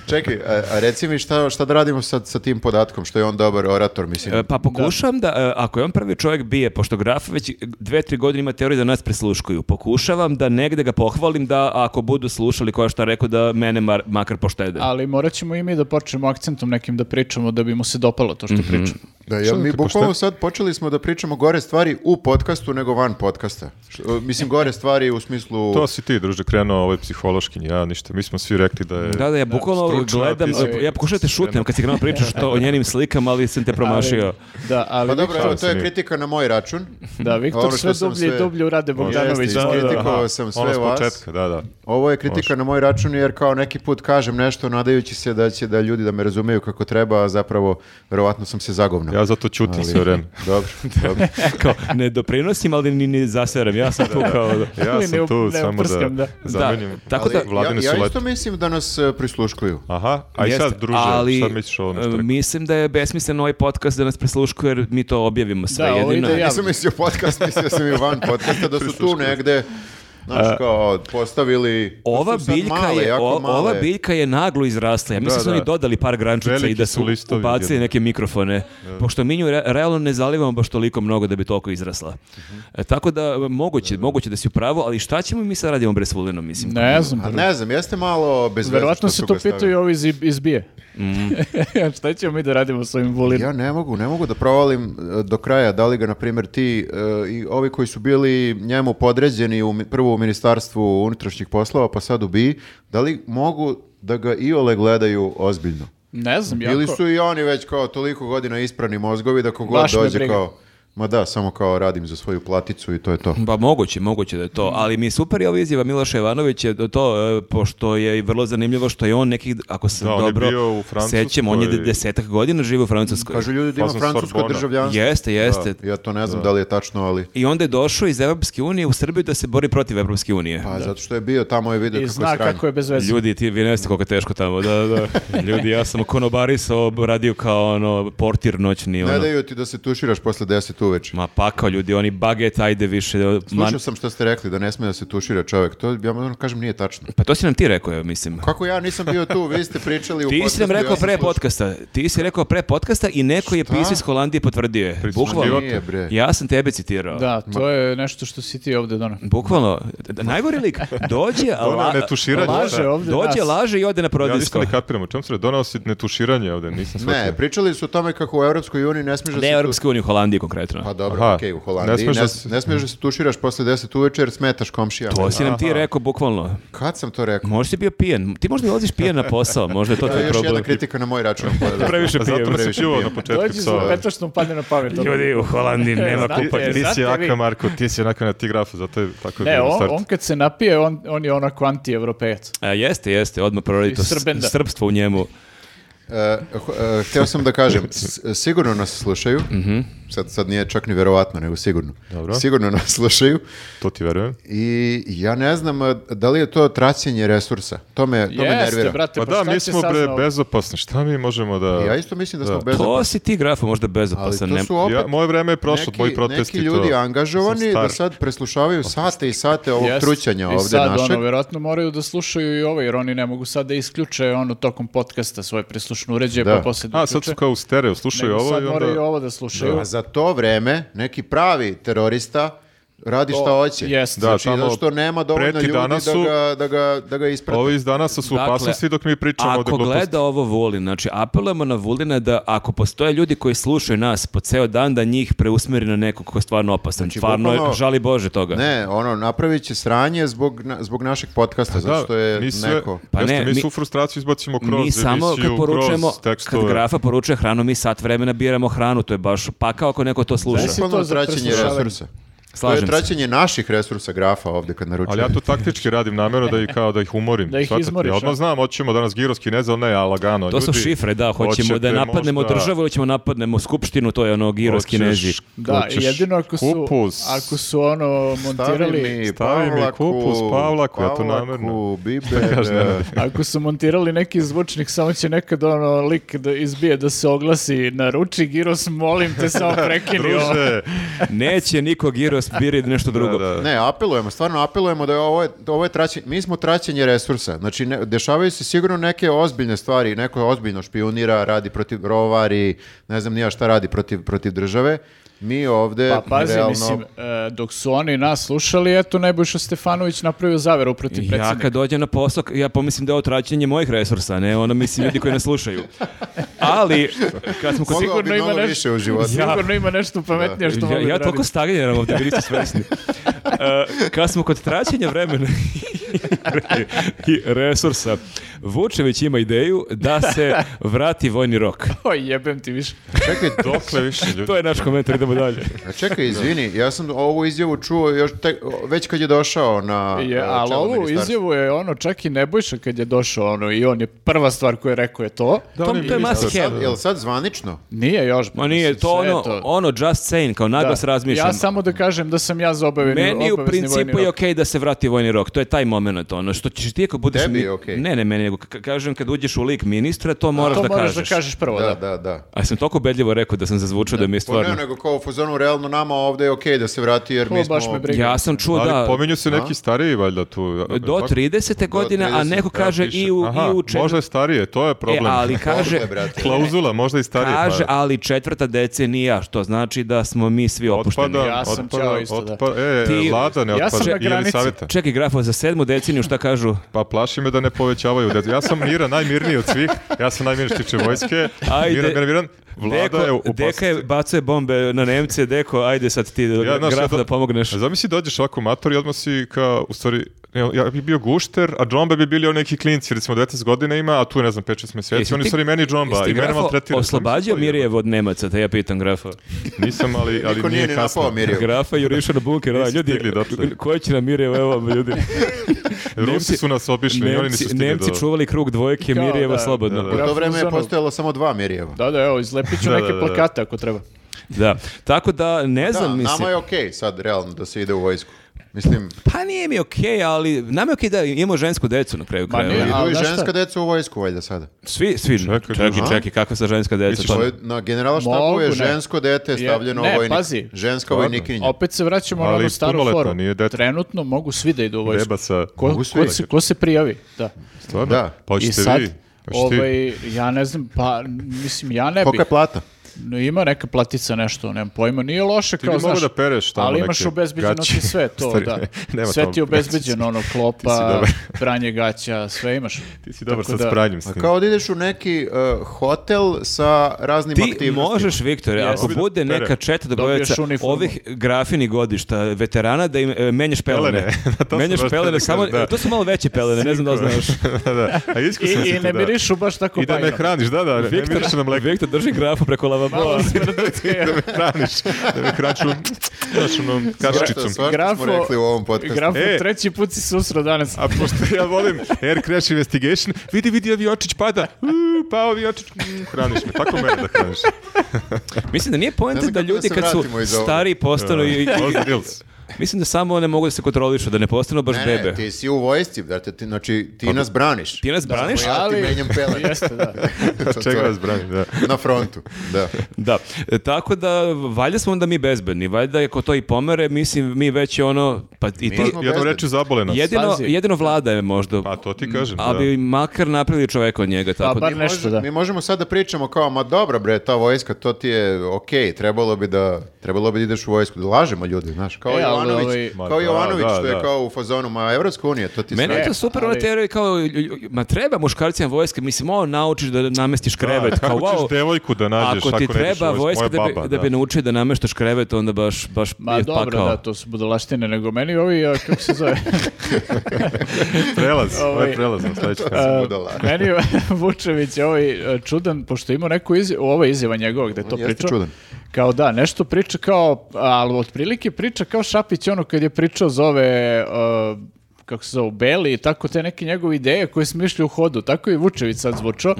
S2: Čekaj, a, a reci mi šta, šta da radimo sad sa tim podatkom, što je on dobar orator, mislim.
S1: E, Pa pokušavam da, e, ako je on prvi čovjek bije, pošto Graf već dve, tri godine ima teoriju da nas presluškuju, pokušavam da negde ga pohvalim da ako budu slušali koja šta rekao da mene mar- makar poštede.
S3: Ali morat ćemo i mi da počnemo akcentom nekim da pričamo da bi mu se dopalo to što
S2: Mhm.
S3: pričamo.
S2: Da, jel mi bukvalno sad počeli smo da pričamo gore stvari u podcastu nego van podcasta. Š- e, Mislim, gore stvari u smislu...
S4: To si ti, druže, krenuo ovaj psihološkinji, ja ništa. Mi smo svi rekli da je...
S1: Da, da, ja bukvalno
S4: stručna,
S1: gledam,
S4: ti si-
S1: ja pokušavam da te šutnem kad si krenuo pričaš to o njenim slikama, ali sam te promašio.
S3: Da, ali
S2: Pa dobro, evo, to je
S4: Sam si.
S2: kritika na moj račun.
S3: da, Viktor
S2: Ono što
S3: sve
S2: sam
S3: dublje i
S2: sve-
S3: dublje urade Bogdanović.
S2: Jeste,
S3: molim
S2: iskritika.
S3: te.
S2: kritikovao sam sve
S4: ono s
S2: vas.
S4: početka, da, da.
S2: Ovo je kritika na moj račun jer kao neki put kažem nešto nadajući se da će da ljudi da me razumeju kako treba, a zapravo verovatno sam se zagovnao.
S4: Ja zato ćutim sve vreme.
S2: Dobro, dobro.
S1: Kao, ne doprinosim, ali ni, ni zaseram. Ja sam tu kao da...
S4: Ja
S3: Ali ne
S4: sam
S3: up-
S4: tu
S3: ne
S4: samo da,
S3: uprskam, da.
S4: zamenim.
S1: Da, tako da-
S2: Ali
S4: Vladine
S2: ja,
S4: su
S2: ja
S4: lete.
S2: isto mislim da nas e, prisluškuju.
S4: Aha, a i sad,
S1: Jeste,
S4: druže,
S1: ali,
S4: šta misliš o ovome što
S1: e,
S4: rekao?
S1: Mislim da je besmislen ovaj podcast da nas presluškuje jer mi to objavimo sve
S3: Da, ovo
S1: jedino.
S3: ide
S2: Ja
S3: Ja-
S2: nisam mislio podcast, mislio sam i van podcasta da su tu
S4: Prisluškuju.
S2: negde Znaš, kao, postavili...
S1: E, Ova
S2: to Pa su sad
S1: biljka,
S2: male,
S1: je,
S2: jako
S1: o-
S2: male.
S1: ova biljka je naglo izrasla. Ja mislim
S4: Da,
S1: da su oni
S4: da.
S1: dodali par grančica
S4: Veliki
S1: i da
S4: su
S1: su
S4: listovi
S1: ubacili
S4: odjednom.
S1: neke mikrofone. Pošto mi nju re- realno ne zalivamo baš toliko mnogo da bi toliko izrasla. E, tako da e, moguće, moguće da si u pravu, ali šta ćemo mi sad radimo brez Vulinom, mislim?
S3: Ne znam.
S2: A Pa ne znam, jeste malo bez veze što
S3: Verovatno se
S2: su
S3: to
S2: ga stavili.
S3: pitaju i ovi iz, izbije.
S1: Mhm.
S3: Šta ćemo mi da radimo s ovim vulinom?
S2: Ja ne mogu, ne mogu da provalim e, do kraja da li ga, na primjer, ti e, i ovi koji su bili njemu podređeni u, mi- prvo u Ministarstvu unutrašnjih poslova, pa sad u BI, da li mogu da ga i ole gledaju ozbiljno?
S3: Ne znam, jako...
S2: Ili su i oni već kao toliko godina isprani mozgovi da kogod
S3: Baš me
S2: dođe
S3: briga.
S2: kao... Ma da, samo kao radim za svoju platicu i to je to.
S1: Pa moguće, moguće da je to, ali mi je super je ova izjava Miloša Jovanovića, do to, e, pošto je i vrlo zanimljivo što je on nekih, ako se
S4: Da, on je bio
S1: dobro
S4: u Francuskoj
S1: sećam, on je de-
S4: i-
S1: desetak godina živi u Francuskoj.
S2: Kažu ljudi da ima
S4: Fazon
S2: francusko
S4: Sorbona.
S2: državljanstvo.
S1: Jeste, jeste.
S2: Da, ja to ne znam da. li je tačno, ali...
S1: I onda je došao iz Evropske unije u Srbiju da se bori protiv Evropske unije.
S2: Pa zato što je bio tamo je vidio
S3: I
S2: kako je
S3: zna
S2: sranje.
S3: kako je bez veze.
S1: Ljudi, ti vi ne znate koliko je teško tamo, da, da. Ljudi, ja sam konobarisao, radio kao ono, portir noćni,
S2: Ne
S1: ono.
S2: daju ti da se tuširaš posle 10 uveče.
S1: Ma pakao ljudi, oni baget, ajde više. Man...
S2: Slušao sam što ste rekli da ne sme da se tušira čovjek. To ja moram da kažem nije tačno.
S1: Pa to si nam ti rekao, ja mislim.
S2: Kako ja nisam bio tu, vi ste pričali u
S1: Ti si
S2: podcastu,
S1: nam rekao
S2: ja sam
S1: pre
S2: slušao.
S1: podcasta. Ti si rekao pre podcasta i neko je
S2: Šta?
S1: pisao iz Holandije potvrdio je.
S4: Prisluškivao.
S1: Bukvalno.
S2: Nije, bre.
S1: Ja sam tebe citirao.
S3: Da, to je nešto što si ti ovdje donao.
S1: Bukvalno. Da- Najgori lik. Dođe, a
S4: Donao
S1: la-
S4: Ono netuširanje.
S3: Laže ovdje
S1: dođe,
S3: nas.
S1: laže i ode na
S4: Ja ništa
S1: prodisko.
S4: ne kapiram, o čemu se radi? donao si netuširanje ovde, nisam shvatio.
S2: Ne, pričali su o tome kako u Europskoj uniji ne smiješ da
S1: Ne
S2: se
S1: Europske unije, u Holandiji konkretno.
S2: tu... Pa dobro,
S4: Aha.
S2: okej, u Holandiji. Ne
S4: Ne
S2: smiješ,
S4: smeš
S2: ne,
S4: da se-
S2: smiješ da se tuširaš posle 10 uveče jer smetaš komšijama.
S1: To si nam ti rekao, bukvalno.
S2: Kad sam to rekao?
S1: Možda si bio pijen. Ti možda dolaziš pijen na posao, možda je to
S2: To je
S1: tvoj
S2: još jedna
S1: problem.
S2: kritika na moj račun.
S1: Previše
S4: A Pa zato
S1: pijem.
S4: me si
S2: previše
S4: pljuvao
S2: pijem.
S4: na početku
S3: Dođi za
S4: psova.
S3: petošnom padne na pamet. ono.
S1: Ljudi, u Holandiji nema
S3: Znate-
S1: kupanja.
S4: Ti
S3: E,
S4: si
S3: znate vi-
S4: jaka, Marko, ti si jaka na tigrafu, zato je tako
S3: Ne,
S4: bilo u
S3: on,
S4: startu.
S3: on kad se napije, on, on je ono onako anti-evropejac.
S1: A, E, jeste, jeste, odmah proradi
S3: I
S1: to s-
S3: srbenda.
S1: srpstvo u njemu.
S2: E, ho- e, htio sam da kažem, s- sigurno nas slušaju, sad, sad nije čak ni verovatno, nego sigurno.
S4: Mhm. Dobro.
S2: Sigurno nas slušaju
S4: To ti verujem.
S2: i ja ne znam e, da li je to traćenje resursa. To me, to me
S3: Jeste,
S2: nervira.
S3: brate,
S4: Pa
S3: pa,
S4: da,
S3: šta
S4: mi
S3: si
S4: smo bre
S3: saznao?
S4: bezopasni, šta mi možemo da...
S2: Ja isto mislim da smo
S4: Da.
S1: To
S2: bezopasni.
S1: si ti grafo možda
S2: Ali
S1: bezopastan.
S2: to
S1: ne-
S2: su opet
S4: Ja, moje vreme je prošlo, moji protesti
S2: neki ljudi
S4: to.
S2: angažovani
S4: Sam star.
S2: da sad preslušavaju sate i sate ovog
S3: Jest.
S2: trućanja
S3: I
S2: ovdje
S3: sad,
S2: našeg.
S3: ono, verovatno moraju da slušaju i ovo, jer oni ne mogu sad da isključe ono tokom podcasta svoje prislušno uređaje,
S2: Da.
S3: pa posle da
S4: A, sad
S3: uključe.
S4: su kao u stereo, slušaju
S3: Nego
S4: ovo
S3: sad
S4: i
S3: moraju i
S4: onda...
S3: ovo da slušaju.
S2: A za to vreme neki pravi terorista radi šta hoće.
S3: jest. Da,
S2: znači,
S4: tamo
S2: zato što nema dovoljno
S4: ono, preti
S2: ljudi da
S4: danas su-
S2: ga, da ga, da ga isprate.
S4: Ovi iz danas su u
S1: Dakle,
S4: opasnosti dok mi pričamo ovde
S1: Ako
S4: gluposti.
S1: gleda ovo Vulin, znači apelujemo na Vulina da ako postoje ljudi koji slušaju nas po ceo dan, da njih preusmeri na nekog ko je stvarno opasan.
S4: Znači,
S1: stvarno,
S2: bukvalno-
S1: žali Bože toga.
S2: Ne, ono, napravit će sranje zbog, na- zbog našeg podcasta, zato što je
S4: mi sve-
S2: neko...
S1: Pa
S4: jeste,
S1: ne,
S4: mi
S1: mi-
S4: svu frustraciju izbacimo kroz
S1: mi samo kad
S4: emisiju,
S1: poručujemo,
S4: kroz
S1: kad
S4: tekstove.
S1: grafa poručuje hranu, mi sat vremena biramo hranu, to je baš pakao ako neko to sluša.
S3: Znaš-
S2: Bukvalno
S3: to za
S2: traćenje
S3: preslušavanje.
S2: resursa.
S1: Slažem
S2: to je
S1: se.
S2: traćenje naših resursa grafa ovdje kad naručujem.
S4: Ali ja to taktički radim namjerno da ih kao da ih umorim.
S3: Da ih
S4: shvatate?
S3: izmoriš,
S4: Ja odmah
S3: a?
S4: znam, hoćemo danas giros kineza, ali ne, a lagano.
S1: To su
S4: ljudi,
S1: šifre, da, hoćemo da
S4: hoćete
S1: napadnemo
S4: možda-
S1: državu ili ćemo napadnemo skupštinu, to je ono giros
S4: hoćeš-
S1: kinezi.
S3: Da,
S4: hoćeš
S3: jedino ako su,
S4: kupus.
S3: ako su ono montirali...
S2: mi
S4: stavi mi
S2: Pavlaku,
S4: kupus, Pavlaku, ja to
S2: Pavlaku,
S4: namerno.
S2: biber,
S4: Kaže, ne, ne.
S2: e,
S3: Ako su montirali neki zvučnik, samo će nekad ono lik da izbije da se oglasi naruči Giros, molim te, samo prekini ovo.
S4: Druže,
S1: Neće niko giros biri nešto drugo.
S4: da, da.
S2: Ne, apelujemo, stvarno apelujemo da je ovo, ovo je traćenje, mi smo traćenje resursa, znači ne, dešavaju se sigurno neke ozbiljne stvari, neko ozbiljno špionira, radi protiv rovari, ne znam nija šta radi protiv, protiv države, mi ovde
S3: Pa pazi,
S2: realno...
S3: mislim, e, dok su oni nas slušali, eto, Nebojša Stefanović napravio zaveru protiv
S1: Ja
S3: predsjednika.
S1: kad dođem na posao, ja pomislim da je ovo traćenje mojih resursa, ne ono mislim ljudi koji ne slušaju. Ali, kad smo kod
S2: Mogao bi
S3: Sigurno ima
S2: mnogo
S3: nešto-
S2: više u životu.
S3: Sigurno ima nešto pametnije što mogu
S1: Ja,
S3: da
S1: ja toliko
S3: radim.
S1: stagniram ovdje, bili ste svesni. E, kad smo kod traćenja vremena i resursa, Vučević ima ideju da se vrati vojni rok.
S3: O, jebem ti više.
S2: Čekaj,
S4: Dokle Dakle, više ljudi?
S1: To je naš komentar, idemo dalje.
S2: a čekaj, izvini, ja sam ovu izjavu čuo još tek- već kad je došao na...
S4: Pa,
S3: Je,
S2: e,
S3: ali
S2: čelo
S3: ovu
S2: ministarstva.
S3: izjavu je ono, čak i Nebojša kad je došao ono, i on je prva stvar koju je rekao je to.
S4: Da,
S1: To-
S4: on je
S1: to je
S4: ministar.
S1: must have.
S2: Sad, jel sad zvanično?
S3: Nije još.
S1: Ma nije,
S3: mislim,
S1: to
S3: sve je
S1: ono, ono just saying, kao
S3: Da.
S1: naglas razmišljam.
S3: Ja samo da kažem da sam ja za obavezni
S1: Meni u
S3: obavezni vojni
S1: principu je
S3: rok.
S1: okej da se vrati vojni rok, to je taj moment ono, što ćeš ti ako budeš...
S2: Tebi je
S1: ni-
S2: okej.
S1: Ne, ne, meni, nego ka- kažem kad uđeš u lik ministra, to moraš,
S3: To
S1: da,
S3: moraš
S1: kažeš.
S3: da kažeš prvo, da.
S2: Da, da, da.
S1: A sam toliko ubedljivo rekao da sam zazvučao da mi je
S2: Pa ne,
S1: stvarno...
S2: nego kao u fazonu, realno nama ovde je okej da se vrati jer
S3: To
S2: mi
S3: baš
S2: smo...
S3: me briga.
S1: Ja sam čuo
S4: Ali
S1: da...
S4: pominju se neki stariji valjda tu.
S1: Do 30. godine, a
S2: 30,
S1: neko kaže
S4: Piše.
S1: i u,
S4: Aha,
S1: i u čet-
S4: Možda je starije, to je problem.
S1: E, ali kaže,
S2: Ogle, brate.
S4: Klauzula, možda i starije. pa-
S1: kaže, ali četvrta decenija, što znači da smo mi svi opušteni.
S4: Otpada,
S3: Ja sam
S4: otpada,
S3: ćao isto, da.
S4: otpa- e,
S1: Ti-
S4: Lada ne
S3: Ja sam
S4: otpada,
S3: na
S4: i
S3: granici.
S4: Elisaveta.
S1: Čekaj, grafo, za sedmu deceniju šta kažu?
S4: Pa plaši me da ne povećavaju. decu. Ja sam miran, najmirniji od svih. Ja sam najmirniji što se tiče vojske.
S1: Ajde.
S4: Miran, miran, miran. Vlada
S1: Deko,
S4: je u
S1: deka je,
S4: opasnosti.
S1: bacuje bombe na Nemce, Deko, ajde sad ti,
S4: znaš,
S1: grafo,
S4: do-
S1: da pomogneš.
S4: Zamisli dođeš ovako mator i odmah si kao, u stvari, ne, ja bi bio gušter, a džomba bi bili oni neki klinci, recimo 19 godina ima, a tu je, ne znam 5-6 meseci,
S1: Jesi
S4: oni
S1: ti-
S4: su i meni džomba
S1: Jesi
S4: i mene
S1: grafo
S4: maltretira.
S1: Oslobađao Mirjev od Nemaca, te ja pitam grafa.
S4: Nisam, ali, ali
S2: Niko nije
S4: nije
S2: ni
S4: kasno.
S2: napao Mirjev.
S1: Grafa juriša na buker, da,
S4: Nisu
S1: ljudi,
S4: stigli dotle.
S1: ko će nam Mirjev, evo ljudi.
S4: Rusi su nas obišli, i oni nisu
S1: Nemci,
S4: stigli
S1: Nemci
S4: do...
S1: čuvali krug dvojke,
S3: Kao,
S1: Mirjeva
S3: da,
S1: slobodno.
S4: da,
S2: U
S4: da.
S2: to vreme je
S3: Grafuzanov.
S2: postojalo samo dva Mirjeva.
S3: Da, da, evo, izlepit ću
S4: Da,
S3: neke
S4: da, da.
S3: plakate ako treba.
S1: Da, tako da ne
S2: Da,
S1: znam, mislim.
S2: nama je okej sad realno da se ide u vojsku. Mislim,
S1: Pa nije mi okej, ali nam je okej da imamo žensku decu na kraju
S3: Ma
S1: krajeva.
S3: nije,
S2: idu
S3: ali
S2: i
S3: znaš
S2: ženska
S3: šta?
S2: deca u vojsku valjda sada.
S1: Svi, svi, čekaj,
S4: Čekaj,
S1: čekaj,
S4: aha.
S1: kakva sa ženska deca? Pa-
S2: To
S1: to-
S2: je, na generala štabu
S3: Mogu,
S2: je
S3: ne.
S2: žensko dete
S3: Je-
S2: stavljeno
S3: ne,
S2: vojnik.
S3: pazi.
S2: Ženska
S4: Stvarno.
S2: vojnikinja.
S3: Opet se vraćamo na
S4: Ali
S3: onu staru
S4: punoletna,
S3: foru.
S4: nije dete.
S3: Trenutno mogu svi da idu u vojsku.
S4: Beba sa...
S3: Ko,
S2: Mogu svi?
S3: ko se, ko se prijavi, da.
S4: Stvarno?
S2: Da.
S4: Pa
S3: I
S4: hoćete
S3: sad,
S4: vi? Hoćete ti?
S3: ovaj, ja ne znam, pa, mislim, ja ne bih.
S2: Kolika je plata?
S3: No, ima neka platica nešto, nemam pojma, nije loše
S4: Ti
S3: kao,
S4: bi mogu
S3: znaš,
S4: da pereš tamo
S3: ali
S4: neke
S3: imaš obezbeđeno
S4: gaće.
S3: ti sve to,
S4: Stari,
S3: da.
S4: nema
S3: sve
S4: tamo
S3: ti je
S4: gaće.
S3: obezbeđeno, ono,
S4: Ti si
S3: klopa,
S4: dobar.
S3: pranje gaća, sve imaš.
S4: Ti si dobar
S3: Tako
S4: sad
S3: da-
S4: s pranjem s
S2: A
S4: njim.
S2: Pa kao da ideš u neki uh, hotel sa raznim
S1: Ti
S2: aktivnostima.
S1: možeš, Viktore,
S3: Jesi.
S1: ako bude
S4: Pere.
S1: neka četa
S3: Dobiješ
S1: dobojaca
S3: uniformu.
S1: ovih grafini godišta veterana da im e, menjaš pelene.
S4: Pelene. To sam
S1: menjaš
S4: baš
S1: pelene,
S4: teo da
S1: samo, e,
S4: kažem, da.
S1: to su malo veće pelene, ne znam da li znaš.
S4: da, da. A iskusan si
S3: I, I
S4: ti,
S3: ne
S4: da.
S3: mirišu baš tako
S4: I da me
S3: bajno.
S4: hraniš, da, da, ne miriš na mleko.
S1: Viktor drži grafu preko lavaboa.
S3: Malo smrducke,
S4: da me hraniš, da me hraniš onom- znaš, onom
S2: Svašta,
S4: kaščicom.
S2: svašta
S3: Grafo-
S2: smo rekli u ovom podcastu.
S3: Grafo,
S4: E.
S3: treći put si susro danas.
S4: A pošto ja volim Air Crash Investigation, vidi, vidi, aviočić pada, uuu, pao aviočić, mm, hraniš me, tako mene da hraniš.
S1: Mislim da nije
S2: Ne
S1: poenta
S2: znam
S1: da
S2: kako da
S1: ljudi
S2: se
S1: kad su
S2: vratimo iz ovoga.
S1: stari postanu Ono i... i-
S4: Oz Reels.
S1: Mislim da samo ne mogu da se kontrolišu, da ne postanu baš
S2: Ne, ne,
S1: bebe.
S2: ti si u vojsci, brate, ti, znači ti nas braniš.
S1: Ti nas braniš?
S2: Ja ti menjam pelene.
S3: Jeste, da.
S2: To- to
S4: Čega
S2: je
S4: vas branim, da.
S2: Na frontu, da.
S1: Da, E, tako da valjda smo onda mi bezbedni, valjda ako to i pomere, mislim mi već ono, pa i ti,
S2: smo
S4: Jednom
S2: bezbedni.
S4: rečju zabole nas.
S1: jedino,
S3: Pazi.
S1: jedino vlada je možda,
S4: Pa to ti kažem,
S1: ali
S4: da.
S1: bi makar napravili čovek od njega, tako da.
S3: Pa bar nešto, da.
S2: Mi možemo sad da pričamo kao, ma dobro bre, ta vojska, to ti je okej, trebalo bi da, trebalo bi da ideš u vojsku. Lažemo ljudi, znaš, kao
S3: E, ali
S2: Jovanović,
S3: ovaj-
S4: Ma
S2: kao
S4: da,
S2: Jovanović
S4: da,
S2: što je
S4: da.
S2: kao u fazonu, ma Evropska unija, to ti
S1: Meni
S2: sve.
S1: je to
S3: E,
S1: super,
S3: ali-
S1: ono teraju kao, lju- lju- ma treba muškarcima vojske, mislim, ovo naučiš da namestiš krevet,
S4: Da,
S1: kao,
S4: kako
S1: wow,
S4: ćeš devojku da nađeš
S1: ako ti
S4: ako ne ideš u
S1: treba
S4: vojsku?
S1: vojska da
S4: Moja
S1: bi,
S4: baba,
S1: da bi
S4: da.
S1: naučio da nameštaš krevet, onda baš, baš
S3: Ma
S1: je
S2: Pa
S3: dobro,
S1: pakao.
S3: da, to su budalaštine, nego meni ovi, a, kako se zove,
S4: Prelaz, ovo
S3: Ovaj,
S4: je prelaz na sledeću
S3: a,
S4: kanal.
S2: budala.
S3: meni je Vučević je ovaj a, čudan, pošto je imao neku izjavu, ovo je izjava njegova gde to
S2: jeste
S3: pričao.
S2: čudan.
S3: Kao da, nešto priča kao, ali otprilike priča kao Šapić ono kad je pričao za ove, a, kako se zove, Beli i tako te neke njegove ideje koje smišlja u hodu, tako i Vučević sad zvučao.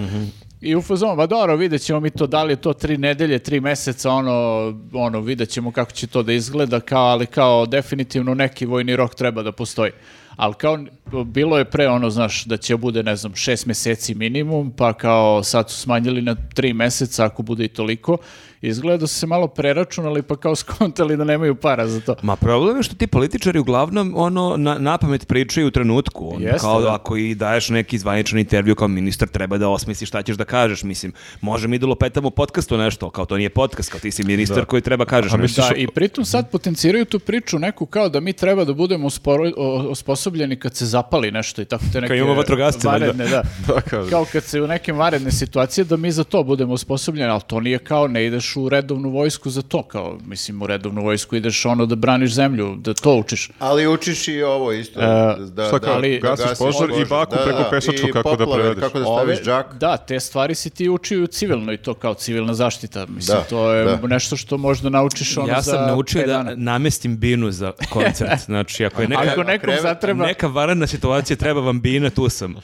S3: I u fazonu, ma dobro, vidjet ćemo mi to, da li je to tri nedelje, tri meseca, ono, ono, vidjet ćemo kako će to da izgleda, kao, ali kao definitivno neki vojni rok treba da postoji. Ali kao, bilo je pre ono, znaš, da će bude, ne znam, šest meseci minimum, pa kao sad su smanjili na tri meseca, ako bude i toliko. Izgleda da su se malo preračunali, pa kao skontali da nemaju para za to.
S1: Ma problem je što ti političari uglavnom ono na, na pamet pričaju u trenutku. Ono,
S3: Jeste,
S1: kao
S3: da.
S1: ako i daješ neki zvanični intervju kao ministar treba da osmisliš šta ćeš da kažeš, mislim. Može mi da lopetamo u podcastu nešto, kao to nije podcast, kao ti si ministar koji treba kažeš. nešto.
S3: Da, i pritom sad potenciraju tu priču neku kao da mi treba da budemo usporo- o- osposobljeni kad se zapali nešto i tako te neke
S1: imamo vatrogasce, valjda.
S3: varedne, da.
S4: Da, kao-
S3: Kao kad se u nekim varedne situacije da mi za to budemo osposobljeni, ali to nije kao ne ideš u redovnu vojsku za to, kao mislim u redovnu vojsku ideš ono da braniš zemlju, da to učiš.
S2: Ali učiš i ovo isto.
S3: E,
S2: da,
S4: šta kao,
S3: ali-
S4: gasiš požar i baku preko pešačku
S2: i
S4: kako da
S2: poplave,
S4: prevedeš.
S2: Kako da staviš
S3: Ove-
S2: džak.
S3: E, Da, te stvari si ti uči u civilnoj, to kao civilna zaštita. Mislim,
S2: Da,
S3: to je
S2: da.
S3: nešto što možda naučiš ono
S1: ja
S3: za
S1: sam naučio
S3: pet
S1: da
S3: dana.
S1: namestim binu za koncert. Znači, ako je neka,
S3: Ako nekom
S2: krevet-
S3: zatreba...
S1: neka varana situacija, treba vam bina, tu sam.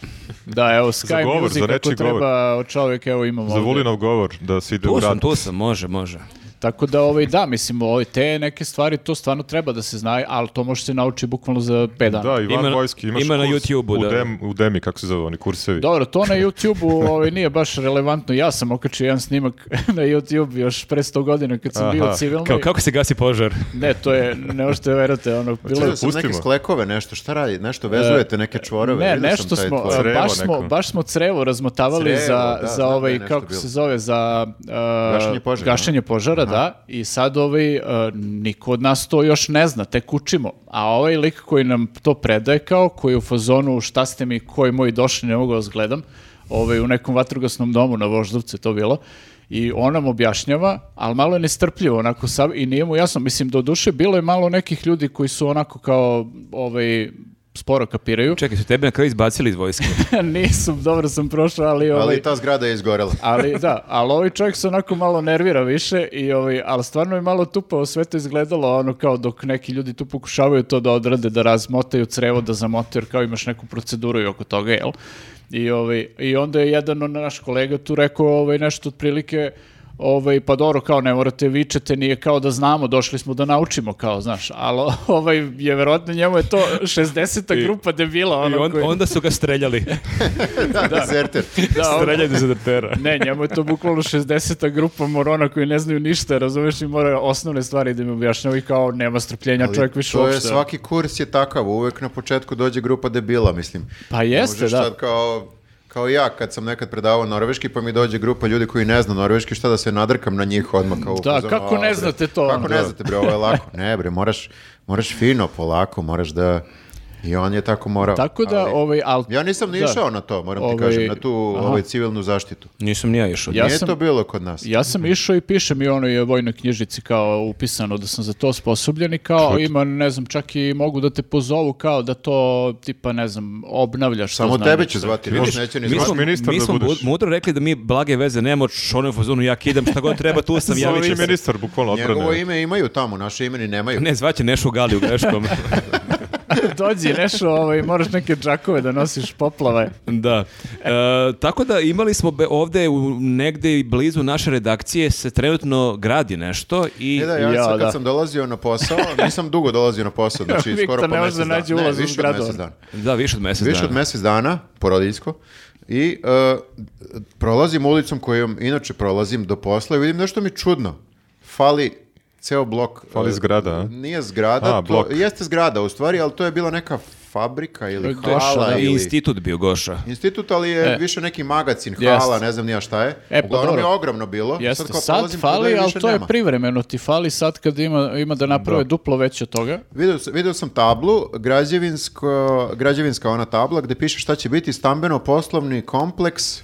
S3: Da, evo, Sky
S4: govor,
S3: Music,
S4: za
S3: ako
S4: nečiji govor.
S3: treba, čovjek, evo imamo
S4: Za
S3: ovdje.
S4: Vulinov govor, da se ide u
S1: Tu sam,
S4: rat.
S1: tu sam, može, može.
S3: Tako da, ovaj, da, mislim, ovaj, te neke stvari, to stvarno treba da se zna, ali to može se nauči bukvalno za 5 dana.
S4: Da, i van
S1: Ima na-
S4: vojski imaš
S1: ima na
S4: kurs
S1: YouTubeu,
S4: u,
S1: da.
S4: dem, u Demi, kako se zove, oni kursevi.
S3: Dobro, to na YouTube-u ovaj, nije baš relevantno. Ja sam okačio jedan snimak na YouTube još pre 100 godina kad sam
S4: Aha,
S3: bio civilno.
S1: Kao, kako se gasi požar?
S3: Ne, to je, ne možete verati, ono, bilo je
S2: Čuo sam neke
S4: pustimo.
S2: sklekove, nešto, šta radi? Nešto vezujete, neke čvorove.
S3: Ne,
S2: vidio sam
S3: nešto
S2: taj
S3: smo,
S2: tvoj.
S3: a,
S4: Crevo
S3: baš smo,
S4: neko.
S3: baš smo crevo razmotavali
S2: Crevo,
S3: za,
S2: da,
S3: za
S2: znam da je
S3: ovaj,
S2: nešto
S3: kako
S2: bilo.
S3: se zove, za a,
S2: Gašenje požara,
S3: gašenje požara, da, i sad ovaj, a, niko od nas to još ne zna, tek učimo, a ovaj lik koji nam to predaje kao, koji je u fazonu šta ste mi, koji moji došli, ne mogu vas gledam, ovaj, u nekom vatrogasnom domu na Voždovcu je to bilo, I on nam objašnjava, ali malo je nestrpljivo onako sav, i nije mu jasno. Mislim, do duše bilo je malo nekih ljudi koji su onako kao ovaj, sporo kapiraju.
S1: Čekaj, su tebe na kraju izbacili iz vojske.
S3: Nisam, dobro sam prošao, ali... Ovaj,
S2: Ali ta zgrada je izgorela.
S3: ali da, ali ovaj čovjek se onako malo nervira više, i ovaj, ali stvarno je malo tupao, sve to izgledalo ono kao dok neki ljudi tu pokušavaju to da odrade, da razmotaju crevo, da zamotaju, jer kao imaš neku proceduru i oko toga, jel? I, ovaj, i onda je jedan on, naš kolega tu rekao ovaj, nešto otprilike, ovaj, pa dobro, kao ne morate vičete, nije kao da znamo, došli smo da naučimo, kao, znaš, ali ovaj, je verovatno njemu je to 60. grupa debila,
S1: I
S3: ono
S1: on-
S3: koji-
S1: onda su ga streljali.
S2: da, dezerter.
S3: da, ono-
S1: Streljali za detera.
S3: ne, njemu je to bukvalno 60. grupa morona koji ne znaju ništa, razumeš, i mora osnovne stvari da mi objašnjava i kao nema strpljenja, čovjek više
S2: to je,
S3: uopšte.
S2: svaki kurs je takav, uvek na početku dođe grupa debila, mislim.
S3: Pa jeste,
S2: Možeš
S3: da.
S2: sad kao, kao ja, kad sam nekad predavao norveški, pa mi dođe grupa ljudi koji ne zna norveški, šta da se nadrkam na njih odmah kao u
S3: Da,
S2: fazonu,
S3: kako
S2: "A,
S3: ne
S2: bre,
S3: znate to, ono?"
S2: Kako ne
S3: Da.
S2: znate, bre, ovo je lako. Ne, bre, moraš, moraš fino, polako, moraš da... I on je tako morao.
S3: Tako da,
S2: Ali
S3: ovaj, al...
S2: Ja nisam ni
S3: da.
S2: išao na to, moram ti
S3: Ovaj,
S2: kažem, na tu
S3: aha.
S2: ovaj, civilnu zaštitu.
S1: Nisam ni ja išao.
S3: Ja
S2: Nije
S3: sam-
S2: to bilo kod nas.
S3: Ja sam išao i pišem i ono je vojnoj knjižici kao upisano da sam za to sposobljen i kao ima, ne znam, čak i mogu da te pozovu kao da to tipa, ne znam, obnavljaš. to
S2: Samo
S3: znanje.
S2: tebe će zvati,
S1: Vidiš,
S2: vas neće ni
S1: mi
S2: zvati.
S1: smo,
S4: Ministar
S1: mi
S4: da
S1: smo
S4: budeš.
S1: bu- mudro rekli da mi blage veze nemamo, šonujem u fazonu, ja kidam šta god treba, tu sam, ja
S4: Zove
S1: ću
S4: će
S1: se.
S4: ministar, bukvalno
S2: Njegovo
S4: odbrane.
S2: ime imaju tamo, naše ime ni nemaju.
S1: Ne, zvaće Nešu Gali u greškom.
S3: Dođi nešto, ovaj, moraš neke džakove da nosiš poplave.
S1: da. E, tako da imali smo be, ovde u, negde i blizu naše redakcije se trenutno gradi nešto i...
S2: E da, ja,
S3: Ja,
S2: sad kad
S3: da.
S2: sam dolazio na posao, nisam dugo dolazio na posao, znači
S3: Viktor
S2: skoro po
S3: ne
S2: mjesec
S3: može da
S2: dana.
S3: nađe ulaz u
S2: ne, više od
S3: zgradu. ono.
S2: mjesec dana.
S1: Da, više od mjesec
S2: Više
S1: dana.
S2: od mjesec dana, porodiljsko, i e, prolazim ulicom kojom inače prolazim do posla i vidim nešto mi čudno. Fali ceo blok.
S4: Fali
S2: e,
S4: zgrada, a?
S2: Nije zgrada,
S4: A,
S2: to-
S4: blok.
S2: jeste zgrada u stvari, ali to je bila neka fabrika ili
S3: Goša,
S2: hala
S3: da.
S1: I
S2: ili...
S1: institut bio Goša.
S2: Institut, ali je
S3: E.
S2: više neki magacin, hala,
S3: Jeste.
S2: ne znam nija šta je.
S3: E, pa
S2: Uglavnom je
S3: dobro.
S2: ogromno bilo.
S3: Jeste,
S2: kao
S3: sad,
S2: prolazim tuda i
S3: fali, ali
S2: više
S3: to je
S2: nema.
S3: privremeno ti fali sad kad ima, ima da naprave duplo veće od toga.
S2: Video, sam- video sam tablu, građevinsko, građevinska ona tabla gde piše šta će biti stambeno-poslovni kompleks.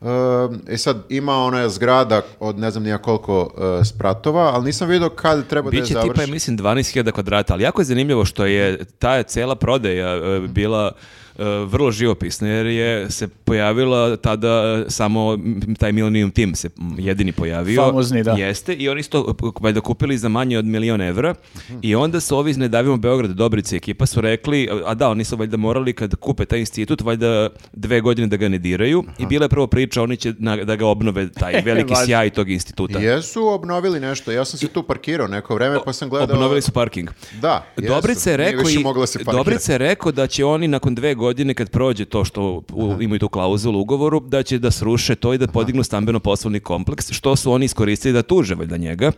S2: Um, E sad ima ona zgrada od ne znam nija koliko e, spratova, ali nisam vidio kad treba da je
S1: Biće tipa, ja
S2: završi.
S1: mislim, 12.000 kvadrata, ali jako je zanimljivo što je ta cela prodaja e,
S2: Mhm.
S1: bila e, vrlo živopisna, jer je se pojavila tada e, samo m, taj Millennium Team se m, jedini pojavio.
S3: Famozni, da.
S1: Jeste, i oni su to e, valjda kupili za manje od milion evra
S2: Mhm.
S1: i onda su ovi iz Nedavimo Beograd, Dobrice ekipa su rekli, e, a da, oni su valjda morali kad kupe taj institut, valjda dve godine da ga ne diraju i bila je prvo priča, oni će na- da ga obnove taj veliki
S3: važno.
S1: sjaj tog instituta.
S2: Jesu obnovili nešto, ja sam se tu parkirao neko vreme pa sam gledao...
S1: Obnovili su parking.
S2: Da, jesu.
S1: Dobrica je
S2: Nije
S1: rekao
S2: više
S1: i-
S2: moglo se parkirati.
S1: Dobrica je rekao da će oni nakon dve godine kad prođe to što u- imaju tu klauzulu u ugovoru da će da sruše to i da podignu stambeno poslovni kompleks što su oni iskoristili da tuže valjda njega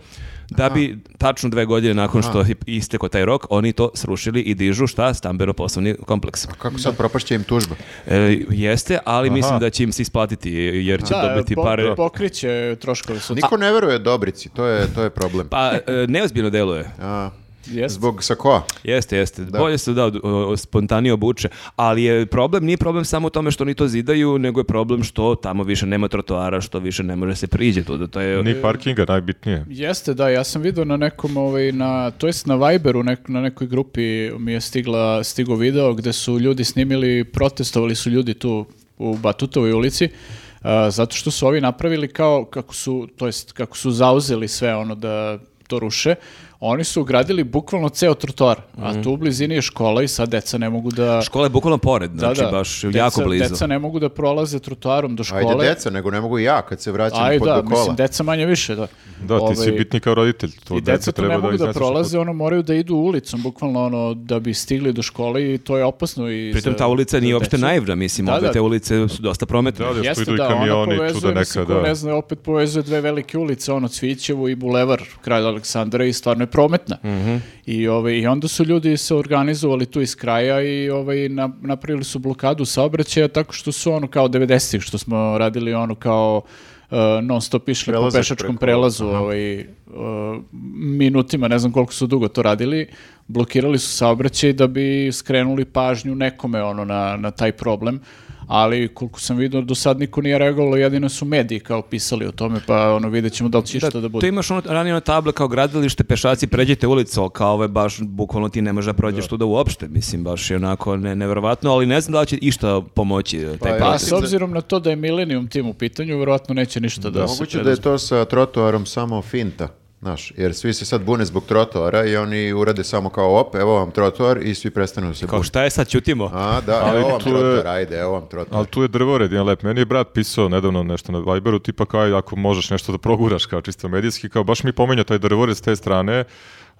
S1: da bi tačno dve godine nakon što je istekao taj rok oni to srušili i dižu šta stambeno poslovni kompleks.
S2: Kako sad propašće im tužba?
S1: E, jeste, ali mislim da će im se isplatiti jer će dobiti
S3: po-
S1: pare.
S3: pokriće troškove su.
S2: Niko ne veruje Dobrici, to je, to je problem.
S1: Pa e, neozbiljno deluje.
S2: A,
S3: Jeste.
S2: Zbog sakoa.
S1: Jeste, jeste. Bolje se da od- o- o- spontanije obuče, ali je problem nije problem samo u tome što oni to zidaju, nego je problem što tamo više nema trotoara, što više ne može se priđe tu, da to je
S4: Ni parkinga, najbitnije.
S3: Jeste, da, ja sam vidio na nekom, ovaj, na, to jest na Viberu, nek- na nekoj grupi mi je stigla, stigo video gde su ljudi snimili, protestovali su ljudi tu u Batutovoj ulici, a, zato što su ovi napravili kao, kako su, to jest, kako su zauzeli sve ono da to ruše, oni su ugradili bukvalno ceo trotoar,
S1: Mhm.
S3: a tu u blizini je škola i sad deca ne mogu da...
S1: škola je bukvalno pored,
S3: Da,
S1: znači
S3: da,
S1: baš
S3: deca-
S1: jako blizu.
S3: Deca ne mogu da prolaze trotoarom do škole.
S2: Ajde deca, nego ne mogu ja kad se vraćam
S3: Ajde,
S2: pod
S3: da,
S2: do kola.
S3: mislim, deca manje više, da.
S4: Da, ti si
S3: Ovaj,
S4: bitni kao roditelj. To
S3: I deca tu ne
S4: treba
S3: mogu da,
S4: izneseš
S3: prolaze, ono moraju da idu ulicom, bukvalno ono da bi stigli do škole i to je opasno i
S1: Pritom
S3: za-
S1: ta ulica
S3: za
S1: nije uopšte
S3: decu.
S1: naivna, mislim,
S3: Da,
S1: ovdje
S3: da.
S1: te ulice su dosta prometne.
S4: Da, da, što
S3: Jeste
S4: idu i
S3: da, ona
S4: kamioni, čuda
S3: povezuje,
S4: neka,
S3: mislim, ko
S4: da.
S3: ne zna, opet povezuje dve velike ulice, ono Cvićevu i Bulevar Kralja Aleksandra i stvarno je prometna.
S4: Mhm.
S3: I, ovaj, I onda su ljudi se organizovali tu iz kraja i ovaj, na- napravili su blokadu saobraćaja tako što su ono kao 90-ih, što smo radili ono kao uh, non stop išli po
S2: Prelazak
S3: pešačkom
S2: preko-
S3: prelazu ovaj, uh, minutima, ne znam koliko su dugo to radili, blokirali su saobraćaj da bi skrenuli pažnju nekome ono na, na taj problem ali koliko sam vidio, do sad niko nije reagovalo, jedino su mediji kao pisali o tome, pa ono, vidjet ćemo da li će što
S1: Tu
S3: da bude.
S1: imaš ono, ranije ono table kao gradilište, pešaci, pređite ulicu, ali kao ovo je baš, bukvalno ti ne možeš da prođeš tuda uopšte, mislim, baš je onako ne, nevjerovatno, ali ne znam da li će išta pomoći e, taj
S2: Pa,
S3: Pa,
S1: proces.
S3: s obzirom na to da je Millennium tim u pitanju, vjerojatno neće ništa da, se
S2: Moguće da je to sa trotoarom samo finta, znaš, jer svi se sad bune zbog trotoara i oni urade samo kao op, evo vam trotoar i svi prestanu da se
S1: Kao
S2: bune.
S1: šta je sad, ćutimo?
S2: A, da,
S4: Ali
S2: evo vam
S4: tu je-
S2: trotoar, ajde, evo vam trotoar.
S4: Ali tu je drvored, jedan lep. Meni je brat pisao nedavno nešto na Viberu, tipa kao "Aj, ako možeš nešto da proguraš kao čisto medijski, kao baš mi pomenja taj drvored s te strane,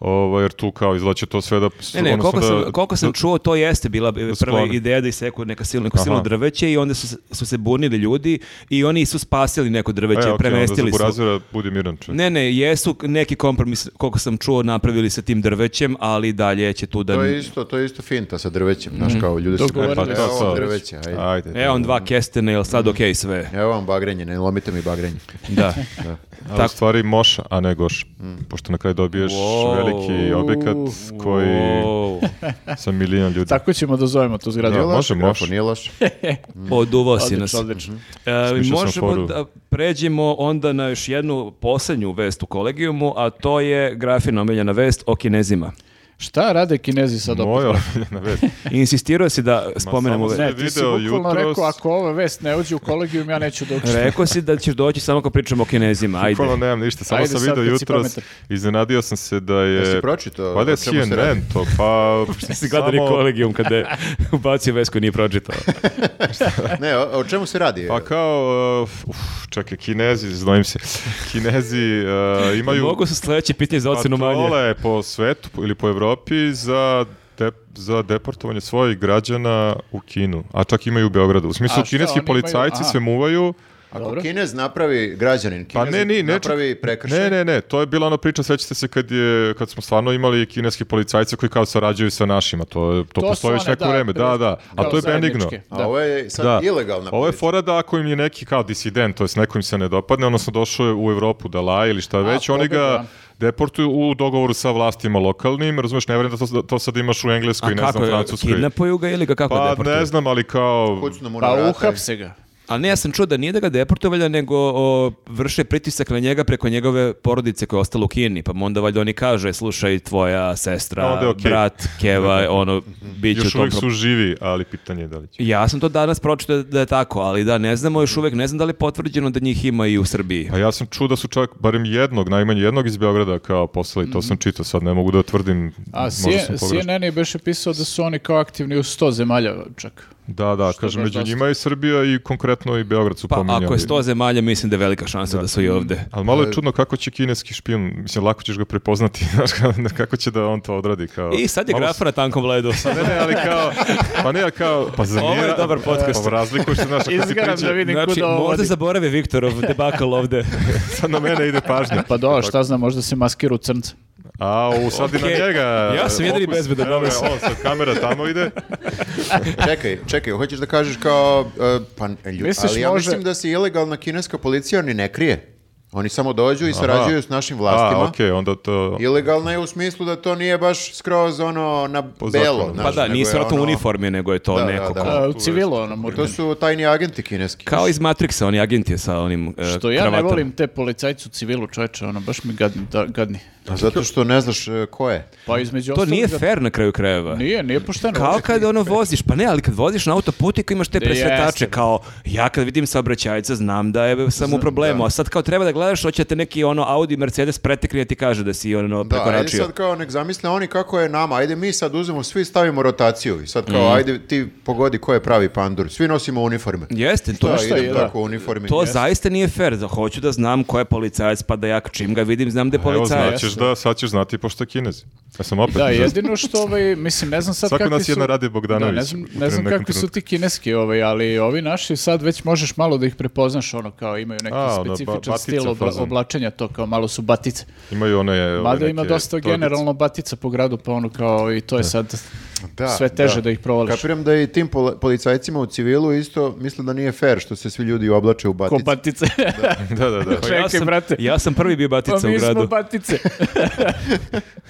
S4: ovaj, jer tu kao izgleda će to sve da...
S1: Ne, ne,
S4: odnosno
S1: koliko sam,
S4: da-
S1: koliko sam čuo, to jeste bila e, prva
S4: sklone.
S1: ideja da iseku neka silno, neko silno
S4: Aha.
S1: drveće i onda su, se- su se bunili ljudi i oni su spasili neko
S4: E,
S1: drveće,
S4: okej, onda
S1: premestili su.
S4: Zaburazira, budi miran čovječe.
S1: Ne, ne, jesu k- neki kompromis, koliko sam čuo, napravili sa tim drvećem, ali dalje će tu da...
S2: To je isto, to je isto finta sa drvećem, znaš,
S4: Mhm.
S2: kao ljudi se
S3: Dogovorili
S2: bune,
S3: su.
S2: evo vam
S4: to.
S2: drveće, ajde.
S4: Ajde.
S1: Evo E, on dva kestene, jel sad okej sve?
S2: Evo vam bagrenje, ne lomite mi bagrenje.
S1: Da.
S4: A u
S1: Tako. Mm.
S4: stvari moša, a ne goš. Pošto na kraju dobiješ
S1: Wow.
S4: veliki objekat koji
S1: Wow.
S4: sa milion ljudi.
S3: Tako ćemo da zovemo tu zgradu.
S2: Nije
S4: može,
S2: loše,
S4: može.
S2: Grafo, nije loše.
S1: Oduvao si nas.
S3: Odlično, odlično.
S1: E,
S4: Smišljao sam
S1: možemo
S4: foru.
S1: da pređemo onda na još jednu posljednju vest u kolegijumu, a to je grafina omiljena vest o kinezima.
S3: Šta rade kinezi sad opet?
S4: Moja omiljena vest.
S1: Insistirao si da spomenemo
S4: samo
S1: vest.
S4: se-
S3: Ne, ti si
S4: Video
S3: bukvalno
S4: jutros-
S3: rekao, ako ova vest ne uđe u kolegijum, ja neću da učinim.
S1: Rekao si da ćeš doći samo ako pričamo o kinezima, ajde.
S4: Bukvalno nemam ništa, samo
S3: Ajde
S4: sam
S3: sad
S4: vidio
S3: kad si
S4: jutros,
S3: pametan.
S4: iznenadio sam se da je...
S2: Jesi pročitao
S4: Valjda je
S2: o čemu se radi?
S4: CNN to, pa...
S1: Si gledali
S4: samo-
S1: kolegijum kada je ubacio vest koju nije pročitao.
S2: Ne, o, o čemu se radi?
S4: Pa kao, uh, uf, čekaj, kinezi, znojim se, kinezi uh, imaju...
S1: Mogu su sledeće pitanje za ocenu manje.
S4: patrole po svetu po- ili po Evropi za de- za deportovanje svojih građana u Kinu, a čak imaju i u Beogradu. U smislu,
S3: A šta,
S4: kineski
S3: oni imaju-
S4: policajci
S3: aha.
S4: sve muvaju,
S2: Ako
S3: Dobro.
S2: Kinez napravi građanin, Kinez
S4: pa ne, ni, ne,
S2: napravi prekršaj.
S4: ne, ne, ne, to je bila ona priča, sećate se kad, je, kad smo stvarno imali kineske policajce koji kao sarađuju sa našima, to, je- to,
S3: To su
S4: postoji već
S3: one,
S4: neko
S3: da,
S4: vreme, da,
S3: pre-
S4: da, a
S3: kao
S4: to je benigno.
S3: zajedničke.
S2: A
S3: Da.
S2: ovo je sad
S4: Da.
S2: ilegalna
S4: Ovo je
S2: policija.
S4: fora da ako im je neki kao disident, to jest neko im se ne dopadne, odnosno došao je u Europu da laje ili šta već, oni
S3: pobegao,
S4: ga
S3: da.
S4: deportuju u dogovoru sa vlastima lokalnim, razumeš, ne vjerujem da to, da to sad imaš u Engleskoj,
S1: A
S4: ne
S1: kako,
S4: znam,
S1: je,
S4: Francuskoj.
S1: kidnapuju ga ili ga kako
S4: Pa
S1: deportuju?
S4: ne znam, ali kao...
S2: Kucnu mu na
S3: Pa
S2: vrata i-
S3: uhapse ga.
S1: A ne, ja sam čuo da nije da ga deportovali, nego o, vrše pritisak na njega preko njegove porodice koja je ostala u Kini, pa mu onda valjda oni kaže, slušaj, tvoja sestra,
S4: Onda je okej.
S1: brat, keva, ono, bit će u
S4: Još
S1: tom
S4: uvijek
S1: pro-
S4: su živi, ali pitanje je da li će.
S1: Ja sam to danas pročitao da je tako, ali da, ne znamo još uvek, ne znam da li je potvrđeno da njih ima i u Srbiji.
S4: Pa ja sam čuo da su čak barem jednog, najmanje jednog iz Beograda kao poslali, to
S1: Mhm.
S4: sam čitao, sad ne mogu da tvrdim,
S3: A
S4: možda sam
S3: C-
S4: pogrešan.
S3: CNN je beše pisao da su oni kao aktivni u 100 zemalja čak.
S4: Da, da,
S3: Što
S4: kažem,
S3: baš
S4: među
S3: dosta.
S4: njima je Srbija i konkretno i Beograd su
S1: Pa
S4: pominjali.
S1: ako je E- sto zemalja, mislim da je velika šansa da, su i ovde.
S4: Ali malo je čudno kako će kineski špijun, mislim, lako ćeš ga prepoznati, znaš, kao, kako će da on to odradi. Kao,
S1: I sad je
S4: Malo
S1: grafa na tankom ledu.
S4: Pa ne, ne, ali kao, pa ne, ali kao, pa za
S1: Ovo je
S4: nije,
S1: dobar podcast.
S4: Pa razlikuješ se, znaš, ako si
S3: Izgaram
S4: priča,
S3: da vidim
S1: Znači,
S3: kuda ovo
S1: možda
S3: vodi.
S1: zaboravi Viktorov debakal ovde.
S4: sad na mene ide pažnja.
S3: Pa do, šta znam, možda se maskira u crnca.
S4: A, u, sad i na
S1: Okej.
S4: njega.
S1: Ja sam jedini
S4: fokus.
S1: bezbedan,
S4: Evo ga,
S1: dobro.
S4: on, sad kamera tamo ide.
S2: čekaj, čekaj, hoćeš da kažeš kao, e, pa ljud,
S3: Misliš,
S2: ali ja
S3: može-
S2: mislim da se ilegalna kineska policija ni ne krije. Oni samo dođu i sarađuju s našim vlastima.
S4: A, okej, onda to...
S2: Ilegalna je u smislu da to nije baš skroz ono na belo.
S4: zakonu.
S1: Pa
S2: znaš,
S1: da,
S2: nego
S1: nisu
S2: je
S1: vratno u
S2: ono-
S1: uniformi, nego je to
S2: Da, da,
S1: neko
S2: da.
S1: ko-
S3: A, u
S4: tu
S3: civilu, ono,
S2: To
S3: murgani.
S2: su tajni agenti kineski.
S1: Kao iz Matrixa, oni agent je sa onim e,
S3: Što ja ne
S1: kravatama.
S3: volim te policajcu u civilu, čoveče, ono, baš mi gadni. Da, gadni.
S2: A Zato što ne znaš e, ko je.
S3: Pa između
S1: To nije
S3: ostaloga-
S1: fair na kraju krajeva.
S3: Nije, nije pošteno.
S1: Kao kad ono voziš, pa ne, ali kad voziš na autoputu i kao imaš te
S3: Da, jeste.
S1: presretače, kao ja kad vidim saobraćajca znam da je sam u problemu, a sad kao treba da gledaš, hoće te neki ono Audi, Mercedes pretekne i ti kaže da si ono
S2: Da, ajde
S1: prekoračio.
S2: sad kao nek zamisle oni kako je nama, ajde mi sad uzmemo, svi stavimo rotaciju i sad
S3: Mhm.
S2: kao ajde ti pogodi ko je pravi pandur, svi nosimo uniforme.
S1: Jeste, to,
S2: Da,
S3: šta
S2: idem
S3: je, da.
S2: tako u uniformi.
S1: to zaista nije fair, da hoću da znam ko je policajac, pa da ja čim ga vidim znam da je
S4: Evo,
S1: policajac.
S4: znaćeš da, sad ćeš znati pošto je kinezi. Ja sam opet...
S3: Da, jedino što, ovaj, mislim, ne znam sad
S4: Svako
S3: kakvi
S4: nas
S3: su...
S4: jedna radi Bogdanović
S3: Da, ne znam,
S4: u
S3: ne znam
S4: nekom
S3: kakvi su
S4: trenutku.
S3: ti kineski, ovaj, ali ovi naši sad već možeš malo da ih prepoznaš, ono, kao imaju neki
S4: A, ono, ba-
S3: specifičan
S4: batica
S3: stil obla-
S4: fazon.
S3: oblačenja, to kao malo su batice.
S4: Imaju one... ove
S3: Mada ima
S4: neke
S3: dosta
S4: torbice.
S3: generalno batica po gradu, pa ono kao i to je sad
S2: Da,
S3: sve teže da, ih provališ.
S2: Kapiram da i tim pola- policajcima u civilu isto misle da nije fair što se svi ljudi oblače u
S4: pa-
S2: batice.
S3: Ko batice.
S4: Da, da, da.
S1: Pa
S3: Čekaj,
S1: ja sam,
S3: brate.
S1: ja sam prvi bio
S3: Pa
S1: batica u
S3: mi smo
S1: gradu.
S3: batice.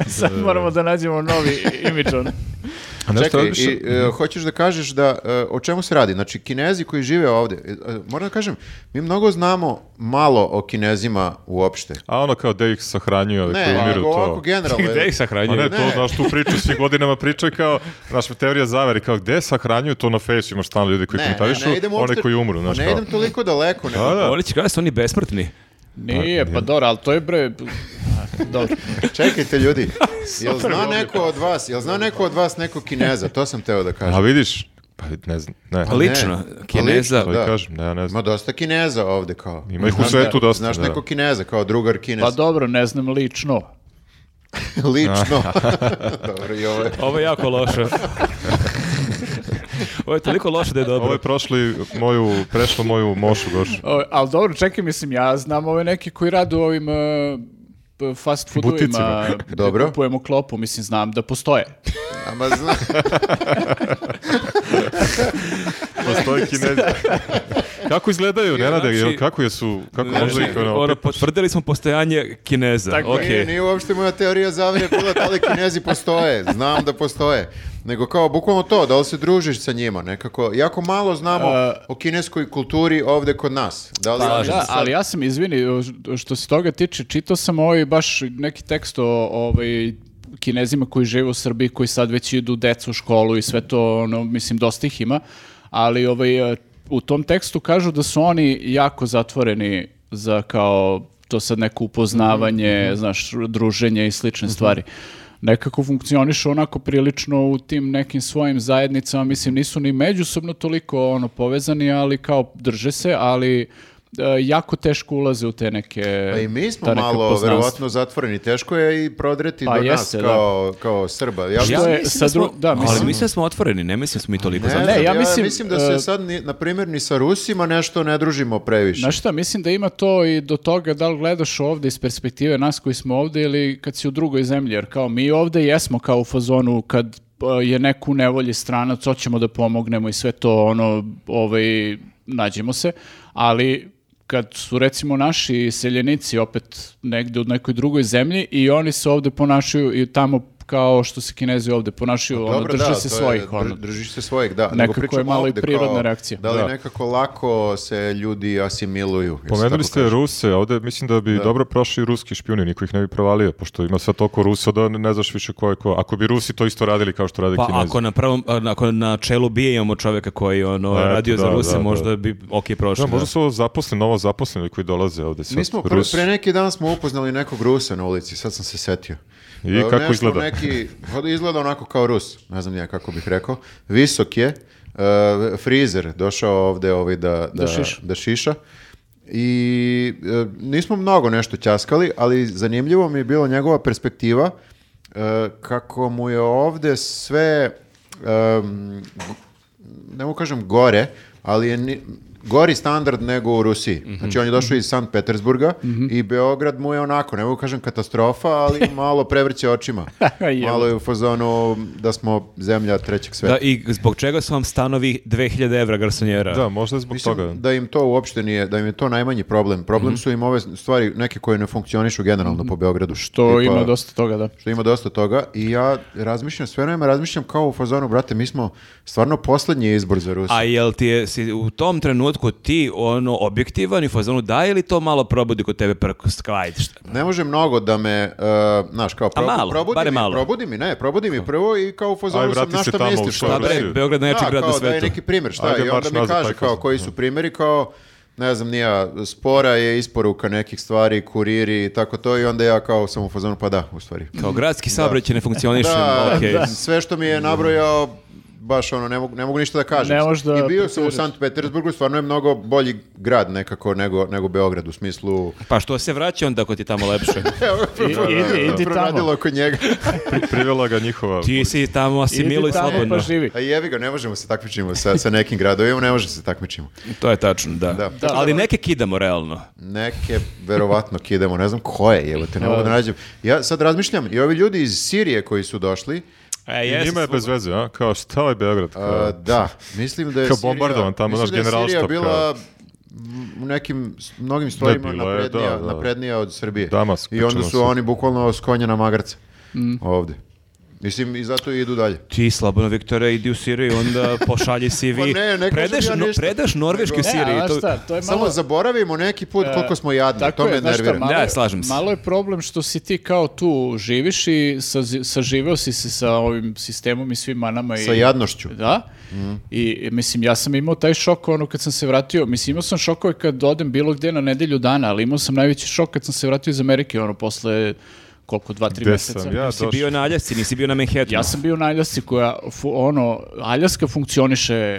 S3: sad moramo da nađemo novi imidž. ono.
S4: A nešto Mhm.
S2: Čekaj,
S4: radiš-
S2: i, e, hoćeš da kažeš da, e, o čemu se radi? Znači, kinezi koji žive ovde, e, e, moram da kažem, mi mnogo znamo malo o kinezima uopšte.
S4: A ono kao da ih sahranjuje, ali
S2: Ne,
S4: koji umiru
S2: nego
S4: to.
S2: ovako generalno.
S1: Gde ih
S4: A
S1: sahranjuje?
S4: Pa ne,
S2: Ne.
S4: to, znaš, tu priču svi godinama pričaju kao, znaš, teorija zavere, kao gde sahranjuju to na fejsu, imaš stalno ljudi koji
S2: Ne,
S4: komentarišu,
S2: ne, ne idem
S4: one
S2: uopšte-
S4: koji umru,
S2: pa
S4: znaš,
S2: Ne
S4: kao.
S2: idem toliko daleko, nego
S4: Da, da.
S1: Oni će kada su oni besmrtni.
S3: Nije, pa dobro, ali to je bre... A, Dobro.
S2: Čekajte ljudi, jel
S1: Super,
S2: zna
S1: dobro.
S2: neko od vas, jel zna neko od vas nekog kineza, to sam teo da
S4: A
S2: kažem.
S4: vidiš, pa ne znam, ne.
S1: Pa lično,
S2: Pa
S1: kineza.
S4: to
S2: lično,
S4: i
S2: da.
S4: kažem, ne, ne
S2: Ima
S4: znam.
S2: dosta kineza ovde kao.
S4: Ima ih u
S2: Znaš
S4: svetu
S2: ne-
S4: dosta,
S2: Znaš
S4: da.
S2: nekog kineza, kao drugar kinez.
S3: Pa dobro, ne znam lično.
S2: Lično. Dobro, i ovo je.
S1: Ovo je jako loše. Ovo je toliko loše da je dobro.
S4: Ovo je prošli moju, prešlo moju mošu gošu.
S3: O, ali dobro, čekaj, mislim, ja znam ove neke koji rade u ovim e, p- fast foodovima.
S4: Buticima.
S3: gde
S2: Dobro.
S3: Kupujemo klopu, mislim, znam da postoje.
S2: Ama zna,
S4: Postoji kinezi. Kako izgledaju, ne rade,
S1: znači-
S4: kako jesu, kako
S1: Znači,
S4: možda ih, ono,
S1: ono, potvrdili smo postojanje Kineza.
S3: Tako
S1: Okej.
S2: nije, nije uopšte moja teorija zavire bila da li kinezi postoje, znam da postoje. Nego kao, bukvalno to, da li se družiš sa njima, nekako, jako malo znamo o kineskoj kulturi ovde kod nas. Da li
S1: Pa,
S2: oni
S3: E, Da,
S2: sad-
S3: ali ja sam, izvini, što se toga tiče, čitao sam ovaj baš neki tekst o ovaj, kinezima koji žive u Srbiji, koji sad već idu decu u školu i sve to, ono, mislim, dosta ih ima, ali ovaj, e, u tom tekstu kažu da su oni jako zatvoreni za kao to sad neko upoznavanje, znaš, druženje i slične stvari. Nekako funkcionišu onako prilično u tim nekim svojim zajednicama, mislim, nisu ni međusobno toliko ono povezani, ali kao drže se, ali e, jako teško ulaze u te neke
S2: Pa i mi smo
S3: ta neka
S2: malo,
S3: poznanstva.
S2: verovatno, zatvoreni. Teško je i prodreti
S3: Pa
S2: do
S3: jeste,
S2: nas
S3: da. Pa
S2: kao, kao Srba. Ja,
S3: Što
S2: mislim-
S3: je
S1: mislim
S3: sa
S1: da smo-
S3: dru- da, mislim-
S1: Ali mislim da smo otvoreni, ne mislim da smo mi toliko
S2: Ne,
S1: zatvoreni.
S2: znam,
S3: ja
S2: ja, mislim,
S3: mislim,
S2: da se
S3: e,
S2: sad, ni, na primjer, ni sa Rusima nešto ne družimo previše.
S3: Znaš šta, mislim da ima to i do toga da li gledaš ovde iz perspektive nas koji smo ovde ili kad si u drugoj zemlji, jer kao mi ovde jesmo kao u fazonu kad pa, je neku nevolji stranac, hoćemo da pomognemo i sve to, ono, ovaj, nađemo se, ali kad su recimo naši seljenici opet negde u nekoj drugoj zemlji i oni se ovde ponašaju i tamo kao što se kinezi ovde ponašaju, ono,
S2: Pa Dobro,
S3: drže
S2: da,
S3: se
S2: to je,
S3: svojih,
S2: dr-
S3: ono.
S2: Držiš se svojih, da. Nego
S3: Nekako je
S2: pričamo
S3: malo i
S2: ovde
S3: prirodna
S2: kao,
S3: reakcija.
S2: Da li
S4: Da.
S2: nekako lako se ljudi asimiluju? jel se tako
S4: Pomenuli ste
S2: kaže?
S4: Ruse, ovde mislim da bi dobro prošli ruski špijuni, niko ih ne bi provalio, pošto ima sve toliko Rusa da ne znaš više ko je ko. Ako bi Rusi to isto radili kao što rade
S1: Pa
S4: Kinezi.
S1: ako na, prvom, ako na čelu bije imamo čoveka koji ono,
S4: Eto,
S1: radio za
S4: da,
S1: Ruse,
S4: da, da.
S1: možda bi ok prošlo.
S4: Da, možda su ovo zaposleni, novo zaposleni koji dolaze ovde. Sad,
S2: Mi smo pre,
S4: Rusi.
S2: pre neki dan smo upoznali nekog Rusa na ulici, sad sam se setio.
S4: I
S2: Da,
S4: kako
S2: nešto
S4: izgleda?
S2: Neki, pa izgleda onako kao Rus, ne znam ja kako bih rekao. Visok je, uh, frizer došao ovde ovaj da, da,
S3: šiša.
S2: da šiša. I e, nismo mnogo nešto ćaskali, ali zanimljivo mi je bila njegova perspektiva e, kako mu je ovde sve em, ne mogu kažem gore, ali je ni- gori standard nego u Rusiji. Znači on je došao iz Sankt Petersburga i Beograd mu je onako, ne mogu kažem katastrofa, ali malo prevrće očima.
S3: Jebote.
S2: malo je u fazonu da smo zemlja trećeg sveta.
S1: Da, i zbog čega su vam stanovi 2000 evra garsonjera?
S4: Da, možda je zbog
S2: Mislim
S4: toga.
S2: da im to uopšte nije, da im je to najmanji problem. Problem su im ove stvari neke koje ne funkcionišu generalno po Beogradu.
S3: To
S2: Tipa-
S3: ima dosta toga, da.
S2: što ima dosta toga i ja razmišljam sve vreme, razmišljam kao u fazonu, brate, mi smo stvarno poslednji izbor za Rusiju.
S1: A jel ti je, si u tom trenutku ti ono objektivan i u fazonu daje li to malo probudi kod tebe preko skajt? Šta?
S2: Ne može mnogo da me, uh, znaš, kao probu,
S1: malo,
S2: probudi,
S1: barem
S2: mi,
S1: malo.
S2: probudi mi, ne, probudi mi prvo i kao u
S4: Aj,
S2: fazonu sam
S4: vrati
S2: na
S4: se
S2: šta
S4: tamo u
S2: misliš.
S4: šta
S2: šta
S1: Pa
S2: bre?"
S1: bre, Beograd je najjači
S2: Da,
S1: grad na
S2: kao da je
S1: svetu.
S2: neki primjer, šta
S4: Ajde,
S2: i
S4: marš
S2: onda mi
S4: nazad,
S2: kaže
S4: taj
S2: kao
S4: kasno.
S2: koji su primjeri, kao ne znam, nija, spora je isporuka nekih stvari, kuriri i tako to i onda ja kao sam u fazonu, pa da, u stvari.
S1: Kao gradski sabreć ne funkcioniše.
S2: Da,
S1: okej.
S2: sve što mi je nabrojao, baš ono, ne mogu, ne mogu ništa da kažem.
S3: Ne možeš da
S2: I bio sam u
S3: protiviraš.
S2: Sankt Petersburgu, stvarno je mnogo bolji grad nekako nego, nego Beograd, u smislu...
S1: Pa što se vraća onda ako ti je tamo lepše?
S3: idi- idi tamo.
S2: Proradilo oko njega.
S4: Pri- privela ga njihova...
S1: ti si tamo asimilo
S3: Idi
S1: i
S3: tamo
S1: slobodno.
S3: pa živi.
S2: E, A jevi ga, ne možemo se takmičimo sa, sa nekim gradovima, ne možemo se takmičimo.
S1: To je tačno, da.
S2: Da.
S1: Ali neke kidamo realno.
S2: Neke, verovatno, kidamo, ne znam koje, evo te ne mogu da nađem. Ja sad razmišljam, i ovi ljudi iz Sirije koji su došli,
S1: E,
S4: I njima je bez veze, a? Kao šta je Beograd? Kao,
S2: a, da, mislim da je
S4: Kao
S2: Sirija-
S4: bombardovan tamo,
S2: mislim
S4: znaš,
S2: da je Sirija
S4: generalštab,
S2: bila m, u nekim, s- mnogim stvarima
S4: bila je,
S2: naprednija,
S4: da, da.
S2: naprednija od Srbije.
S4: Damask,
S2: I onda
S4: pričamo
S2: su
S4: se.
S3: Mm.
S2: oni bukvalno s konja na magarca. Ovde. Mislim, i zato idu dalje.
S1: Ti, Slobodno Viktore, idi u Siriju, onda pošalji CV.
S2: Pa ne, ne
S1: predaš,
S2: kažem ja ništa.
S1: predaš Norveške u
S2: Nego-
S3: E,
S1: Siriji.
S3: a
S1: to-
S3: znaš šta, to je malo... E,
S2: Samo zaboravimo neki put koliko smo jadni,
S3: Tako
S2: to me
S3: je, znaš šta,
S2: nervira.
S1: ma-
S3: malo je-
S1: Da, slažem se.
S3: Malo je problem što si ti kao tu živiš i sa, saživeo si se sa ovim sistemom i svim manama. I,
S2: Sa jadnošću.
S3: Da.
S4: Mhm.
S3: I mislim, ja sam imao taj šok ono kad sam se vratio. Mislim, imao sam šokove kad odem bilo gde na nedelju dana, ali imao sam najveći šok kad sam se vratio iz Amerike, ono, posle koliko, dva, tri
S4: Gde
S3: mjeseca.
S4: sam ja
S1: Si
S4: došao?
S1: bio na Aljasci, nisi bio na Manhattanu.
S3: Ja sam bio na Aljasci koja, fu- ono, Aljaska funkcioniše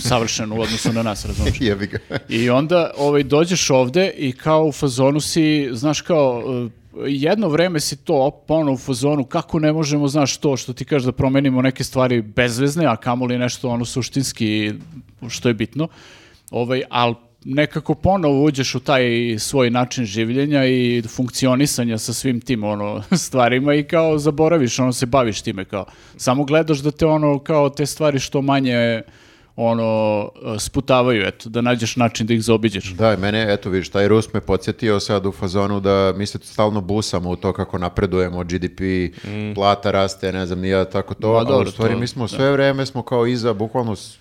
S3: savršeno u odnosu na nas, razumiješ?
S2: Jebi ga.
S3: I onda ovaj, dođeš ovde i kao u fazonu si, znaš kao, e, jedno vreme si to op- ono u fazonu, kako ne možemo, znaš to što ti kažeš da promenimo neke stvari bezvezne, a kamoli nešto ono suštinski što je bitno, ovaj, ali nekako ponovo uđeš u taj svoj način življenja i funkcionisanja sa svim tim ono stvarima i kao zaboraviš, ono se baviš time kao. Samo gledaš da te ono kao te stvari što manje ono, sputavaju, eto, da nađeš način da ih zaobiđeš.
S2: Da, mene, eto vidiš, taj Rus me podsjetio sad u fazonu da mi se stalno busamo u to kako napredujemo, GDP, plata raste, ne znam, nije tako to,
S3: Ma
S2: ali
S3: dobro,
S2: u stvari
S3: to-
S2: mi smo sve vreme smo kao iza bukvalno s-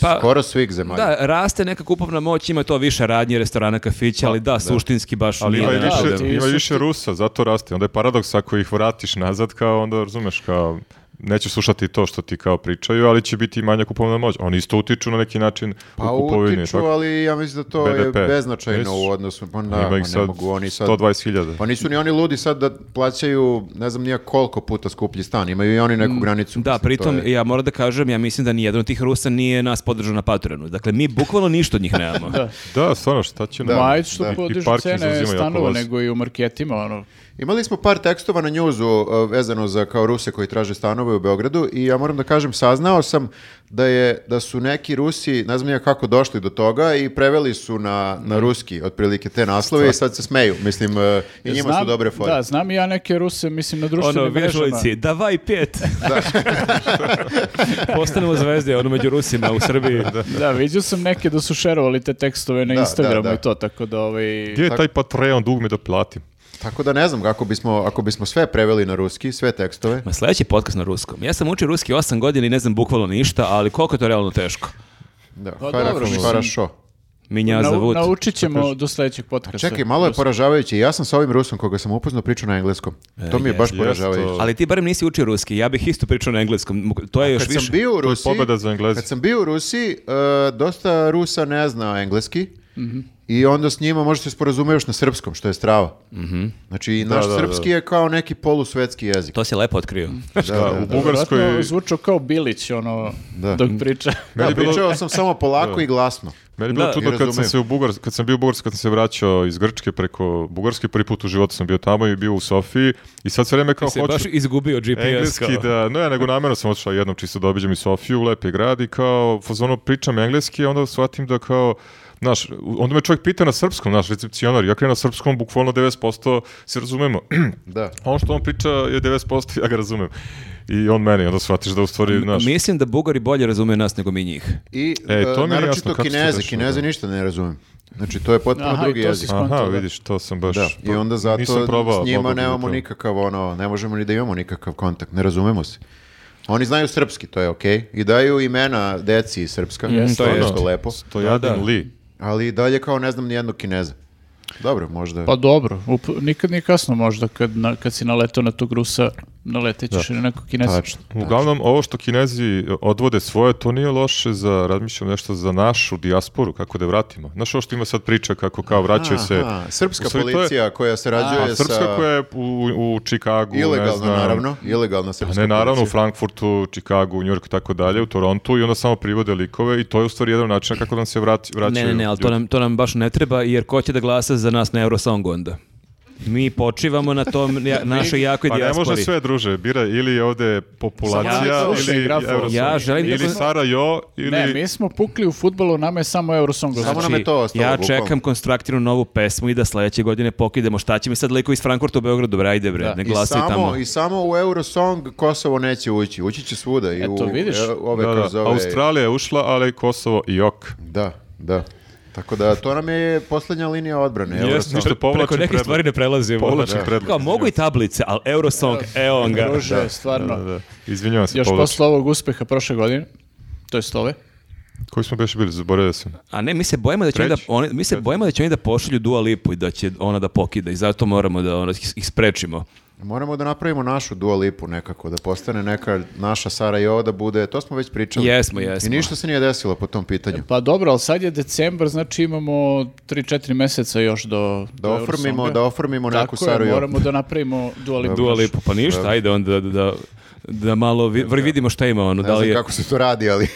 S1: Pa-
S2: skoro svih zemalja.
S1: Da, raste neka kupovna moć, ima to više radnje, restorana, kafića, ali da, suštinski baš
S4: Ali
S1: nije
S4: ima i
S1: da
S3: da,
S4: više,
S3: ti
S1: napadem.
S4: ima i
S3: su
S4: više Rusa, zato raste. Onda je paradoks ako ih vratiš nazad, kao onda razumeš kao nećeš slušati to što ti kao pričaju, ali će biti i manja kupovna moć. Oni isto utiču na neki način
S2: Pa
S4: u kupovini.
S2: utiču,
S4: tako.
S2: ali ja mislim da to je
S4: BDP.
S2: beznačajno
S4: Jesu.
S2: u odnosu. Pa da,
S4: Ima
S2: ma
S4: ih
S2: ne
S4: sad
S2: mogu oni sad...
S4: 120.000.
S2: Pa nisu ni oni ludi sad da plaćaju ne znam nija koliko puta skuplji stan. Imaju i oni neku
S1: Da,
S2: granicu. mislim, to
S1: pritom,
S2: je-
S1: ja moram da kažem, ja mislim da nijedan od tih Rusa nije nas podržao na Patreonu. Dakle, mi bukvalno ništa od njih nemamo.
S4: Da, stvarno, šta će nam?
S3: Da, Ma, ajde što
S2: da. I
S3: podižu
S4: parking zauzimaju
S3: cene
S4: jako
S3: stanova,
S4: vas.
S3: nego i u marketima, ono.
S2: Imali smo par tekstova na njuzu uh, vezano za kao Ruse koji traže stanove u Beogradu i ja moram da kažem, saznao sam da je da su neki Rusi, ne znam ni ja kako došli do toga i preveli su na,
S3: Mhm.
S2: na ruski otprilike te naslove i sad se smeju. Mislim, uh, i njima su
S3: Znam-
S2: dobre fore.
S3: Da, znam i ja neke Ruse, mislim, na društvenim
S1: ono,
S3: mrežama.
S1: vežbajci, davaj pet. Postanemo zvezde, ono među Rusima u Srbiji.
S3: Da, vidio sam neke da su šerovali te tekstove na
S2: Da,
S3: Instagramu
S2: da, da.
S3: i to, tako da ovaj...
S4: Gdje je taj Patreon dug mi da platim?
S2: Tako da ne znam, kako bismo, ako bismo sve preveli na ruski, sve tekstove,
S1: Ma sledeći podcast na ruskom. Ja sam učio ruski 8 godina i ne znam bukvalno ništa, ali koliko je to realno teško.
S2: da,
S3: Pa
S2: hara-
S3: dobro, mislim.
S2: harašo.
S1: Minja
S3: Nau-
S1: za vut.
S3: naučit ćemo do sledećeg podcasta.
S2: Čekaj, malo je poražavajuće. Ja sam sa ovim Rusom koga sam upoznao pričao na engleskom. To
S3: E,
S2: mi je baš
S4: jest,
S2: poražavajuće.
S4: to-
S1: Ali ti barem nisi učio ruski, ja bih isto pričao na engleskom. To je još
S2: Kad
S1: više.
S2: sam bio u
S4: To je
S2: Rusiji,
S4: pobeda za Engleze.
S2: Kad sam bio u Rusiji, e, dosta Rusa ne zna engleski.
S4: Mhm.
S2: I onda s njima možda se sporazumeš na srpskom, što je strava. Znači, i naš
S4: Mhm. da, da.
S2: srpski je kao neki polusvetski jezik.
S1: To si lepo otkrio.
S2: Da, da, da.
S4: U Bugarskoj...
S3: Vjerojatno zvučao kao Bilić, ono,
S2: Da.
S3: dok priča.
S2: Da,
S4: Meni je bilo-
S2: pričao sam samo polako i glasno.
S4: Meni je bilo
S1: Da,
S4: čudno
S2: i
S4: kad sam
S2: razumijem.
S4: se u Bugarskoj, kad sam bio u Bugarskoj, kad sam se vraćao iz Grčke preko Bugarske, prvi put u životu sam bio tamo i bio u Sofiji i sad sve vreme kao
S1: Se
S4: hoću
S1: baš izgubio GPS.
S4: engleski
S1: kao.
S4: da, ne, nego namjerno sam otišao jednom čisto da obiđem i Sofiju, lep je grad i kao fazono pričam engleski, a onda shvatim da kao Znaš, onda me čovjek pita na srpskom, naš recepcionar, ja krenem na srpskom, bukvalno 90% se razumemo.
S2: Da.
S4: ono što on priča je 90%, ja ga razumem. I on meni, onda shvatiš da u stvari, znaš,
S1: Mislim da Bugari bolje razumeju nas nego mi njih.
S2: I
S4: E,
S2: e,
S4: to mi je
S2: naročito
S4: jasno kako se
S2: kineze.
S4: dešava,
S2: Kineze
S4: da.
S2: ništa ne razumem. Znači, to je potpuno
S3: Aha, i
S2: drugi
S3: to si
S2: jezik.
S3: skonto,
S4: aha,
S3: da.
S4: vidiš, to sam baš...
S2: Da, i onda zato
S4: nisam probao,
S2: s njima
S4: mogao bi da
S2: nemamo
S4: probam.
S2: nikakav ono, ne možemo ni da imamo nikakav kontakt, ne razumemo se. Oni znaju srpski, to je okej. I daju imena deci iz srpska,
S3: Jeste.
S2: to je
S4: Ono,
S2: isto lepo.
S4: Stojadin
S1: Da, da.
S4: Li.
S2: Ali i dalje kao ne znam nijednog kineza. Dobro, možda.
S3: Pa dobro, up- nikad nije kasno možda kad, na, kad si naletao na tog Rusa, naletećeš da. na nekog kinesa.
S2: Tačno.
S4: Uglavnom, ovo što kinezi odvode svoje, to nije loše za, razmišljam nešto za našu dijasporu, kako da je vratimo. Znaš ovo što ima sad priča kako kao vraćaju se...
S2: Aha, srpska
S4: U stvari, to je-
S2: policija koja se rađuje
S4: A srpska
S2: sa...
S4: koja je u, u Čikagu, ne
S2: Ilegalno,
S4: znam,
S2: naravno. Ilegalna
S4: Pa
S2: srpska
S4: ne, naravno, u
S2: policija.
S4: Frankfurtu, Čikagu, u Njurku i tako dalje, u Torontu i onda samo privode likove i to je u stvari jedan način kako nam se vrati, vraćaju.
S1: Ne, ne, ne, ali to
S4: ljudi.
S1: nam, to nam baš ne treba, jer ko će da glasa za nas na Eurosong onda? Mi počivamo na tom ja- našoj jakoj
S4: Pa ne
S1: dijaspori.
S4: može sve, druže, bira ili ovde
S3: Samo
S4: populacija,
S3: ja slušaj,
S4: ili
S3: grafo.
S4: Eurosong,
S1: Ja želim da-
S4: ili Sarajevo, ili...
S3: Ne, mi smo pukli u futbolu, nama je samo Eurosong.
S2: Samo nam je to ostalo,
S1: Znači, ja
S2: bukvalno.
S1: čekam konstruktivnu novu pesmu i da sledeće godine pokidemo šta će mi sad liko iz Frankfurta u Beogradu, bre, ajde bre,
S3: Da.
S1: ne
S2: I
S1: glasi
S2: samo,
S1: tamo.
S2: I samo u Eurosong Kosovo neće ući. Ući će svuda. I
S3: Eto,
S2: u,
S3: vidiš.
S2: e, ove,
S4: Da, da,
S2: kroz ove-
S4: Australija je ušla, ali Kosovo i ok.
S2: Da, da. Tako da to nam je posljednja linija odbrane.
S4: Jeste,
S2: Eurosong.
S4: ništa povlačim
S1: Preko nekih
S4: predlog.
S1: stvari ne prelazimo.
S4: Povlačim predlog.
S1: Kao, mogu i tablice, ali Eurosong, evo on ga.
S3: Druže, stvarno.
S4: Da, da. Izvinjavam se,
S3: Još
S4: povlačim.
S3: posle ovog uspeha prošle godine, to jest ove,
S4: Koji smo beše bili, zaboravio sam.
S1: A ne, mi se bojimo da će oni da,
S4: Treći.
S1: oni, mi se bojimo da će oni da pošalju Dua Lipu i da će ona da pokida i zato moramo da ono, ih, ih sprečimo.
S2: Moramo da napravimo našu Dua Lipu nekako, da postane neka naša Sara Jova da bude, to smo već pričali.
S1: Jesmo, jesmo.
S2: I ništa se nije desilo po tom pitanju.
S4: E,
S3: Pa dobro, ali sad je decembar, znači imamo 3-4 meseca još do
S2: Da
S3: do
S2: oformimo,
S3: Eurosonga.
S2: da oformimo neku
S3: Tako je,
S2: Saru Jovu.
S3: moramo da napravimo dual Lipa.
S1: Dua Lipu, pa ništa, ajde onda da, da, da malo vi- vr- vidimo šta ima ono,
S2: Ne
S1: da li
S2: znam
S1: je
S2: kako se to radi, ali...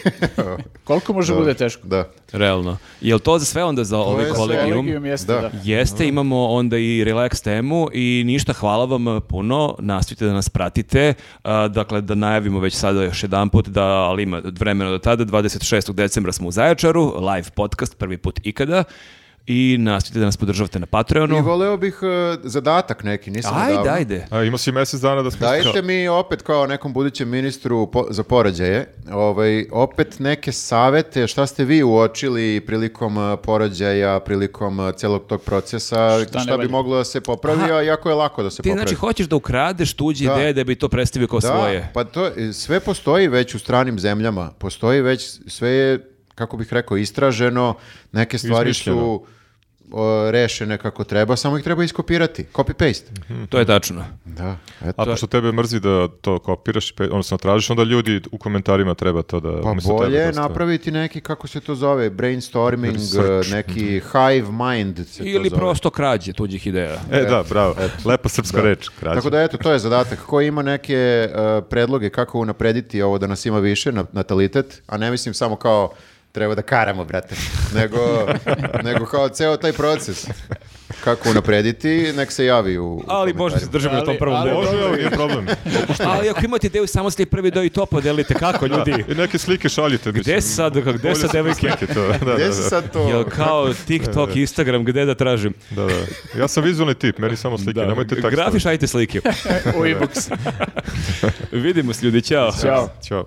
S3: Koliko može bude teško?
S2: da.
S1: realno. Jel to za sve onda za ovaj
S2: je sve.
S1: kolegijum?
S3: Kolegijum jeste,
S2: Da.
S3: da.
S1: Jeste, imamo onda i relax temu i ništa, hvala vam puno, nastavite da nas pratite, A, dakle da najavimo već sada još jedan put, da, ali ima vremena do tada, 26. decembra smo u Zaječaru, live podcast, prvi put ikada, i nastavite da nas podržavate na
S2: I
S1: Patreonu.
S2: voleo bih e, zadatak neki, nisam
S1: Ajde,
S2: odavno.
S1: ajde.
S4: A, imao si mjesec dana da smo...
S2: Dajte mi opet kao nekom budućem ministru po- za porađaje, ovaj, opet neke savete, šta ste vi uočili prilikom e, porađaja, prilikom e, celog tog procesa, šta,
S3: ne
S2: bi
S3: valja?
S2: moglo da se popravi, a jako je lako da se
S1: Ti
S2: popravi.
S1: znači hoćeš da ukradeš tuđe
S2: Da.
S1: ideje da bi to predstavio kao
S2: Da,
S1: svoje.
S2: pa to, e, sve postoji već u stranim zemljama, postoji već, sve je, kako bih rekao, istraženo, neke stvari
S4: Izmišljeno.
S2: su o, rešene kako treba, samo ih treba iskopirati, copy-paste.
S1: To je tačno.
S2: Da, eto.
S4: A pošto tebe mrzi da to kopiraš, pe- odnosno tražiš, onda ljudi u komentarima treba to da...
S2: Pa
S4: umjesto tebe
S2: bolje je
S4: dostave.
S2: napraviti neki, kako se to zove, brainstorming,
S4: Research.
S2: e, neki hive mind se to
S1: Ili
S2: zove.
S1: prosto krađe tuđih ideja.
S4: E, da, bravo. Lepa srpska reč, krađa.
S2: Tako da eto, to je zadatak. Ko ima neke e, predloge kako unaprediti ovo da nas ima više, na, natalitet, a ne mislim samo kao treba da karamo, brate, nego, nego kao ceo taj proces. Kako unaprediti, nek se javi u, u
S1: Ali možda se
S2: komentarima.
S1: držimo na tom
S3: Ali-
S1: prvom
S3: ali
S1: delu.
S4: Može, evo, nije problem.
S1: Ali ako imate ideju, samo ste prvi deo i to podelite. Kako, ljudi?
S4: I neke slike šaljite.
S1: Gde
S4: mislim.
S1: sad, gde
S4: Bolje
S1: sad
S4: su
S1: devojke?
S4: slike to, da, da,
S2: Gde
S4: da.
S2: se sad to...
S1: Jel kao TikTok, Instagram, gde da tražim?
S4: Da, da. Ja sam vizualni tip, meni samo slike, nemojte tako.
S1: Grafi šajte slike.
S3: U e-books.
S1: Vidimo se ljudi, ćao.
S3: Ćao.
S4: Ćao.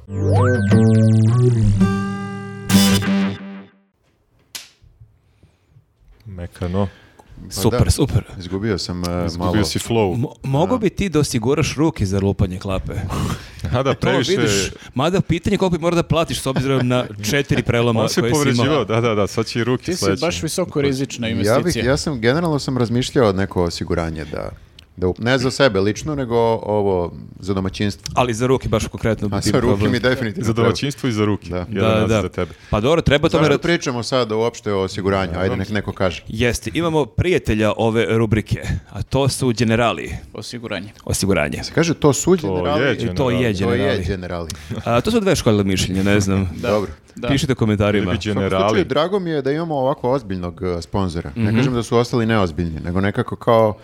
S4: Mekano.
S1: Super, super.
S2: Izgubio sam e, malo...
S4: Izgubio si flow.
S1: Mo- mogu bi ti da osiguraš ruke za lupanje klape?
S4: A da,
S1: To
S4: previše...
S1: vidiš, mada pitanje koliko bi mora da platiš s obzirom na četiri preloma
S4: On se
S1: koje si imao.
S4: povređivao, da, da, da, sad će i ruke
S3: Ti si
S4: sledeće.
S3: baš visoko rizična
S2: Ja, bih,
S3: investicija.
S2: ja sam, generalno sam razmišljao neko osiguranje da... da up- ne za sebe lično, nego ovo za domaćinstvo.
S1: Ali za ruke baš konkretno.
S2: A
S1: bi
S2: sa ruke
S1: problem.
S2: mi definitivno
S4: Za
S2: treba.
S4: domaćinstvo i za ruke.
S2: Da.
S4: Jedan
S1: Da,
S4: nas
S1: da.
S4: za tebe.
S1: Pa dobro, treba tome...
S2: Zašto
S1: ra-
S2: pričamo sad uopšte o osiguranju? Ajde, nek neko kaže.
S1: Jeste, imamo prijatelja ove rubrike, a to su generali
S3: Osiguranje.
S1: osiguranje.
S2: Se kaže to su
S4: To
S2: generali?
S4: je
S1: I to je
S4: generali.
S2: To je
S1: generali.
S2: generali.
S1: A, to su dve škole mišljenja, ne znam.
S2: Dobro.
S3: Da.
S1: Pišite u komentarima.
S4: Tebi
S2: U svakom slučaju,
S4: generali. Mhm.
S2: drago mi je da imamo ovako ozbiljnog eh, sponzora. Ne kažem da su ostali neozbiljni, nego nekako kao,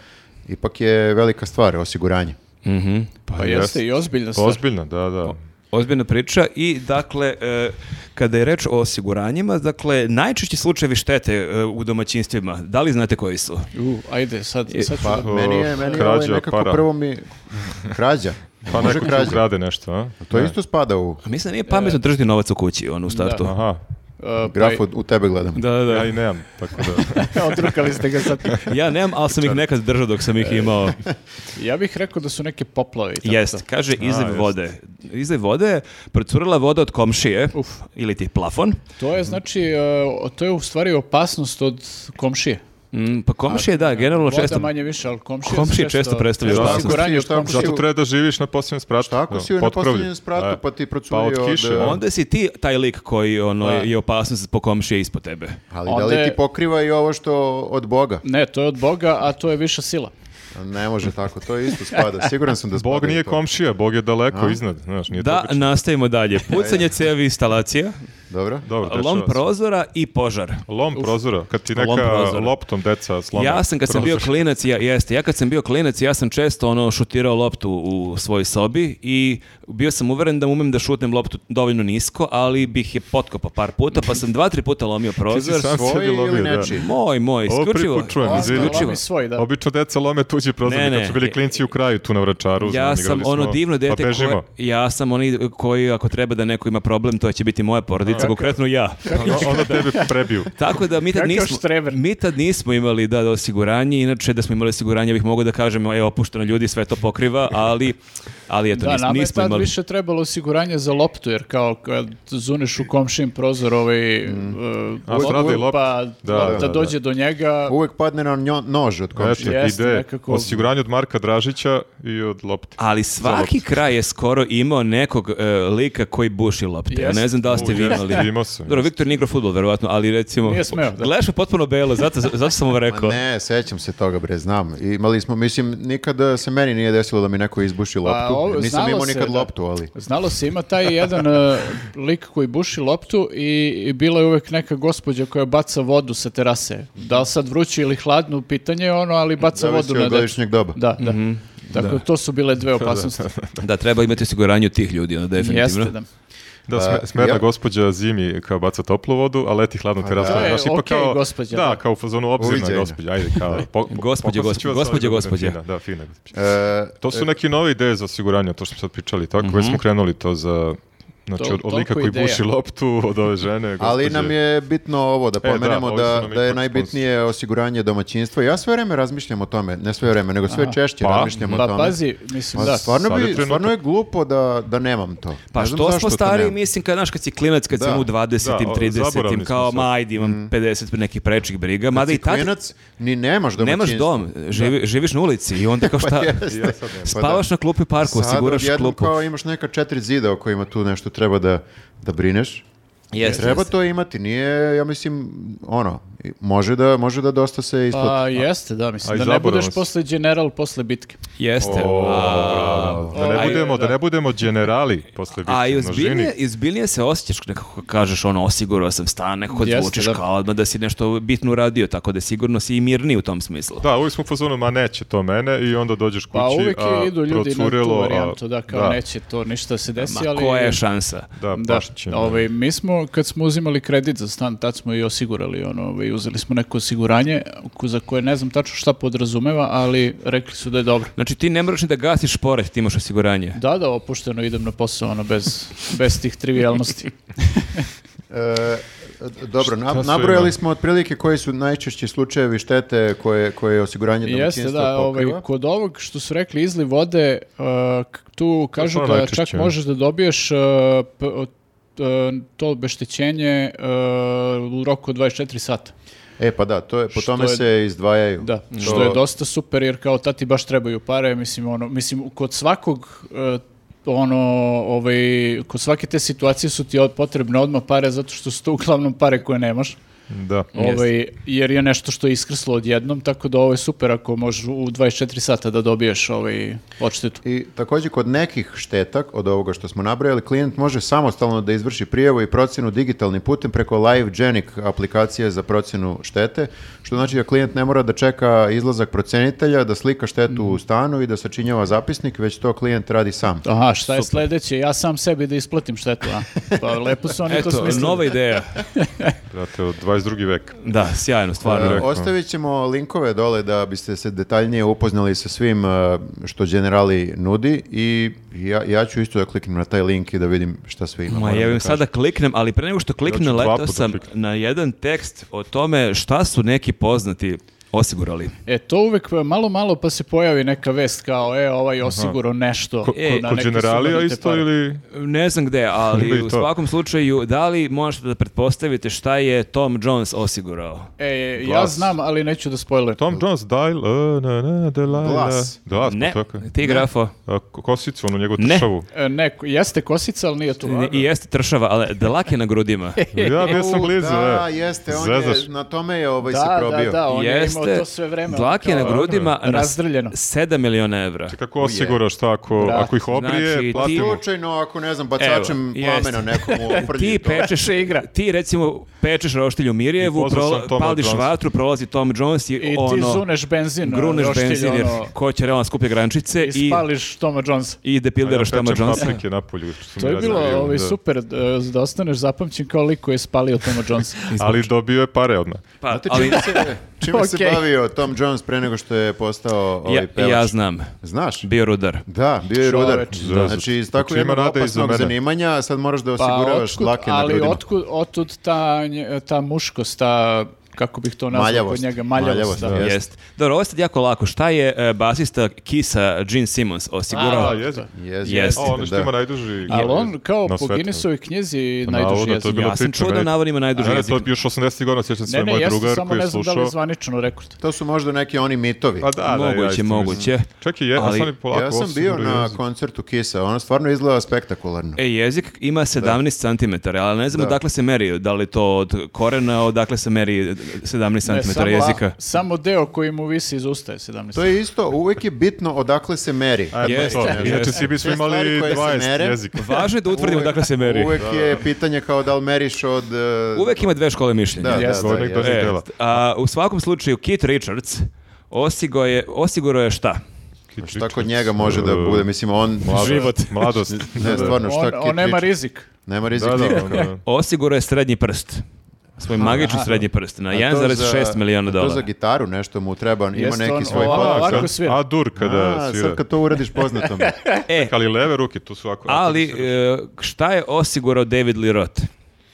S2: ipak je velika stvar osiguranje.
S3: Pa jeste
S4: jest.
S3: i ozbiljna stvar.
S4: Ozbiljno, da, da.
S1: Ozbiljna priča i dakle e, kada je reč o osiguranjima, dakle najčešći slučajevi štete e, u domaćinstvima, da li znate koji su?
S3: U, ajde, sad, sad ću
S2: Pa,
S3: da-
S2: meni je, meni je ovaj
S4: krađa,
S2: nekako
S4: para.
S2: prvo mi... Krađa.
S4: Pa
S2: Može
S4: neko ti
S2: krađa.
S4: ukrade nešto, a?
S2: To isto spada u
S1: A Pa mislim da nije pametno držati novac u kući, ono u startu. Da.
S4: Aha,
S3: Uh, pa-
S2: grafu, u tebe gledam.
S1: Da, da,
S4: ja i nemam, tako da...
S3: Odrukali ste ga sad.
S1: Ja nemam, ali sam ih nekad držao dok sam ih imao.
S3: Ja bih rekao da su neke poplave i tako
S1: Jest,
S3: to.
S1: kaže izliv
S4: jest.
S1: vode. Izliv vode je procurila voda od komšije,
S3: Uf.
S1: ili ti plafon.
S3: To je znači, uh, to je u stvari opasnost od komšije.
S1: Mm, pa komšije, da, generalno
S3: Voda
S1: često...
S3: manje više, ali komšije,
S1: Komšije često predstavljaju
S2: Šta ako
S1: opasnost.
S3: Osiguranje
S2: si-
S3: od
S2: šta ako si
S3: komšije.
S4: Zato
S2: u-
S4: treba da živiš na posljednjem spratu.
S2: Šta ako
S4: da,
S2: si na
S4: pod krovljem.
S2: posljednjem spratu,
S4: E,
S2: pa ti procurio
S4: Pa
S2: od,
S4: od kiše,
S2: e,
S4: a?
S1: Onda si ti taj lik koji ono,
S3: Da.
S1: je opasnost po komšije ispod tebe.
S2: Ali da
S3: Onda
S2: li ti
S3: je-
S2: pokriva i ovo što od Boga?
S3: Ne, to je od Boga, a to je viša sila.
S2: Ne može tako, to isto spada. Siguran sam da spada.
S4: Bog
S2: i
S4: nije
S2: to.
S4: komšija, Bog je daleko iznad, znaš, nije
S1: Da,
S4: da,
S1: nastavimo dalje. Pucanje cevi instalacija,
S2: Dobro?
S4: Dobro, dešava
S1: lom
S4: se.
S1: prozora i požar.
S4: Lom prozora, kad ti
S1: Lom
S4: neka
S1: prozora.
S4: loptom deca slome.
S1: Ja sam kad sam bio
S4: prozor.
S1: klinac, ja, jeste, ja kad sam bio klinac, ja sam često ono šutirao loptu u svojoj sobi i bio sam uveren da umem da šutnem loptu dovoljno nisko, ali bih je potkopao par puta, pa sam dva, tri puta lomio prozor.
S4: sam
S2: Svoji
S4: sebi
S2: ili
S4: lomio, da.
S2: nečiji?
S1: Moj, moj,
S4: Ovo prvi
S1: isključivo.
S4: put čujem,
S1: Ovo,
S4: izvini.
S1: isključivo.
S3: Lomi svoj, da.
S4: Obično deca lome tuđi prozor,
S1: Ne, ne,
S4: kad su bili
S1: e,
S4: klinci u kraju, tu na vračaru.
S1: Ja
S4: znam,
S1: sam
S4: igrali
S1: ono
S4: smo,
S1: divno dete
S4: Pa bežimo.
S1: koje- ja sam oni koji ako treba da neko ima problem, to će biti moja porodica muškarca, konkretno ja.
S4: Onda, onda tebe prebiju.
S1: Tako da mi tad,
S3: Kakav
S1: nismo,
S3: štreber.
S1: mi tad nismo imali da, da osiguranje, inače da smo imali osiguranje bih mogao da kažem, e, opušteno ljudi, sve to pokriva, ali, ali eto,
S3: Da,
S1: nismo,
S3: nama je
S1: nismo
S3: tad
S1: imali.
S3: više trebalo osiguranje za loptu, jer kao kad zuneš u komšin prozor ovaj e,
S4: Mm. A, strada i lopta.
S3: pa
S4: Da,
S3: lopta
S4: da, da, da.
S3: dođe do njega,
S2: Uvek padne na njo, nož od komšije.
S4: Eto,
S3: Jeste,
S4: ide.
S3: nekako-
S4: Osiguranje od Marka Dražića i od lopte.
S1: Ali svaki kraj je skoro imao nekog e, lika koji buši lopte. Ja ne
S3: Jeste.
S1: znam da li ste
S4: U,
S1: vi
S4: jeste,
S1: imali.
S4: imao sam,
S1: Dobro,
S4: jeste.
S1: Viktor nije igrao futbol, verovatno, ali recimo...
S3: Nije smeo, da.
S1: Gledaš me potpuno belo, zato, zato sam ovo
S2: Ma
S1: rekao.
S2: Pa Ne, sećam se toga, bre, znam. Imali smo, mislim, nikada se meni nije desilo da mi neko izbuši loptu.
S3: ovo-
S2: Nisam
S3: znalo
S2: imao
S3: se,
S2: nikad
S3: da.
S2: loptu, ali...
S3: Znalo se, ima taj jedan e, lik koji buši loptu i, i bila je uvek neka gospođa koja baca vodu sa terase. Da li sad vruću ili hladnu, pitanje je ono, ali baca
S2: Zavisi
S3: vodu
S2: od
S3: na decu.
S2: godišnjeg doba.
S3: Da, da. Tako, to su bile dve opasnosti.
S1: Da, treba imati osiguranje od tih ljudi, ono, definitivno.
S3: Jeste, da.
S4: Da, sme, smerna
S2: Pa, ja- Pa
S4: gospođa zimi kao baca toplu vodu, a leti hladnu terasu.
S3: da. To je
S4: Znaš, ipak
S3: okej,
S4: kao-
S3: gospođa,
S4: Da,
S3: da.
S4: kao u fazonu obzirna
S2: Uviđenja.
S4: gospođa. Ajde, kao, po, po-
S1: Gospođa,
S4: pokušat ću vas
S1: gospođa,
S4: ovdje da budem
S1: gospođa.
S4: fina, Da, fina gospođa.
S2: E,
S4: To su neke nove ideje za osiguranje, to što smo sad pričali, tako već
S1: Mhm.
S4: smo krenuli to za znači od,
S3: To-
S4: od
S3: toliko
S4: lika koji
S3: ideja.
S4: buši loptu, od ove žene,
S2: ali
S4: gospođe. E,
S2: nam je bitno ovo, da
S4: da,
S2: pomenemo
S4: ovi su
S2: da,
S4: nam
S2: da je
S4: ipak
S2: najbitnije osiguranje domaćinstva. Ja sve vreme razmišljam o tome, ne sve vreme, nego sve češće
S4: Pa,
S2: razmišljam o
S3: Pa
S2: tome.
S3: pazi, mislim,
S2: Ma,
S3: da.
S2: stvarno,
S4: sad je
S2: bi,
S4: trenutak.
S2: stvarno je glupo da, da nemam to.
S1: Pa
S2: Ne znam
S1: što
S2: zašto
S1: smo
S2: to
S1: stariji,
S2: nemam.
S1: mislim, kad, znaš, kad si klinac, kad si
S2: Da. Mm.
S1: mu 20-im,
S4: Da, o-
S1: 30-im,
S4: zaboravni
S1: kao,
S4: smo sad.
S1: ma, ajde, imam 50 nekih prečih briga, mada i
S2: Si
S1: tad
S2: klinac, ni nemaš domaćinstvo.
S1: nemaš dom, živi- živiš na ulici i onda kao šta,
S2: jeste. Ja
S4: sad nemam.
S1: spavaš na klupi parku,
S2: Sad
S1: osiguraš
S2: odjednom
S1: klupu.
S2: kao imaš neka četiri zida o kojima tu nešto treba da, da brineš.
S1: Jeste,
S2: Treba
S1: jeste.
S2: to imati, nije, ja mislim, ono, i- može da, može da dosta se isplati.
S3: Pa jeste, da,
S4: A i
S3: mislim, da ne
S4: zaboravno
S3: budeš
S4: si.
S3: posle general, posle bitke.
S1: Jeste.
S4: O,
S1: A,
S4: bravo. Da ne
S3: Aj,
S4: budemo, da
S3: da.
S4: ne budemo generali posle bitke.
S1: A i
S4: na
S1: ozbiljnije,
S4: žini.
S1: ozbiljnije se osjećaš nekako kako kažeš ono osigurao sam stan, nekako
S3: Jeste,
S1: zvučiš
S3: da.
S1: kao odmah da si nešto bitno uradio, tako da sigurno si i mirniji u tom smislu.
S4: Da, uvijek smo u fazonu, ma neće to mene i onda dođeš kući,
S3: Pa uvijek
S4: Znači, a
S3: idu ljudi na tu
S4: procurelo, a-
S3: varijantu, da, kao neće to ništa se desi,
S1: Ma
S3: ali...
S1: koja je šansa?
S4: Pa Da,
S3: Da,
S4: baš će.
S3: ovaj, mi smo, kad smo uzimali kredit za stan, tad smo i osigurali, ono, ovaj, uzeli smo neko osiguranje ko- za koje ne znam tačno šta podrazumeva, ali rekli su da je dobro.
S1: Znači ti ne moraš ni da gasiš pored, ti imaš osiguranje.
S3: Da, da, opušteno idem na posao, ono, bez, bez tih trivialnosti.
S2: E, dobro, na-
S4: Šta su
S2: nabrojali
S4: ima?
S2: smo otprilike koji su najčešći slučajevi štete koje, koje osiguranje
S3: Jeste,
S2: domaćinstva
S3: da, ovaj,
S2: pokriva.
S3: kod ovog što su rekli izli vode, uh, k- tu kažu
S4: ono
S3: da
S4: najčešće,
S3: čak
S4: ne?
S3: možeš da dobiješ uh, p- od- uh, to obeštećenje uh, u roku od 24 sata.
S2: E, pa da, to je, po tome
S3: je-
S2: se izdvajaju.
S3: Da,
S4: Mm.
S2: To-
S3: što je dosta super jer kao tati baš trebaju pare, mislim ono, mislim kod svakog e, ono, ovaj, kod svake te situacije su ti od- potrebne odmah pare zato što su to uglavnom pare koje nemaš.
S4: Da.
S3: Ovaj, jer je nešto što je iskrslo odjednom, tako da ovo je super ako možeš u 24 sata da dobiješ ovaj odštetu.
S2: I također kod nekih šteta od ovoga što smo nabrojali, klijent može samostalno da izvrši prijavu i procjenu digitalnim putem preko LiveGenic aplikacije za procjenu štete, što znači da klijent ne mora da čeka izlazak procenitelja, da slika štetu u stanu i da sačinjava zapisnik, već to klijent radi sam.
S3: Aha, šta je sledeće? Ja sam sebi da isplatim štetu, a? Pa lepo su oni to
S1: Eto,
S3: smislili.
S1: nova ideja.
S4: Brate, od 22. veka.
S1: Da, sjajno, stvarno.
S2: E,
S4: rekao.
S2: Ostavit ćemo linkove dole da biste se detaljnije upoznali sa svim e, što Generali nudi i ja, ja ću isto da kliknem na taj link i da vidim šta sve ima.
S1: Ma
S2: moram
S1: ja
S2: da
S1: vam sada kliknem, ali pre nego što kliknem,
S4: Ja ću dva
S1: letao
S4: puta
S1: sam
S4: kliknem.
S1: na jedan tekst o tome šta su neki poznati osigurali.
S3: E, to uvek malo, malo pa se pojavi neka vest kao, e, ovaj osiguro nešto.
S4: Ko,
S1: E,
S3: na
S4: kod
S3: neke
S4: generalija
S3: sumanite
S4: isto
S3: pare.
S4: ili...
S1: Ne znam gde,
S4: Ili
S1: ali
S4: to.
S1: u svakom slučaju, da li možete da pretpostavite šta je Tom Jones osigurao?
S3: E, ja
S4: Glas.
S3: znam, ali neću da spoiler.
S4: Tom Jones, Dajl, e, ne, ne, Delilah.
S2: Glas.
S4: Glas,
S1: Ne,
S4: pa tako je.
S1: ti grafo.
S4: A, ko- kosicu, onu njegovu
S1: Ne.
S4: tršavu.
S3: E, ne, jeste kosica, ali nije tu.
S1: I jeste tršava, ali Delak je na grudima.
S4: Ja bio sam
S2: U,
S4: blizu,
S2: Da,
S4: e.
S2: jeste, on
S4: Zezaš.
S2: je, na tome je ovaj se
S3: Da, da,
S2: probio.
S3: da, on
S1: jeste,
S3: je imao to sve vreme.
S1: Dlak je na
S3: ono kao-
S1: grudima na s-
S3: razdrljeno.
S1: 7 miliona evra.
S4: Kako osiguraš šta ako,
S3: Brate.
S4: ako ih obrije,
S1: Znači, ti-
S4: platimo.
S2: Slučajno, ako ne znam, bacačem
S1: Evo, jeste.
S2: plamena nekom u
S1: Ti
S2: ofrlji. to-
S1: pečeš igra. Ti recimo pečeš roštilju Mirjevu,
S4: I pozvao sam
S1: prola-
S4: Toma
S1: pališ
S4: Jonesa.
S1: vatru, prolazi Tom Jones i,
S3: I ti
S1: ono
S3: zuneš benzin.
S1: gruneš
S3: roštilj,
S1: benzin jer
S3: ono,
S1: ko će realno skuplje grančice
S3: I
S1: i
S3: spališ Toma Jonesa.
S1: i depilderaš
S4: Ja
S1: Toma
S4: pečem
S1: Jonesa.
S4: paprike na polju. što su
S3: To
S4: mi
S3: je bilo
S4: radili,
S3: ovaj,
S4: da.
S3: super e, da ostaneš zapamćen kao lik koji je spalio Toma Jonesa.
S4: Ali dobio je pare odmah.
S1: Pa,
S2: Znate
S1: ali
S2: čini se, Čime se
S3: Okej.
S2: bavio Tom Jones pre nego što je postao ovaj
S1: ja,
S2: pevač?
S1: ja znam.
S2: Znaš?
S1: Bio rudar.
S2: Da, bio je rudar.
S3: Čoveč.
S2: Da. Znači, iz tako
S4: Znači, ima
S2: jednog
S4: rada i za
S2: opasnog
S4: mene.
S2: zanimanja, a sad moraš da osiguravaš dlake na
S3: Pa ali
S2: grudima.
S3: otkud, otud ta, nje- ta muškost, ta, kako bih to nazvao
S2: Maljavost.
S3: kod njega, maljavost.
S2: Maljavost,
S3: da.
S2: da.
S1: Jest.
S2: Jest.
S1: Dobro, ovo je sad jako lako. Šta je e, basista Kisa Gene Simmons osigurao?
S4: A, jezik.
S2: Yes,
S1: Jest.
S4: A, ono što ima najduži...
S3: Ali on kao
S4: na
S3: po
S4: svetu.
S3: Guinnessovoj knjizi
S4: Pa,
S3: najduži
S4: navodno, to je
S3: jezik.
S4: bilo
S1: Ja sam
S4: priča,
S1: čuo da
S4: meni-
S1: navod ima najduži
S4: Ne, ne, to je
S1: jezik.
S4: još 80. godina, sjećam se,
S3: Ne, ne,
S4: moj
S3: jeste,
S4: drugar
S3: samo
S4: koji
S3: ne
S4: je
S3: znam da li
S4: slušao.
S3: je zvanično rekord.
S2: To su možda neki oni mitovi.
S4: Pa da, da, ja
S1: Moguće,
S4: isto mislim.
S1: moguće.
S4: Čak i je,
S1: Ali-
S4: ali, sad mi polako
S2: ja sam
S4: osim
S2: bio
S4: da
S2: na
S4: jezik.
S2: koncertu Kisa, ono stvarno izgleda spektakularno.
S1: E, jezik ima 17 cm, ali ne znamo
S2: Da.
S1: dakle se meri, da li je to od korena, odakle se meri 17
S3: Ne,
S1: cm jezika.
S3: samo deo koji mu visi iz usta je 17.
S2: To je isto, uvek je bitno odakle se meri.
S4: A, eto,
S1: Jeste,
S4: to.
S1: jeste.
S4: Inače, svi bismo
S2: Te
S4: imali
S2: stvari koje se
S4: 20
S2: mere.
S4: jezika.
S1: Važno je da utvrdimo
S2: Uvek-
S1: dakle se meri. Uvek,
S2: Uvek je pitanje kao da li meriš od... e,
S1: ima dve škole
S2: Da,
S1: mišljenja.
S2: da, da,
S3: Jeste.
S4: Zgodnik
S2: jeste.
S4: dođe
S1: E,
S4: dela.
S1: a, u svakom slučaju, Kit Richards osigurao je, osigurao je šta?
S2: Šta kod njega može da
S4: Uh,
S2: bude, mislim, on...
S1: Život.
S4: Mladost.
S2: Ne, stvarno, šta
S3: on,
S2: Kit
S3: on nema
S2: Richards-
S3: rizik.
S2: Nema rizik
S4: Da, da,
S2: nikakav.
S4: ono,
S1: Osigurao je srednji prst. Svoj magični srednji prst na
S2: A to
S1: 1,6
S2: za-
S1: miliona
S2: a To za
S1: dolara.
S2: gitaru nešto mu treba, ima
S3: Jeste
S2: neki
S3: on
S2: svoj
S3: ovako-
S2: korak.
S3: ovako
S4: sad-
S3: svira.
S4: A dur kada
S2: A,
S4: svira.
S2: sad kad to uradiš poznatom.
S1: E,
S4: Ali leve ruke, tu su ako...
S1: ali e, šta je osigurao David Lee Roth?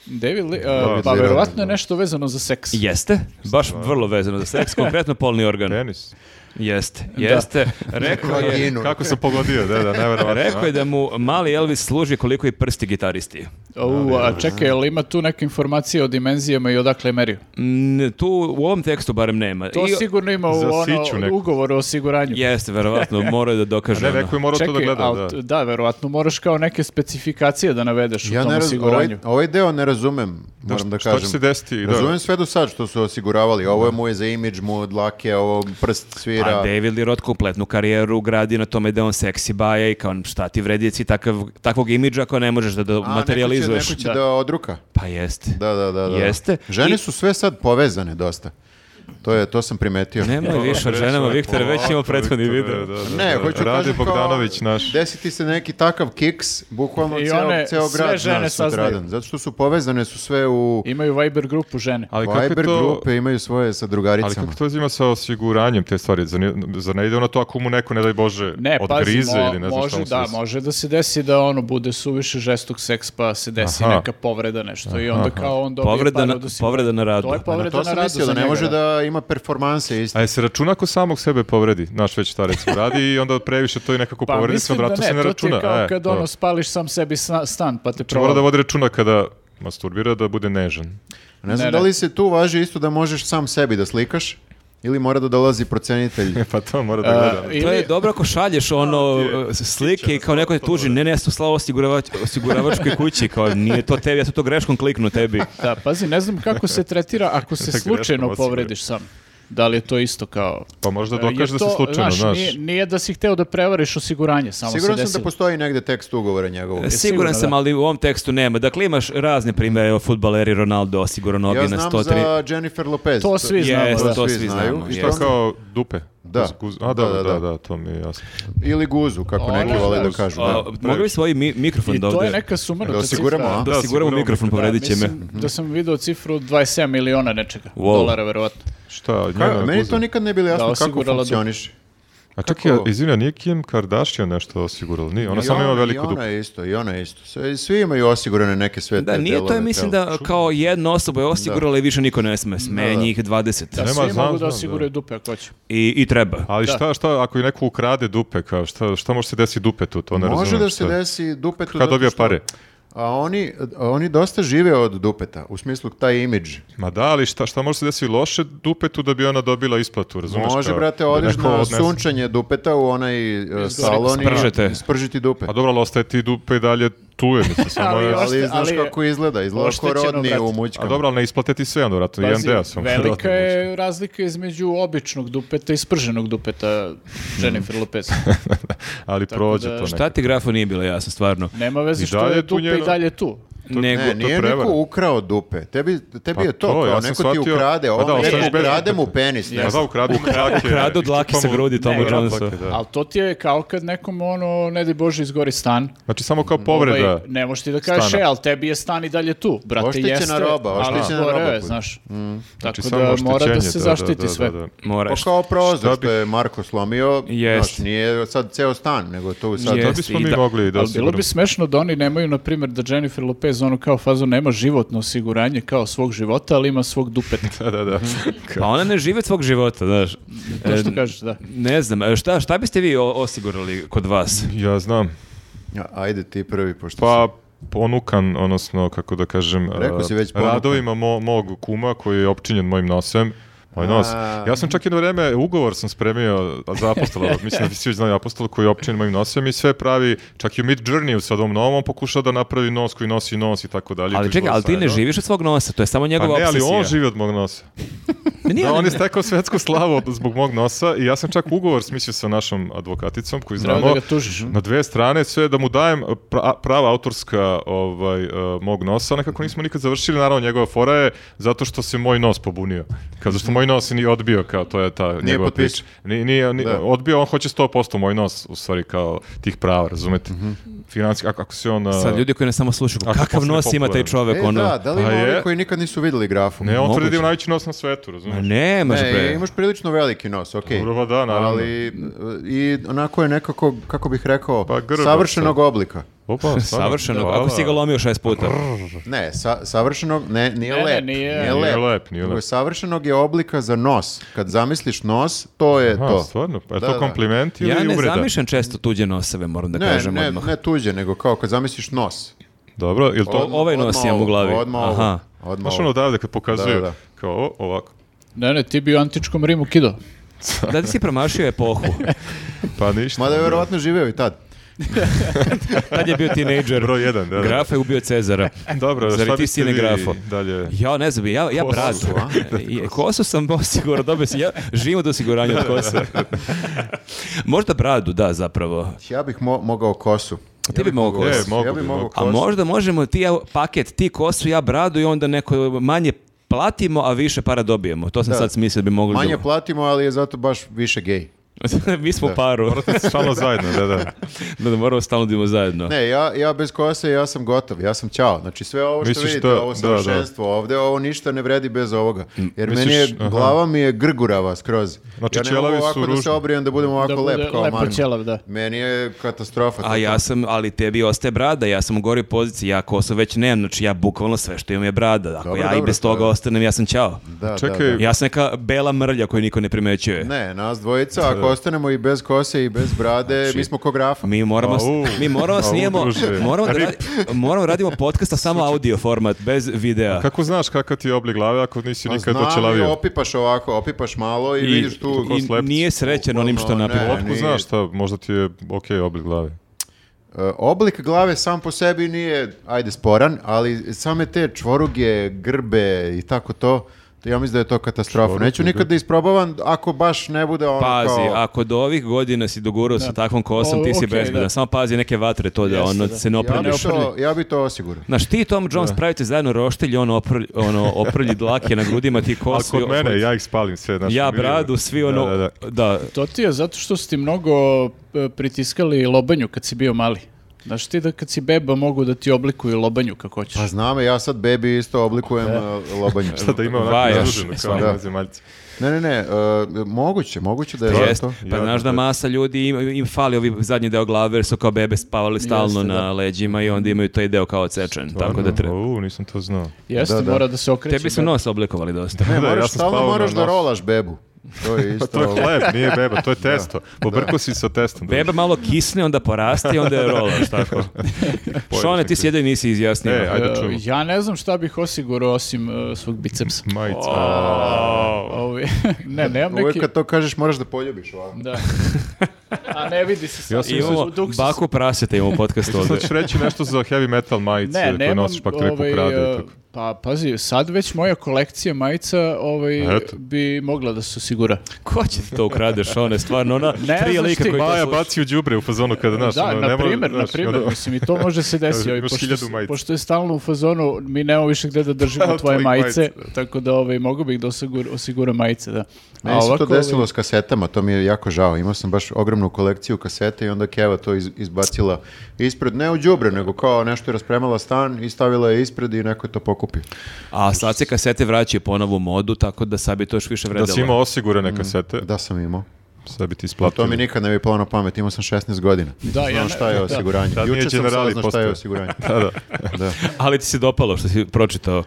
S3: David Lee, uh,
S4: David
S3: pa
S2: Lee
S3: verovatno je
S2: Roth.
S3: nešto vezano za seks.
S1: Jeste, baš vrlo vezano za seks, konkretno polni organ.
S4: Penis.
S1: Jeste, jeste. Rekao je,
S2: Vaginu.
S4: Kako sam pogodio, da, da, nevjerovatno.
S1: rekao je da mu mali Elvis služi koliko i prsti gitaristi.
S3: U, a čekaj, jel ima tu neke informacije o dimenzijama i odakle je merio?
S1: Mm, tu u ovom tekstu barem nema.
S3: To
S1: I-
S3: sigurno ima u
S4: Za siću
S3: ono,
S4: neku.
S3: ugovoru o osiguranju.
S1: Jeste, verovatno, moraju da dokaže.
S4: Ne,
S1: ono.
S4: rekao je morao to da
S3: Čekaj,
S4: gleda,
S3: al
S4: da.
S3: t- da. verovatno moraš kao neke specifikacije da navedeš
S2: Ja
S3: u tom
S2: ne raz, ovaj,
S3: osiguranju.
S2: ovaj deo ne razumem, moram da
S4: šta
S2: kažem.
S4: će se desiti, da.
S2: Razumem sve do sad što su osiguravali. Ovo je mu je za imidž, mu dlake, ovo prst svira.
S1: A David Lee Roth kompletnu karijeru gradi na tome da je on seksi baja i kao šta ti vredi si takav, takvog imidža ako ne možeš da, do-
S2: A,
S1: materializuješ.
S2: Neko će, neko će
S3: Da.
S2: da. odruka.
S1: Pa jeste.
S2: Da, da, da. da.
S1: Jeste.
S2: Žene
S1: I-
S2: su sve sad povezane dosta. To, je, to sam primetio.
S1: Nemoj više o ženama, Viktor, već imamo prethodni
S4: Viktore,
S1: video.
S4: da, da,
S2: Ne,
S4: da.
S2: hoću
S4: Rade
S2: kažem kao,
S4: Bogdanović naš.
S2: Desiti se neki takav kiks, bukvalno
S3: I
S2: ceo,
S3: one
S2: ceo
S3: sve
S2: grad
S3: žene
S2: zna
S3: saznaju.
S2: sutradan. Zato što su povezane su sve u
S3: Imaju Viber grupu žene.
S4: Ali kako je
S2: Viber
S4: to...
S2: grupe, imaju svoje sa
S4: Ali
S2: drugaricama.
S4: kako to izima sa osiguranjem te stvari? Zar, nije- zar ne ide ono to ako mu neko, ne daj Bože,
S3: Ne, pazi,
S4: odgrize
S3: mo-
S4: ili ne znam šta
S3: može,
S4: mu se
S3: da,
S4: desi?
S3: može da se desi da ono bude suviše žestok seks pa se desi
S4: Aha.
S3: neka povreda nešto i onda kao on dobije
S1: Povreda
S3: par
S1: na-
S3: od osiguranja.
S1: povreda na radu.
S3: To
S1: Na
S3: je
S2: Na
S3: povreda
S2: to
S3: na,
S2: sam
S3: radu
S2: mislio
S3: za
S2: da ne
S3: njega,
S2: može
S3: da.
S2: da ima performanse isto.
S4: A je se računa ako samog sebe povredi, znaš već šta recimo radi i onda previše to i nekako
S3: Pa
S4: povredi se,
S3: mislim da
S4: odvratno se
S3: ne,
S4: ne
S3: to ti
S4: računa.
S3: je kao
S4: E,
S3: kad
S4: to. Znači,
S3: ono spališ sam sebi sna- stan pa te
S4: Mora da
S3: provali.
S4: vodi računa kada masturbira da bude nežan.
S2: Ne znam
S3: Ne,
S2: da
S3: ne.
S2: li se tu važi isto da možeš sam sebi da slikaš ili mora da dolazi procenitelj.
S4: Pa to mora
S3: E,
S4: da gleda.
S3: ili-
S1: To je dobro ako šalješ ono e, slike i kao neko te tuži, ne, ne, ja sam slao osiguravač, osiguravačkoj kući, kao nije to tebi, ja sam to greškom kliknuo tebi.
S3: Da, pazi, ne znam kako se tretira ako se
S4: Greškom
S3: slučajno
S4: osiguraj.
S3: povrediš sam. Da li je to isto kao...
S4: Pa možda
S3: Jer
S4: dokaže da se
S3: e, to,
S4: slučajno, znaš.
S3: Nije, nije da si hteo da prevariš osiguranje, samo
S2: Siguran
S3: se
S2: sam da
S3: desilo.
S2: postoji negde tekst ugovora njegovog.
S4: E,
S1: E, Siguran
S3: sigurno,
S1: sam,
S3: da.
S1: ali u ovom tekstu nema. Dakle, imaš razne primere, o futbaleri Ronaldo osigurao noge
S2: Ja
S1: na
S2: znam
S1: 103.
S2: za Jennifer Lopez.
S3: To svi znamo,
S1: Jeste,
S3: da.
S1: to svi znamo,
S2: I
S1: jeste.
S2: to
S4: To kao dupe.
S2: Da.
S4: Guz- guz- A, da,
S2: Da,
S4: da,
S2: da,
S4: da,
S2: da.
S4: to mi je jasno.
S2: Ili guzu, kako
S3: Ona,
S2: neki vole da
S3: da.
S2: kažu.
S1: A,
S2: Da.
S1: Mogli bi svoj mi- mikrofon
S3: I
S1: da
S3: to je
S1: ovde-
S3: neka sumanuta
S2: Da osiguramo,
S3: cifra.
S2: a?
S1: Da,
S4: Da,
S1: osiguramo
S4: sigurno.
S1: mikrofon,
S4: Da,
S1: povredit će me.
S3: Mislim da sam video cifru 27 miliona nečega.
S1: Wow.
S3: Dolara, verovatno.
S4: Šta,
S2: Ka-
S4: njena
S2: meni
S4: guza?
S2: to nikad ne bilo jasno
S3: Da,
S2: kako
S3: osigurala dupe.
S2: funkcioniš.
S4: A čekaj,
S2: kako-
S4: izvinja, nije Kim Kardashian nešto osigurala? Nije, ona
S2: I
S4: samo ima
S2: ona-
S4: veliku
S2: I
S4: dupu.
S2: ona je isto, i ona je isto. Sve- Svi imaju osigurane neke sve
S1: Da,
S2: te
S1: nije to,
S2: delove
S1: je, mislim
S2: tela.
S1: da kao jedna osoba je osigurala i više niko ne sme. Sme
S2: Da, da.
S1: njih 20.
S3: Da,
S4: Nema,
S3: svi
S4: znam,
S3: mogu da
S4: znam,
S3: osiguraju
S4: da.
S3: dupe ako hoće.
S1: I, I treba.
S4: Ali
S3: Da.
S4: šta, šta, ako i neko ukrade dupe, kao šta, šta može se desiti dupe tu, to ne razumem.
S2: Može da
S4: šta.
S2: se desi dupetu.
S4: Kad
S2: zato
S4: dobija
S2: što-
S4: pare.
S2: A oni, a oni dosta žive od dupeta, u smislu taj imidž.
S4: Ma da, ali šta, šta može se desiti loše dupetu da bi ona dobila isplatu, razumeš?
S2: Može,
S4: kao,
S2: brate,
S4: da
S2: odeš
S4: neko
S2: na
S4: odnese.
S2: sunčanje dupeta u onaj e, salon i
S1: Spržete.
S2: spržiti dupe.
S4: Pa dobro, ali ostaje ti dupe i dalje tu je, mislim, samo
S3: Ali
S4: je...
S3: još-
S2: Ali znaš
S3: ali je-
S2: kako izgleda, izgleda kao
S3: oštećeno,
S2: rodni
S3: brate.
S2: u
S4: A
S2: mućkama.
S4: dobro, ali ne isplate ti sve, onda, vratno, jedan
S3: Pazi,
S4: deo Pa sam.
S3: velika
S4: vjerojatno,
S3: je razlika između običnog dupeta i sprženog dupeta Jennifer Lopez.
S4: ali prođe
S3: da-
S4: to
S1: Šta ti grafo nije bilo jasno, stvarno.
S3: Nema veze
S4: I
S3: što
S4: dalje
S3: je
S4: tu
S3: dupe
S4: njeno-
S3: i dalje tu.
S4: to-
S1: nego...
S2: Ne, nije
S4: prevara.
S2: niko ukrao dupe. Tebi, tebi
S4: Pa
S2: je to,
S4: to,
S2: kao,
S4: ja sam
S2: neko ti
S4: shvatio-
S2: ukrade,
S4: Pa
S2: ovo
S4: da,
S2: neko
S4: ostaješ bez
S2: ukrade mu
S4: dupeta.
S2: penis. Ne
S4: Ja
S2: znam.
S4: znam, ukradu krake.
S1: Ukradu od Laki sa
S4: iščupamo-
S1: grudi Tomu
S4: Ne,
S1: Johnsu.
S4: od Laki, da.
S3: Ali to ti je kao kad nekom, ono, ne daj Bože, izgori stan.
S4: Znači, samo kao povreda.
S3: Ovaj, ne možeš ti da kažeš,
S4: stana.
S3: e, ali tebi je stan i dalje tu. Brate,
S2: Oštećena
S3: jeste,
S2: roba,
S3: ali
S2: oštećena
S3: gore
S2: roba
S3: je,
S2: bude. Mm.
S3: znaš.
S4: Znači,
S3: Tako
S4: samo
S3: da mora da
S4: oštećenje,
S3: se zaštiti sve.
S4: da, da.
S2: Pa
S1: Moraš.
S2: kao prozor
S4: Šta
S2: što je Marko slomio,
S1: Jest.
S2: znaš, nije sad ceo stan, nego tu sad...
S1: Jest.
S4: Da
S1: Jeste,
S4: bismo
S1: i
S4: mi
S1: da-
S4: mogli da
S3: Ali bilo
S4: osiguramo.
S3: bi smešno da oni nemaju, na primjer, da Jennifer Lopez ono kao fazu nema životno osiguranje kao svog života, ali ima svog dupeta.
S4: Da, da, da.
S1: Pa ona ne žive svog života, znaš.
S3: To što
S1: E,
S3: kažeš, da.
S1: Ne znam, e, šta, šta biste vi o- osigurali kod vas?
S4: Ja znam.
S2: Ja, Ajde ti prvi, pošto
S4: Pa ponukan, odnosno, kako da kažem, uh,
S2: Rekao si već ponukan.
S4: radovima mo- mog kuma koji je opčinjen mojim nosem. Moj nos.
S2: A.
S4: Ja sam čak jedno vreme, ugovor sam spremio za apostola, mislim da vi svi znali apostola koji je opčinjen mojim nosem i sve pravi, čak i u Mid Journeyu sa ovom novom, on pokušao da napravi nos koji nosi nos i tako dalje. To
S1: Ali
S4: je
S1: čekaj,
S4: bilo
S1: ali ti ne
S4: zajedno.
S1: živiš od svog nosa, to je samo
S4: Pa
S1: njegova
S4: ne, ali
S1: obsesija.
S4: on živi od mog nosa.
S1: Ne, nije,
S4: Da,
S1: ali-
S4: on je stekao svetsku slavu zbog mog nosa i ja sam čak ugovor smislio sa našom advokaticom koju
S3: Treba
S4: znamo.
S3: da ga tužiš.
S4: Na dve strane sve da mu dajem pra- prava autorska ovaj, eh, mog nosa, nekako nismo nikad završili, naravno njegova fora je zato što se moj nos pobunio. Kao zašto moj nos ni odbio, kao to je ta njegova
S2: potpisao.
S4: priča. Nije, nije, ni-
S2: Da.
S4: odbio, on hoće 100% moj nos, u stvari, kao tih prava, razumete? Financijski, ako, ako se on... eh,
S1: Sad ljudi koji nas samo slušaju,
S4: Ako
S1: kakav
S4: postane
S1: nos ima taj
S4: popularan.
S1: čovek,
S2: E,
S1: ono...
S2: da, da li ima
S4: Pa
S2: ovi
S4: je.
S2: koji nikad nisu videli grafu?
S4: Ne, on
S1: Moguće.
S4: tvrdi da ima najveći nos na svetu, razumete?
S1: Nemaš,
S2: Ne,
S1: Pa bre.
S2: imaš prilično veliki nos, okej.
S4: Dobro, pa da, naravno.
S2: Ali e, i onako je nekako, kako bih rekao,
S4: Pa grbasto.
S2: savršenog oblika.
S4: Opa, stvarno?
S1: Savršeno,
S4: Hvala.
S1: ako si ga lomio šest puta.
S2: Ne, sa, savršenog, ne, nije
S3: Ne, ne,
S2: lep.
S3: nije.
S2: Nije
S4: Nije
S2: lep.
S4: lep, nije
S2: Nego
S4: lep.
S2: Savršenog je oblika za nos. Kad zamisliš nos, to je
S4: Aha,
S2: E to.
S4: stvarno? Pa je
S2: Da, da.
S4: to kompliment ili
S1: Ja ne
S4: uvreda?
S1: zamišljam često tuđe noseve, moram da
S2: Ne,
S1: kažem
S2: ne,
S1: odmah.
S2: ne tuđe, nego kao kad zamisliš nos.
S4: Dobro, ili to...
S2: Odmah-
S1: ovaj nos
S2: odmah
S1: imam u
S2: ovo,
S1: glavi.
S2: Odmah ovo,
S1: Aha.
S2: Odmah
S4: Znaš
S2: ovo.
S4: ono odavde kad pokazuju,
S2: Da, da.
S4: kao o, ovako.
S3: Ne, ne, ti bi u antičkom Rimu kido.
S1: Da ti si promašio epohu.
S4: Pa ništa.
S2: Mada je verovatno živeo i tad.
S1: Tad je bio tinejdžer.
S4: Broj jedan, da, da.
S1: Grafa je ubio Cezara.
S4: Dobro,
S1: Zar i
S4: šta
S1: ti
S4: biste
S1: sine
S4: vi
S1: grafo?
S4: Dalje.
S1: Ja ne znam, ja, ja
S4: Kosu
S1: bradu.
S4: su, a?
S1: I- Kosu sam osigurao, dobio sam, ja živim od osiguranja od kose. Možda bradu, da, zapravo.
S2: Ja bih mo- mogao kosu.
S1: Ti bi mogao
S4: E,
S1: kosu.
S4: mogu
S2: ja bih
S4: bi,
S2: mogao
S4: mogu.
S1: A
S2: kosu.
S1: možda možemo ti ja, paket, ti kosu, ja bradu i onda neko manje platimo, a više para dobijemo. To sam
S2: Da.
S1: sad smislio da bi mogli...
S2: Manje
S1: da-
S2: platimo, ali je zato baš više gej.
S1: Mi smo paru.
S4: Morate stalno zajedno, da, da.
S1: Da, da moramo stalno da idemo zajedno.
S2: Ne, ja, ja bez kose, ja sam gotov, ja sam ćao. Znači sve ovo što
S4: Misliš
S2: vidite,
S4: to-
S2: ovo
S4: da,
S2: savršenstvo ovde, ovo ništa ne vredi bez ovoga. Jer
S4: Misliš-
S2: meni je,
S4: aha.
S2: glava mi je grgurava skroz.
S4: Znači,
S2: ja ne mogu
S4: ćelavi su
S2: ovako da se
S4: ružni.
S2: obrijem da budem ovako
S3: Da bude
S2: lep kao
S3: lepo
S2: Marko.
S3: ćelav, da.
S2: Meni je katastrofa. to.
S1: A ja sam, ali tebi ostaje brada, ja sam u goroj poziciji, ja kosu već nemam, znači ja bukvalno sve što imam je brada. Ako
S2: Dobro,
S1: ja i
S2: dobro,
S1: bez
S2: to je-
S1: toga ostanem, ja sam ćao.
S2: Da, da,
S4: Čekaj,
S2: da.
S1: Ja sam neka bela mrlja koju niko ne primećuje.
S2: Ne, nas dvojica, ako ostanemo i bez kose i bez brade,
S4: Znači,
S2: mi smo ko grafa.
S1: Mi moramo, s-
S4: Au.
S1: mi moramo
S4: Au,
S1: snijemo,
S4: druže.
S1: moramo da radi- moramo radimo podcasta samo audio format, bez videa.
S4: Kako znaš kakav ti je oblik glave ako nisi nikad
S2: Pa Znam,
S4: očelavio?
S2: opipaš ovako, opipaš malo i, vidiš tu...
S1: i
S4: slepci.
S1: nije srećen onim što
S2: Bukvalno,
S1: napiše.
S2: ne.
S4: Otko znaš šta, možda ti je okej oblik glave.
S2: E, Oblik glave sam po sebi nije, ajde, sporan, ali same te čvoruge, grbe i tako to, to ja mislim da je to katastrofa.
S4: Čvoruge,
S2: Neću nikad da isprobavam ako baš ne bude ono
S1: Pazi,
S2: kao...
S1: ako do ovih godina si dogurao sa takvom kosom,
S3: O,
S1: ti si
S3: okej,
S1: bezbedan.
S3: da.
S1: Samo pazi neke vatre to da
S3: Jeste,
S1: ono
S3: da.
S1: se ne
S2: ja bi,
S1: oprljiš.
S2: to, ja bi to osigurao.
S1: Znaš, ti i Tom Jones pravite zajedno roštilj, on oprlj, ono, oprlji dlake na grudima, ti
S4: A
S1: kosu. i
S4: kod mene,
S1: oprlji-
S4: ja ih spalim sve. Znaš,
S1: ja
S4: mi-
S1: bradu, svi ono,
S4: Da, da, da.
S1: da,
S3: To ti je zato što si ti mnogo e, pritiskali lobanju kad si bio mali. Znaš ti da kad si beba mogu da ti oblikuju lobanju kako hoćeš.
S2: Pa znam, ja sad bebi isto oblikujem e, lobanju.
S4: Šta da ima onako
S1: Vajaš.
S4: zaduženo, kao
S2: Da.
S4: da. zemaljci.
S2: Ne, ne, ne, e, moguće, moguće da je
S1: Jest,
S2: to.
S1: pa
S4: Ja,
S1: znaš da
S4: da.
S1: masa ljudi im, im fali ovi zadnji deo glave jer su kao bebe spavali stalno
S3: Jeste, da.
S1: na leđima i onda imaju taj deo kao odsečen, tako da treba.
S4: U, Ono, nisam to znao.
S3: Jeste,
S2: da, da.
S3: mora da se okreće.
S1: Tebi su
S3: beba.
S1: nos oblikovali dosta.
S2: Ne,
S4: Da, ja
S2: moraš,
S4: sam
S2: stalno
S4: spavao na
S2: moraš da
S4: nosu.
S2: rolaš bebu. To je isto...
S4: To je hleb, nije beba, to je testo. Pobrko si sa testom. druže.
S1: Beba malo kisne, onda poraste i onda je rolaš, tako. Šone, ti sjede i nisi izjasnio.
S4: E, ajde
S3: E,
S4: čujemo.
S3: ja ne znam šta bih osigurao osim e, svog bicepsa.
S4: Majica.
S3: Ovi- ne, nemam
S2: Uvijek
S3: neki...
S2: kad to kažeš moraš da poljubiš ovako.
S3: Da. A ne vidi se sad.
S4: Ja sam
S1: Imamo
S3: U duksu sam.
S1: baku praseta, imamo podcast
S4: Sad
S1: ovdje.
S4: ćeš reći nešto za heavy metal majice
S3: Ne,
S4: koje
S3: nemam
S4: nosiš, pa ti neko
S3: ovaj,
S4: ukrade i
S3: e,
S4: tako.
S3: Pa, pazi, sad već moja kolekcija majica ovaj,
S4: Eto.
S3: bi mogla da se osigura.
S1: Ko će ti to ukradeš, one, stvarno, ona
S3: Ne
S1: tri
S3: znaš
S1: lika
S3: ti.
S1: koji to
S4: Maja
S1: slušaju.
S4: baci u đubre u fazonu kada znaš.
S3: da,
S4: ono,
S3: na
S4: nema-
S3: primjer, na
S4: znaš,
S3: primjer,
S4: ono-
S3: mislim i to može se desiti, ovaj,
S4: Imaš
S3: pošto,
S4: hiljadu
S3: se-
S4: majica.
S3: pošto je stalno u fazonu, mi nemamo više gde da držimo tvoje
S4: Tvojih
S3: majice,
S4: majica,
S3: tako da ovaj, mogu bih da osigur- osiguram majice, da.
S2: Meni se to
S3: ovako, ovaj,
S2: desilo s kasetama, to mi je jako žao. Imao sam baš ogromnu kolekciju kasete i onda Keva to iz- izbacila ispred, ne u đubre, nego kao nešto je raspremala stan i stavila je ispred i neko je to pokupio.
S1: A sad se kasete vraćaju ponovo u modu, tako da sad bi to još više
S4: Da
S1: vredelo.
S4: si imao osigurane kasete,
S2: Mm. Da sam imao.
S4: sad bi ti
S2: To
S4: isplatio.
S2: mi nikad ne bi palo na pamet, imao sam 16 godina.
S3: Da, ja
S2: Znam
S3: ne-
S2: šta je
S3: da.
S2: osiguranje.
S4: Tad nije
S2: Juče sam
S4: generali
S2: saznao šta je
S4: postojao.
S2: osiguranje.
S4: Da, da.
S2: Da.
S1: Ali ti se dopalo što si pročitao.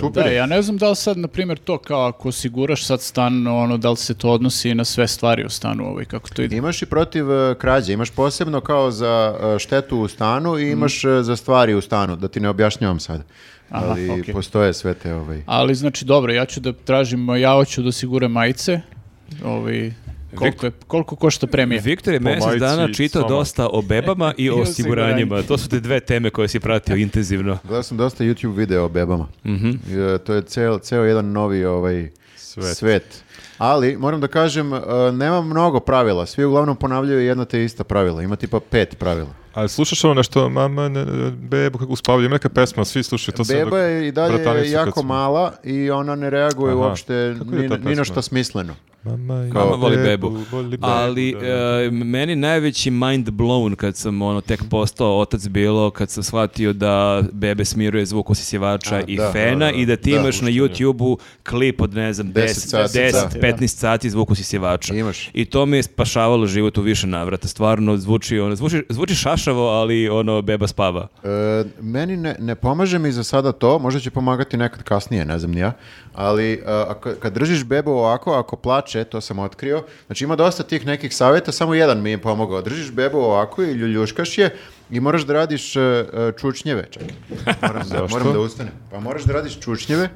S2: Super.
S3: Da,
S2: je.
S3: ja ne znam da li sad, na primjer, to kao ako osiguraš sad stan, ono, da li se to odnosi i na sve stvari u stanu, ovaj, kako to ide.
S2: Imaš i protiv e, krađe, imaš posebno kao za e, štetu u stanu
S3: Mhm.
S2: i imaš e, za stvari u stanu, da ti ne objašnjavam sad.
S3: Aha,
S2: Ali
S3: okej.
S2: postoje sve te ovaj...
S3: Ali, znači, dobro, ja ću da tražim, ja hoću da osiguram majice, ovaj, koliko, je, koliko košta premija.
S1: Viktor je mjesec
S4: majici
S1: dana
S4: i
S1: čitao
S4: soma.
S1: dosta o bebama i o
S3: I o
S1: osiguranjima. To su te dve teme koje si pratio intenzivno.
S2: Gledao sam dosta YouTube videa o bebama.
S4: Mhm.
S2: I, e, to je ceo, ceo jedan novi ovaj, svet.
S4: Svet.
S2: Ali, moram da kažem, e, nema mnogo pravila. Svi uglavnom ponavljaju jedna te ista pravila. Ima tipa pet pravila.
S4: A slušaš ono nešto, mama, ne, ne, bebo, kako uspavlja, ima neka pesma, svi slušaju to sam
S2: Beba
S4: Pa dok-
S2: je i dalje
S4: bratanica kad
S2: jako
S4: smo-
S2: mala i ona ne reaguje
S4: Aha.
S2: uopšte
S4: Kako je
S2: ni,
S4: ta
S2: ni na
S4: pesma?
S2: šta smisleno.
S4: Mama, i-
S1: Mama
S2: e,
S1: voli bebu.
S4: voli bebu,
S1: Ali
S4: da.
S1: e, meni najveći mind blown kad sam ono tek postao otac bilo kad sam shvatio da bebe smiruje zvuk osisivača
S2: A,
S1: i
S2: da,
S1: fena
S2: da, da,
S1: i da ti
S2: da.
S1: imaš na YouTubeu klip od ne znam 10,
S2: 10 sati,
S1: 10,
S2: da.
S1: 15 sati zvuk osisivača.
S2: Imaš.
S1: I to mi je spašavalo život u više navrata. Stvarno zvuči ono zvuči zvuči šašavo, ali ono beba spava.
S2: E, meni ne, ne pomaže mi za sada to, možda će pomagati nekad kasnije, ne znam ni ja, ali e, ako, kad držiš bebu ovako, ako plače, to sam otkrio, znači ima dosta tih nekih savjeta, samo jedan mi je pomogao, držiš bebu ovako i ljuljuškaš je i moraš da radiš e, e, čučnjeve, čekaj, moram, da,
S4: Zašto?
S2: moram da ustanem, pa moraš da radiš čučnjeve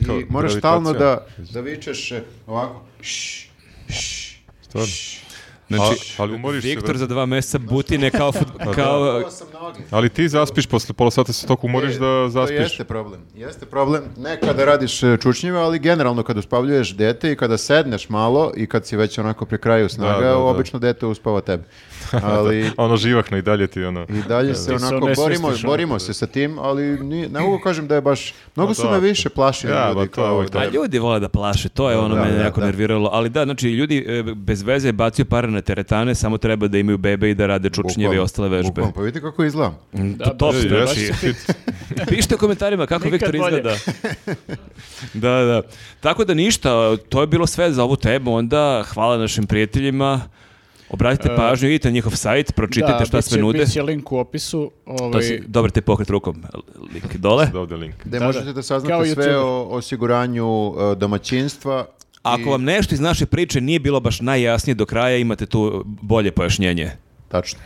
S2: i
S4: Kao
S2: moraš
S4: gravitacija.
S2: stalno da, da vičeš e, ovako, šš, šš,
S4: Stvarno.
S2: šš.
S1: Znači,
S4: A- ali umoriš se,
S1: Viktor
S4: brate.
S1: za dva mjeseca butine kao, fut-
S2: Pa
S1: kao
S2: Ovo sam noge.
S4: Ali ti zaspiš posle pola sata se toliko umoriš
S2: E,
S4: da zaspiš.
S2: To jeste problem. Jeste problem ne kada radiš e, čučnjeve, ali generalno kada uspavljuješ dete i kada sedneš malo i kad si već onako pri kraju snaga,
S4: Da, da, da.
S2: obično dete uspava tebe. Ali
S4: A ono živahno i dalje ti ono...
S2: i dalje se
S3: se
S2: onako
S3: onesvestiš
S2: borimo,
S3: onako,
S2: borimo se sa tim, ali ni- ne mogu kažem da je baš, mnogo su
S4: da.
S2: me više plašili
S4: Ja,
S2: ljudi.
S4: ba, to
S2: kao
S4: je uvek
S2: da-
S1: A
S4: tako.
S1: ljudi vole da plaše, to je ono
S2: Da,
S1: mene
S2: da,
S1: jako
S2: da.
S1: nerviralo. Ali da, znači ljudi e, bez veze bacio pare na teretane, samo treba da imaju bebe i da rade čučnjeve i
S2: Bukvalno,
S1: ostale vežbe.
S2: bukvalno, pa vidite kako izgledam.
S1: To top,
S4: Ej,
S1: znači.
S4: jesi fit.
S1: Pišite u komentarima kako
S3: Nikad
S1: Viktor
S3: bolje.
S1: izgleda. da, da. Tako da ništa, to je bilo sve za ovu temu. Onda hvala našim prijateljima. Obratite
S2: E,
S1: pažnju, idite na njihov sajt, pročitajte
S3: Da,
S1: šta sve
S3: biće-
S1: nude.
S3: biće link u opisu. Ovaj,
S1: To si, dobar te pokret rukom, link dole.
S4: Da, ovde link.
S2: Gde
S3: Da,
S2: možete
S3: da.
S2: da
S3: Kao
S2: saznate sve
S3: YouTuber.
S2: o osiguranju e, domaćinstva. i-
S1: Ako vam nešto iz naše priče nije bilo baš najjasnije do kraja, imate tu bolje pojašnjenje.
S2: Tačno.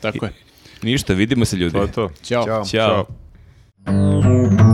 S3: Tako je.
S1: Ništa, vidimo se ljudi.
S4: To je to.
S3: Ćao.
S2: Ćao.
S1: Ćao.
S4: Ćao.